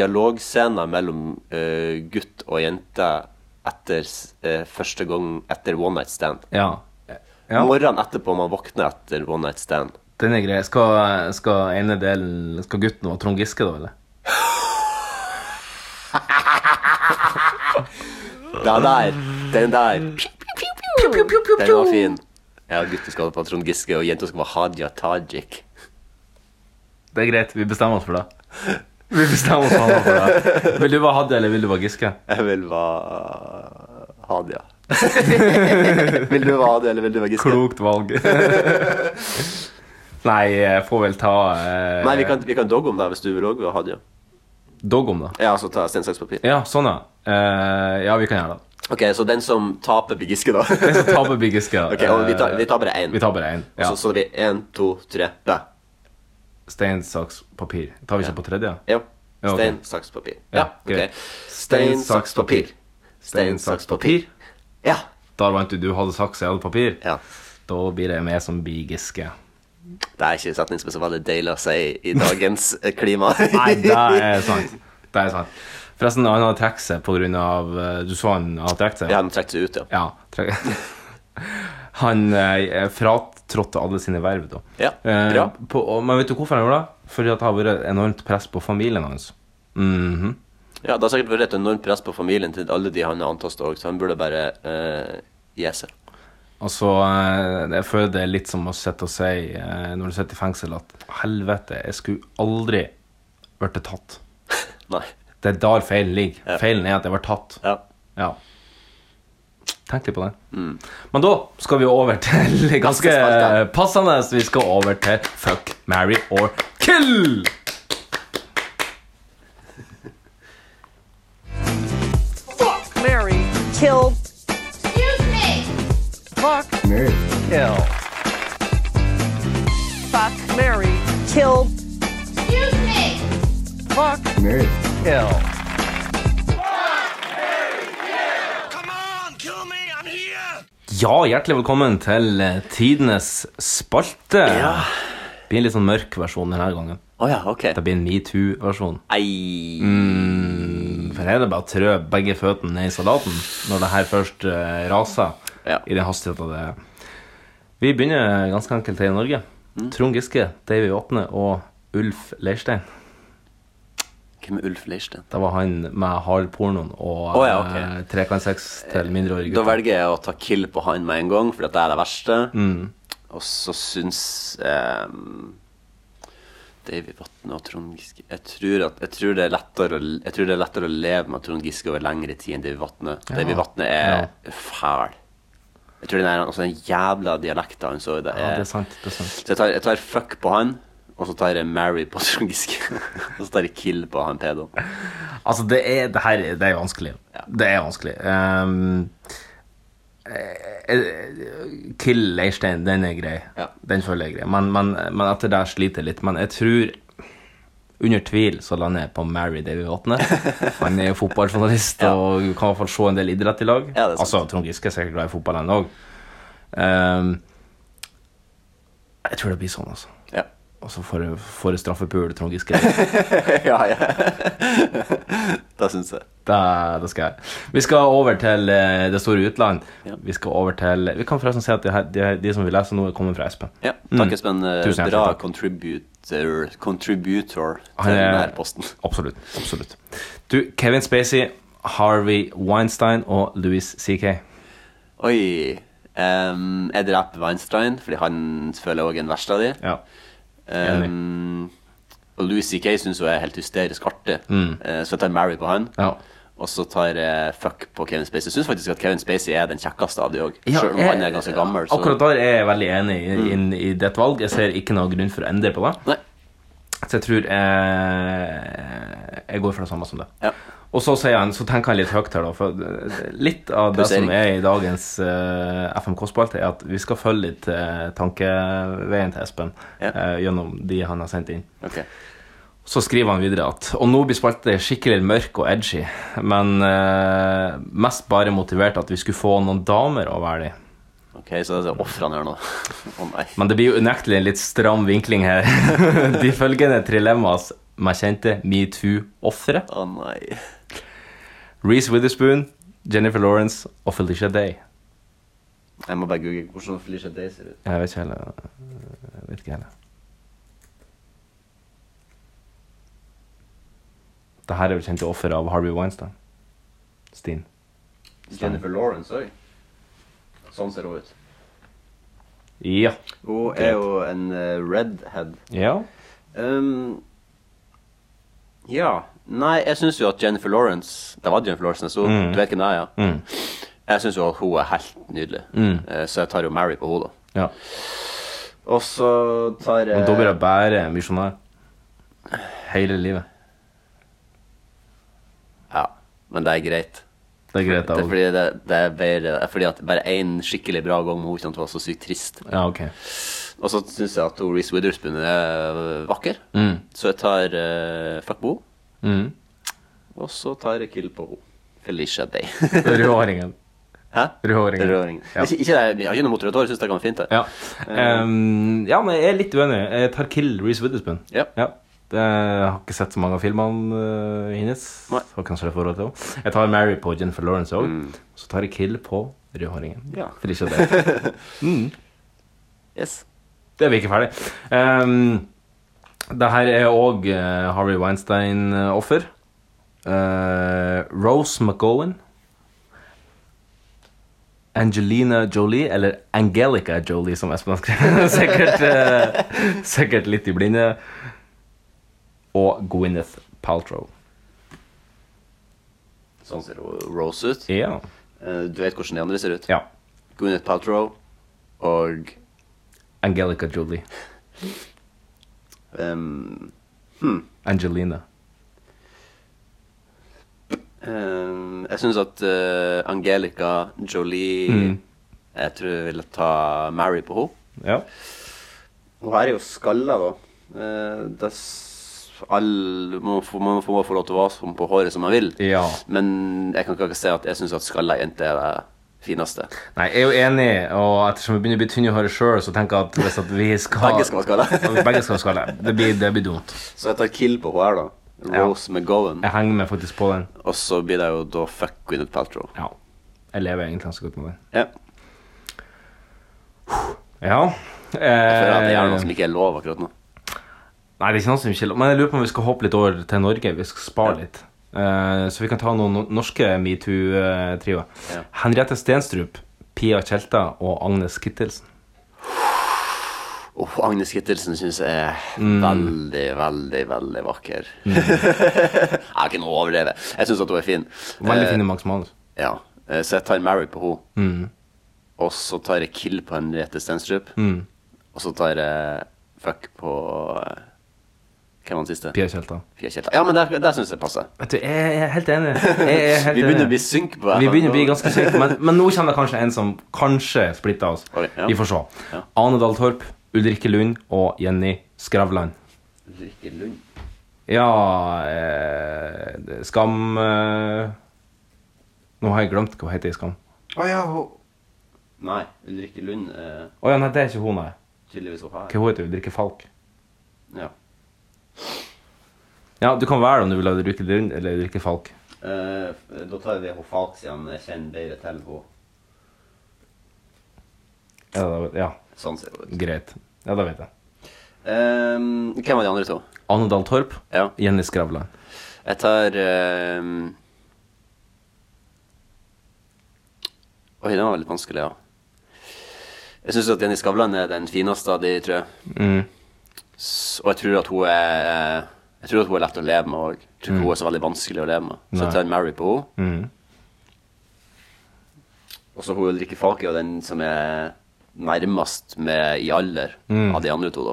S3: Dialogscener mellom eh, gutt og jente etter s- eh, første gang etter one night stand.
S2: Ja. ja.
S3: Morgenen etterpå man våkner etter one night stand.
S2: Den er grei. Skal, skal ene delen Skal gutten være Trond Giske, da, eller?
S3: Den der, den der Den var fin Ja, gutter skal på Trond Giske Og jenter skal på Hadia Tajik
S2: Det er greit. Vi bestemmer oss for det. Vi bestemmer oss faen meg for det. Vil du være Hadia, eller vil du være Giske?
S3: Jeg vil være Hadia Vil du være Hadia, eller vil du være Giske?
S2: Klokt valg. Nei, jeg får vel ta eh,
S3: Nei, vi kan, vi kan dogge om det hvis du vil også være Hadia
S2: dog om, da.
S3: Ja, så ta stein, saks, papir
S2: Ja, sånn, ja. Eh, ja, vi kan gjøre det.
S3: Ok, så den som taper blir Giske da
S2: Den som taper, blir Giske. Eh,
S3: Ok, og vi tar, vi tar bare en
S2: Vi tar bare én. Ja.
S3: Så, så det blir 1, 2, 3, bæ
S2: Stein, saks, papir. Tar vi ikke på tredje?
S3: Ja,
S2: Ja, ok.
S3: stein, saks, papir
S2: Ja,
S3: Ja,
S2: greit.
S3: ok Stein, saks, papir Stein, saks, papir Ja,
S2: Der vant du. Du hadde saks, jeg hadde papir.
S3: ja
S2: Da blir det meg som blir Giske.
S3: Det er ikke en setning som er så veldig deilig å si i dagens eh, klima.
S2: Nei, det er sant. Det er sant. Forresten, han hadde trukket seg på grunn av eh, Du så han hadde trukket seg?
S3: Ja, den trekker seg ut, ja.
S2: Ja, tre... Han eh, fratrådte alle sine verv, da.
S3: Ja,
S2: Eh,
S3: bra.
S2: på, og, men vet du hvorfor han gjorde det? Fordi at det har vært enormt press på familien hans. Mhm.
S3: ja det har sikkert vært et enormt press på familien til alle de han har antastet òg, så han burde bare uh, gi seg.
S2: Altså, eh, jeg føler det er litt som å sitte og si eh, når du sitter i fengsel, at helvete, jeg skulle aldri vært tatt.
S3: Nei.
S2: Det er der feilen ligger.
S3: Ja.
S2: Feilen er at jeg ble tatt.
S3: Ja.
S2: Ja. Tenk litt på det.
S3: Mm.
S2: Men da skal vi over til ganske
S3: spalte.
S2: passende. så Vi skal over til fuck, marry or kill.
S9: Excuse me. Fuck. Mary. Kill. Fuck. Mary. Kill. Excuse me.
S2: Ja, hjertelig velkommen til eh, tidenes spalte.
S3: Ja.
S2: Det blir en litt sånn mørk versjon denne gangen.
S3: Å ja, OK.
S2: Det blir en metoo-versjon.
S3: Ei.
S2: For her er det bare å trø begge føttene ned i salaten når det her først eh, raser
S3: Ja.
S2: i den hastigheten det er. Vi begynner ganske enkelt her i Norge.
S3: Mm.
S2: Trond Giske, Davy Vatne og Ulf Leirstein.
S3: Hvem er Ulf Leirstein?
S2: Det var han med hardpornoen og
S3: Å ja, ok.
S2: eh, trekantsex til mindreårige
S3: Da
S2: gutter.
S3: velger jeg å ta kill på han med en gang, for at det er det verste.
S2: Mm.
S3: Og så syns um, Davy Vatne og Trond Giske jeg tror, at, jeg, tror det er lettere, å- jeg tror det er lettere å leve med Trond Giske over lengre tid enn Davy Vatne. Davy Vatne er fæl. Jeg tror den, er, altså den jævla dialekta han så det
S2: Ja,
S3: er,
S2: det er sant. det er sant.
S3: Så jeg tar, jeg tar fuck på han, og så tar jeg Mary på Trond Giske. og så tar jeg kill på han pedoen.
S2: Altså, det er, det her, det er vanskelig. Det er vanskelig. Ehm, eh, eh, Kill Leirstein, den er grei.
S3: Ja.
S2: Den føler jeg er grei. Men, men, men etter det sliter jeg litt. Men jeg tror under tvil så lander jeg på Mary Davy Vatne. Han er jo fotballjournalist og kan i hvert fall se en del idrett i lag.
S3: Ja, det er sant.
S2: altså, Trond Giske er sikkert glad i fotball, han òg. Ehm, jeg tror det blir sånn, altså.
S3: Ja.
S2: Og så får jeg- får jeg straffepul Trond Giske.
S3: ja, ja. det syns jeg.
S2: Det, det skal jeg. Vi skal over til eh, det store utland.
S3: Ja.
S2: Vi skal over til Vi kan forresten si at de, her, de, her- de som vi leser nå, kommer fra Espen.
S3: Ja,
S2: Mm.
S3: takk Espen. Eh,
S2: Tusen hjertelig
S3: Bra
S2: takk.
S3: contributor, contributor
S2: Han
S3: til
S2: er-
S3: denne posten.
S2: Absolutt. absolutt Du, Kevin Spacey, Harvey Weinstein og Louis CK.
S3: Oi. em, jeg dreper Weinstein, fordi han føler jeg òg er den verste av de.
S2: Ja. enig.
S3: Em, og Louis C.K. syns hun er helt hysterisk artig, Eh, så jeg tar Mary på han.
S2: Mm. Ja.
S3: Og så tar jeg fuck på Kevin Spacey. Jeg syns faktisk at Kevin Spacey er den kjekkeste av de òg,
S2: Ja,
S3: selv om
S2: jeg-
S3: han er ganske gammel. Så... Mm.
S2: Akkurat der er jeg veldig enig i, inn i ditt valg. Jeg ser ikke noen grunn for å endre på det.
S3: Nei.
S2: Så jeg tror eh, Jeg går for det samme som det.
S3: Ja.
S2: Og så, sier han, så tenker han litt høyt her, da. For eh, litt av det
S3: Plassering.
S2: som er i dagens eh, FMK-spalte, er at vi skal følge litt eh, tankeveien til Espen
S3: Ja.
S2: eh, gjennom de han har sendt inn.
S3: Ok.
S2: Så skriver han videre at Og nå blir spalten skikkelig mørk og edgy, men eh, mest bare motivert at vi skulle få noen damer å være i.
S3: Ok, så det er ofrene her nå. Å nei.
S2: Men det blir jo unektelig en litt stram vinkling her. De følgende trilemmas med kjente metoo-ofre.
S3: Å nei.
S2: Reece Witherspoon, Jennifer Lawrence og Felicia Day.
S3: Jeg må bare google hvordan Felicia Day ser ut.
S2: Jeg vet ikke heller. Jeg vet ikke heller. Det her er vel kjente offer av Harvey Weinstein. Steen.
S3: Jennifer Lawrence òg. Sånn ser hun ut.
S2: Ja.
S3: Hun er jo en eh, redhead.
S2: Ja.
S3: Um, ja. Nei, jeg syns jo at Jennifer Lawrence Det var Jennifer Lawrence jeg så.
S2: Mm.
S3: Du vet hvem det er, ja? Jeg syns jo at hun er helt nydelig,
S2: Mm.
S3: Eh, så jeg tar jo Mary på henne. da.
S2: ja.
S3: Og så tar jeg
S2: Men da blir jeg bare misjonær. Hele livet.
S3: Ja, men det er greit.
S2: Det er greit,
S3: Det er
S2: det òg.
S3: fordi, det, det er bedre, det er fordi at bare én skikkelig bra gang med henne ikke sant, var så sykt trist.
S2: Ja, ok.
S3: Og så syns jeg at hun Reece Witherspoon er øh, vakker, så jeg tar eh, fuck på henne.
S2: Mm.
S3: Og så tar jeg kill på henne. Felicia Day.
S2: Rødhåringen.
S3: Hæ?
S2: Rødhåringen.
S3: Rødhåringen.
S2: Ja.
S3: Ikke, ikke, det- jeg har ikke noe mot rødt hår, jeg syns det kan være fint. Det.
S2: Ja.
S3: Eh.
S2: Ehm, ja, men jeg er litt uenig. Jeg tar Kill Reece Witherspoon.
S3: Ja.
S2: Det, jeg har ikke sett så mange av filmene øh, hennes.
S3: Nei. Mm.
S2: Har kanskje det forhold til henne. Jeg tar Mary på Jennifer Lawrence òg. Så tar jeg Kill på rødhåringen.
S3: Ja.
S2: Felicia Day.
S3: Yes.
S2: Det er vi ikke ferdig. Um, det her er òg Harvey Weinstein-offer. Eh, Rose McGowan. Angelina Jolie, eller Angelica Jolie, som Espen har skrevet. sikkert, eh, sikkert litt i blinde. Og Gwyneth Paltrow.
S3: Sånn ser hun Rose ut.
S2: Ja.
S3: Eh, Du vet hvordan de andre ser ut.
S2: ja.
S3: Gwyneth Paltrow og
S2: Angelica Jolie.
S3: ehm,
S2: Angelina.
S3: ehm, Jeg syns at eh, Angelica Jolie
S2: Mm.
S3: Jeg tror jeg ville ta Mary på henne.
S2: Ja.
S3: Hun her er jo skalla, da. Eh, det s- all, man, får, man får bare få lov til å være som på håret som man vil.
S2: Ja.
S3: Men jeg kan ikke si at jeg syns at skalla jenter er det fineste.
S2: Nei, jeg er jo enig, og ettersom vi begynner å bli tynne i håret sjøl, så tenker jeg at hvis at vi skal
S3: Begge skal ha skalla.
S2: Begge skal ha skalle. Det blir, det blir dumt.
S3: Så jeg tar kill på henne her, da. Rose McGowan.
S2: Jeg henger meg faktisk på den.
S3: Og så blir det jo da fuck Gwyneth Paltrow.
S2: Ja. Jeg lever egentlig ganske godt med den.
S3: Ja.
S2: Ja. Eh,
S3: For at det er noe
S2: nei,
S3: som ikke er lov akkurat nå.
S2: det er ikke noe som ikke er lov. Men jeg lurer på om vi skal hoppe litt over til Norge. Vi skal spare litt. Eh, så vi kan ta noen no- norske metoo-trioer.
S3: Ja.
S2: Henriette Stenstrup, Pia Tjelta og Agnes Kittelsen.
S3: Åh, Agnes Kittelsen syns jeg er
S2: Mm.
S3: veldig, veldig, veldig vakker. jeg har ikke noe å overdrive. Jeg syns at hun er fin.
S2: Veldig
S3: Eh,
S2: fine Max Manus.
S3: ja. Eh, Så jeg tar Mary på henne.
S2: Mm.
S3: Og så tar jeg Kill på Henriette Stenstrup.
S2: Mm.
S3: Og så tar jeg Fuck på eh, Hvem var den siste?
S2: Pia Tjelta.
S3: Pia Kjelta. Ja, men der, der syns jeg passer.
S2: Vet du, jeg er helt enig. Jeg er helt
S3: Vi
S2: enig.
S3: begynner å bli synk på det.
S2: Vi begynner å bli ganske syke, men, men nå kommer det kanskje en som kanskje splitter oss.
S3: Oi, ja.
S2: Vi får se.
S3: Ja.
S2: Ane Dahl Torp, Ulrikke Lund og Jenny Skravlan.
S3: Ulrikke Lund.
S2: Ja eh, det- Skam eh, Nå har jeg glemt hva hun heter i Skam.
S3: Å ja, hun Nei, Ulrikke Lund eh, er
S2: Å ja, nei, det er ikke hun, nei.
S3: tydeligvis hun her.
S2: Hva hun heter hun? Ulrikke Falk?
S3: Ja.
S2: Ja, du kan velge om du vil ha Ulrikke Lund eller Ulrikke Falk.
S3: Eh, f- da tar vi hun Falk siden jeg kjenner bedre til henne.
S2: Ja, da, ja
S3: Sånn ser det ut.
S2: greit. Ja, da vet jeg.
S3: Ehm, hvem var de andre to?
S2: Ane Dahl Torp,
S3: Eh, Ja.
S2: Jenny Skravlan.
S3: Jeg tar ehm, Oi, den var veldig vanskelig, ja. Jeg syns at Jenny Skavlan er den fineste av de, tror jeg. S- Og jeg tror at hun er eh, Jeg tror at hun er lett å leve med òg. Jeg tror ikke hun er så veldig vanskelig å leve med. Så jeg tar Mary på henne. Og så hun Ulrikke Falk er jo den som er nærmest med i alder av de andre to, da.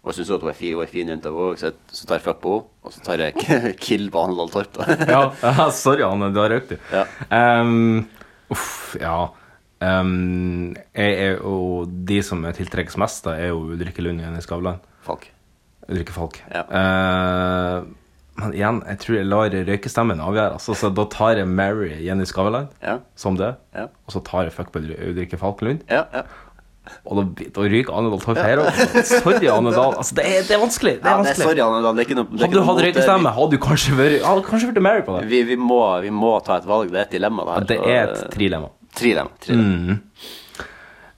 S3: Og jeg syns at hun er fin, hun er fin jente òg, så, jeg- så tar jeg fuck på henne. Og så tar jeg kill på Hanedal Torp, da.
S2: ja, ja, sorry, Anne, du har røkt, du.
S3: Ja.
S2: Ehm, uff, ja. Ehm, jeg er jo de som jeg tiltrekkes mest av, er jo Ulrikke Lund og Jenny Skavlan.
S3: Falk.
S2: Ulrikke Falk. Eh, men igjen, jeg tror jeg lar røykestemmen avgjøre. Altså, så da tar jeg Mary Jenny Skavlan
S3: Ja.
S2: som det,
S3: Ja.
S2: og så tar jeg fuck på Ulri- Ulrikke Falk Lund.
S3: Ja, ja.
S2: Og da, da ryker Ane Dahl Torp her også. Sorry, Ane Dahl. Altså, det, er, det er vanskelig. Det er
S3: ja det er
S2: vanskelig.
S3: sorry, Anne Dahl. Det er ikke noe det er
S2: Hadde du
S3: ikke noe
S2: hatt
S3: mot eh, det.
S2: røykestemme, hadde du kanskje vært ja, Kanskje vært Mary på det.
S3: Vi, vi, må, vi må ta et valg. Det er et dilemma, det
S2: Ja,
S3: her.
S2: det
S3: og,
S2: er et Mm.
S3: eh,
S2: trilemma.
S3: trilemma. trilemma.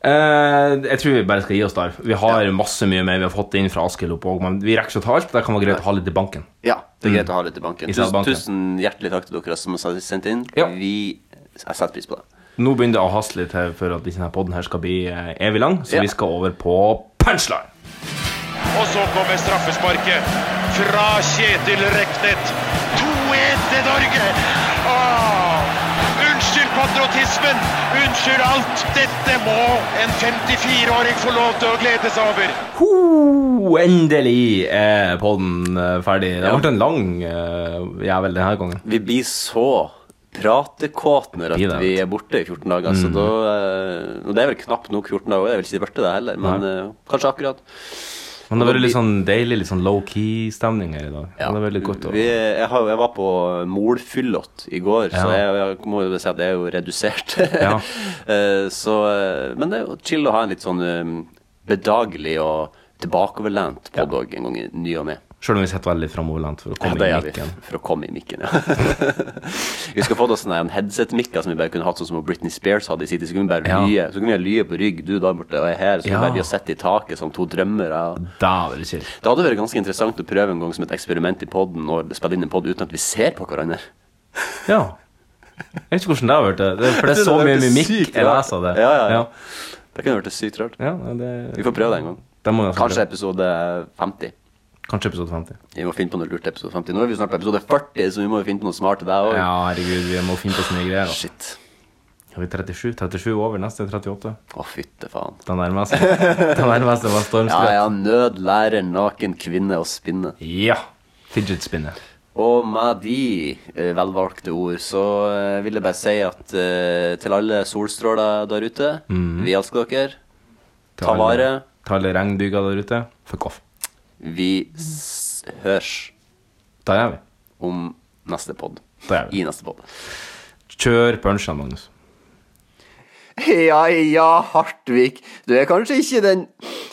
S2: Eh, jeg tror vi bare skal gi oss der. Vi har masse mye mer vi har fått inn fra Askild opp òg, men vi rekker ikke å ta alt. Det kan være greit å ha litt i banken.
S3: Ja, det er greit å ha litt i banken.
S2: I stedet
S3: Tusen,
S2: Mm. banken.
S3: tusen hjertelig takk til dere som har sendt inn.
S2: Ja.
S3: Vi Jeg setter pris på det.
S2: Nå begynner det å haste litt her for at denne podden her skal bli eh, evig lang, så
S3: Ja.
S2: vi skal over på punchline.
S10: Og så kommer straffesparket fra Kjetil Reknet. 2-1 til Norge! Åh, unnskyld patriotismen, unnskyld alt. Dette må en 54-åring få lov til å glede seg over.
S2: Ho, endelig er podden eh, ferdig. Det ble en lang eh, jævel denne gangen.
S3: Vi blir så pratekåte når
S2: Blir det.
S3: at vi er borte i 14 dager.
S2: Mm.
S3: Så da eh, og Det er vel knapt nok 14 dager, jeg vil ikke si borte det heller, men eh, kanskje akkurat.
S2: Men det har vært litt sånn deilig, litt sånn low-key-stemning her i dag. Det er veldig godt å
S3: Vi, jeg, har, jeg var på molfyllott i går, så
S2: Ja.
S3: jeg, jeg må jo si at det er jo redusert.
S2: Ja.
S3: Eh, så, eh, men det er jo chill å ha en litt sånn eh, bedagelig og tilbakeoverlent podd òg, en gang i ny og ne.
S2: Sjøl om vi sitter veldig framoverlent for å
S3: Ja,
S2: komme
S3: det
S2: i
S3: gjør vi
S2: mikken.
S3: for å komme i mikken. Ja. vi skulle fått oss en sånn headset-mikker som vi bare kunne hatt sånn som Britney Spears hadde i sin tid. Så kunne vi bare
S2: Ja.
S3: lye så kunne vi ha lye på rygg, du der borte og jeg her. Så kunne
S2: Ja.
S3: bare vi ha sett i taket som to drømmere.
S2: Dæven chill.
S3: Det hadde vært ganske interessant å prøve en gang som et eksperiment i podden og spille inn en podd uten at vi ser på hverandre.
S2: Ja. Jeg vet ikke hvordan det har vært. eh, det. Det, for det er så
S3: Det
S2: mye
S3: er
S2: mimikk
S3: sykt
S2: jeg
S3: rart.
S2: leser av det.
S3: Ja, ja, ja. Det kunne vært sykt rart.
S2: Ja, det,
S3: Vi får prøve det en gang.
S2: det må vi nesten
S3: Kanskje
S2: prøve.
S3: episode 50.
S2: Kanskje episode 50.
S3: Vi må finne på noe lurt til episode 50. Nå er vi snart på episode 40, så vi må jo finne på noe smart til deg òg.
S2: Ja, herregud, vi må finne på så mye greier. da.
S3: Shit.
S2: Har vi 37? 37 over, neste er 38.
S3: Å, fytte faen.
S2: Den nærmeste. Den nærmeste var
S3: Ja,
S2: stormskritt.
S3: ja. Nød lærer naken kvinne å spinne.
S2: Ja. Fidget spinner.
S3: Og med de eh, velvalgte ord så eh, vil jeg bare si at eh, til alle solstråler der ute,
S2: Mm.
S3: vi elsker dere.
S2: Til
S3: Ta
S2: alle-
S3: vare.
S2: Til alle regnbyger der ute. Fuck off.
S3: Vi s hørs
S2: Da gjør vi.
S3: om neste pod.
S2: Da gjør vi.
S3: I neste pod.
S2: Kjør punchen, Magnus.
S3: Ja, ja, Hartvig. Du er kanskje ikke den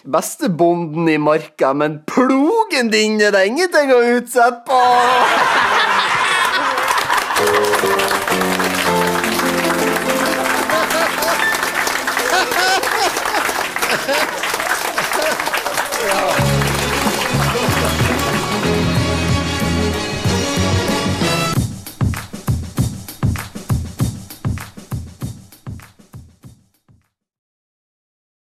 S3: beste bonden i marka, men plogen din er det ingenting å utsette på!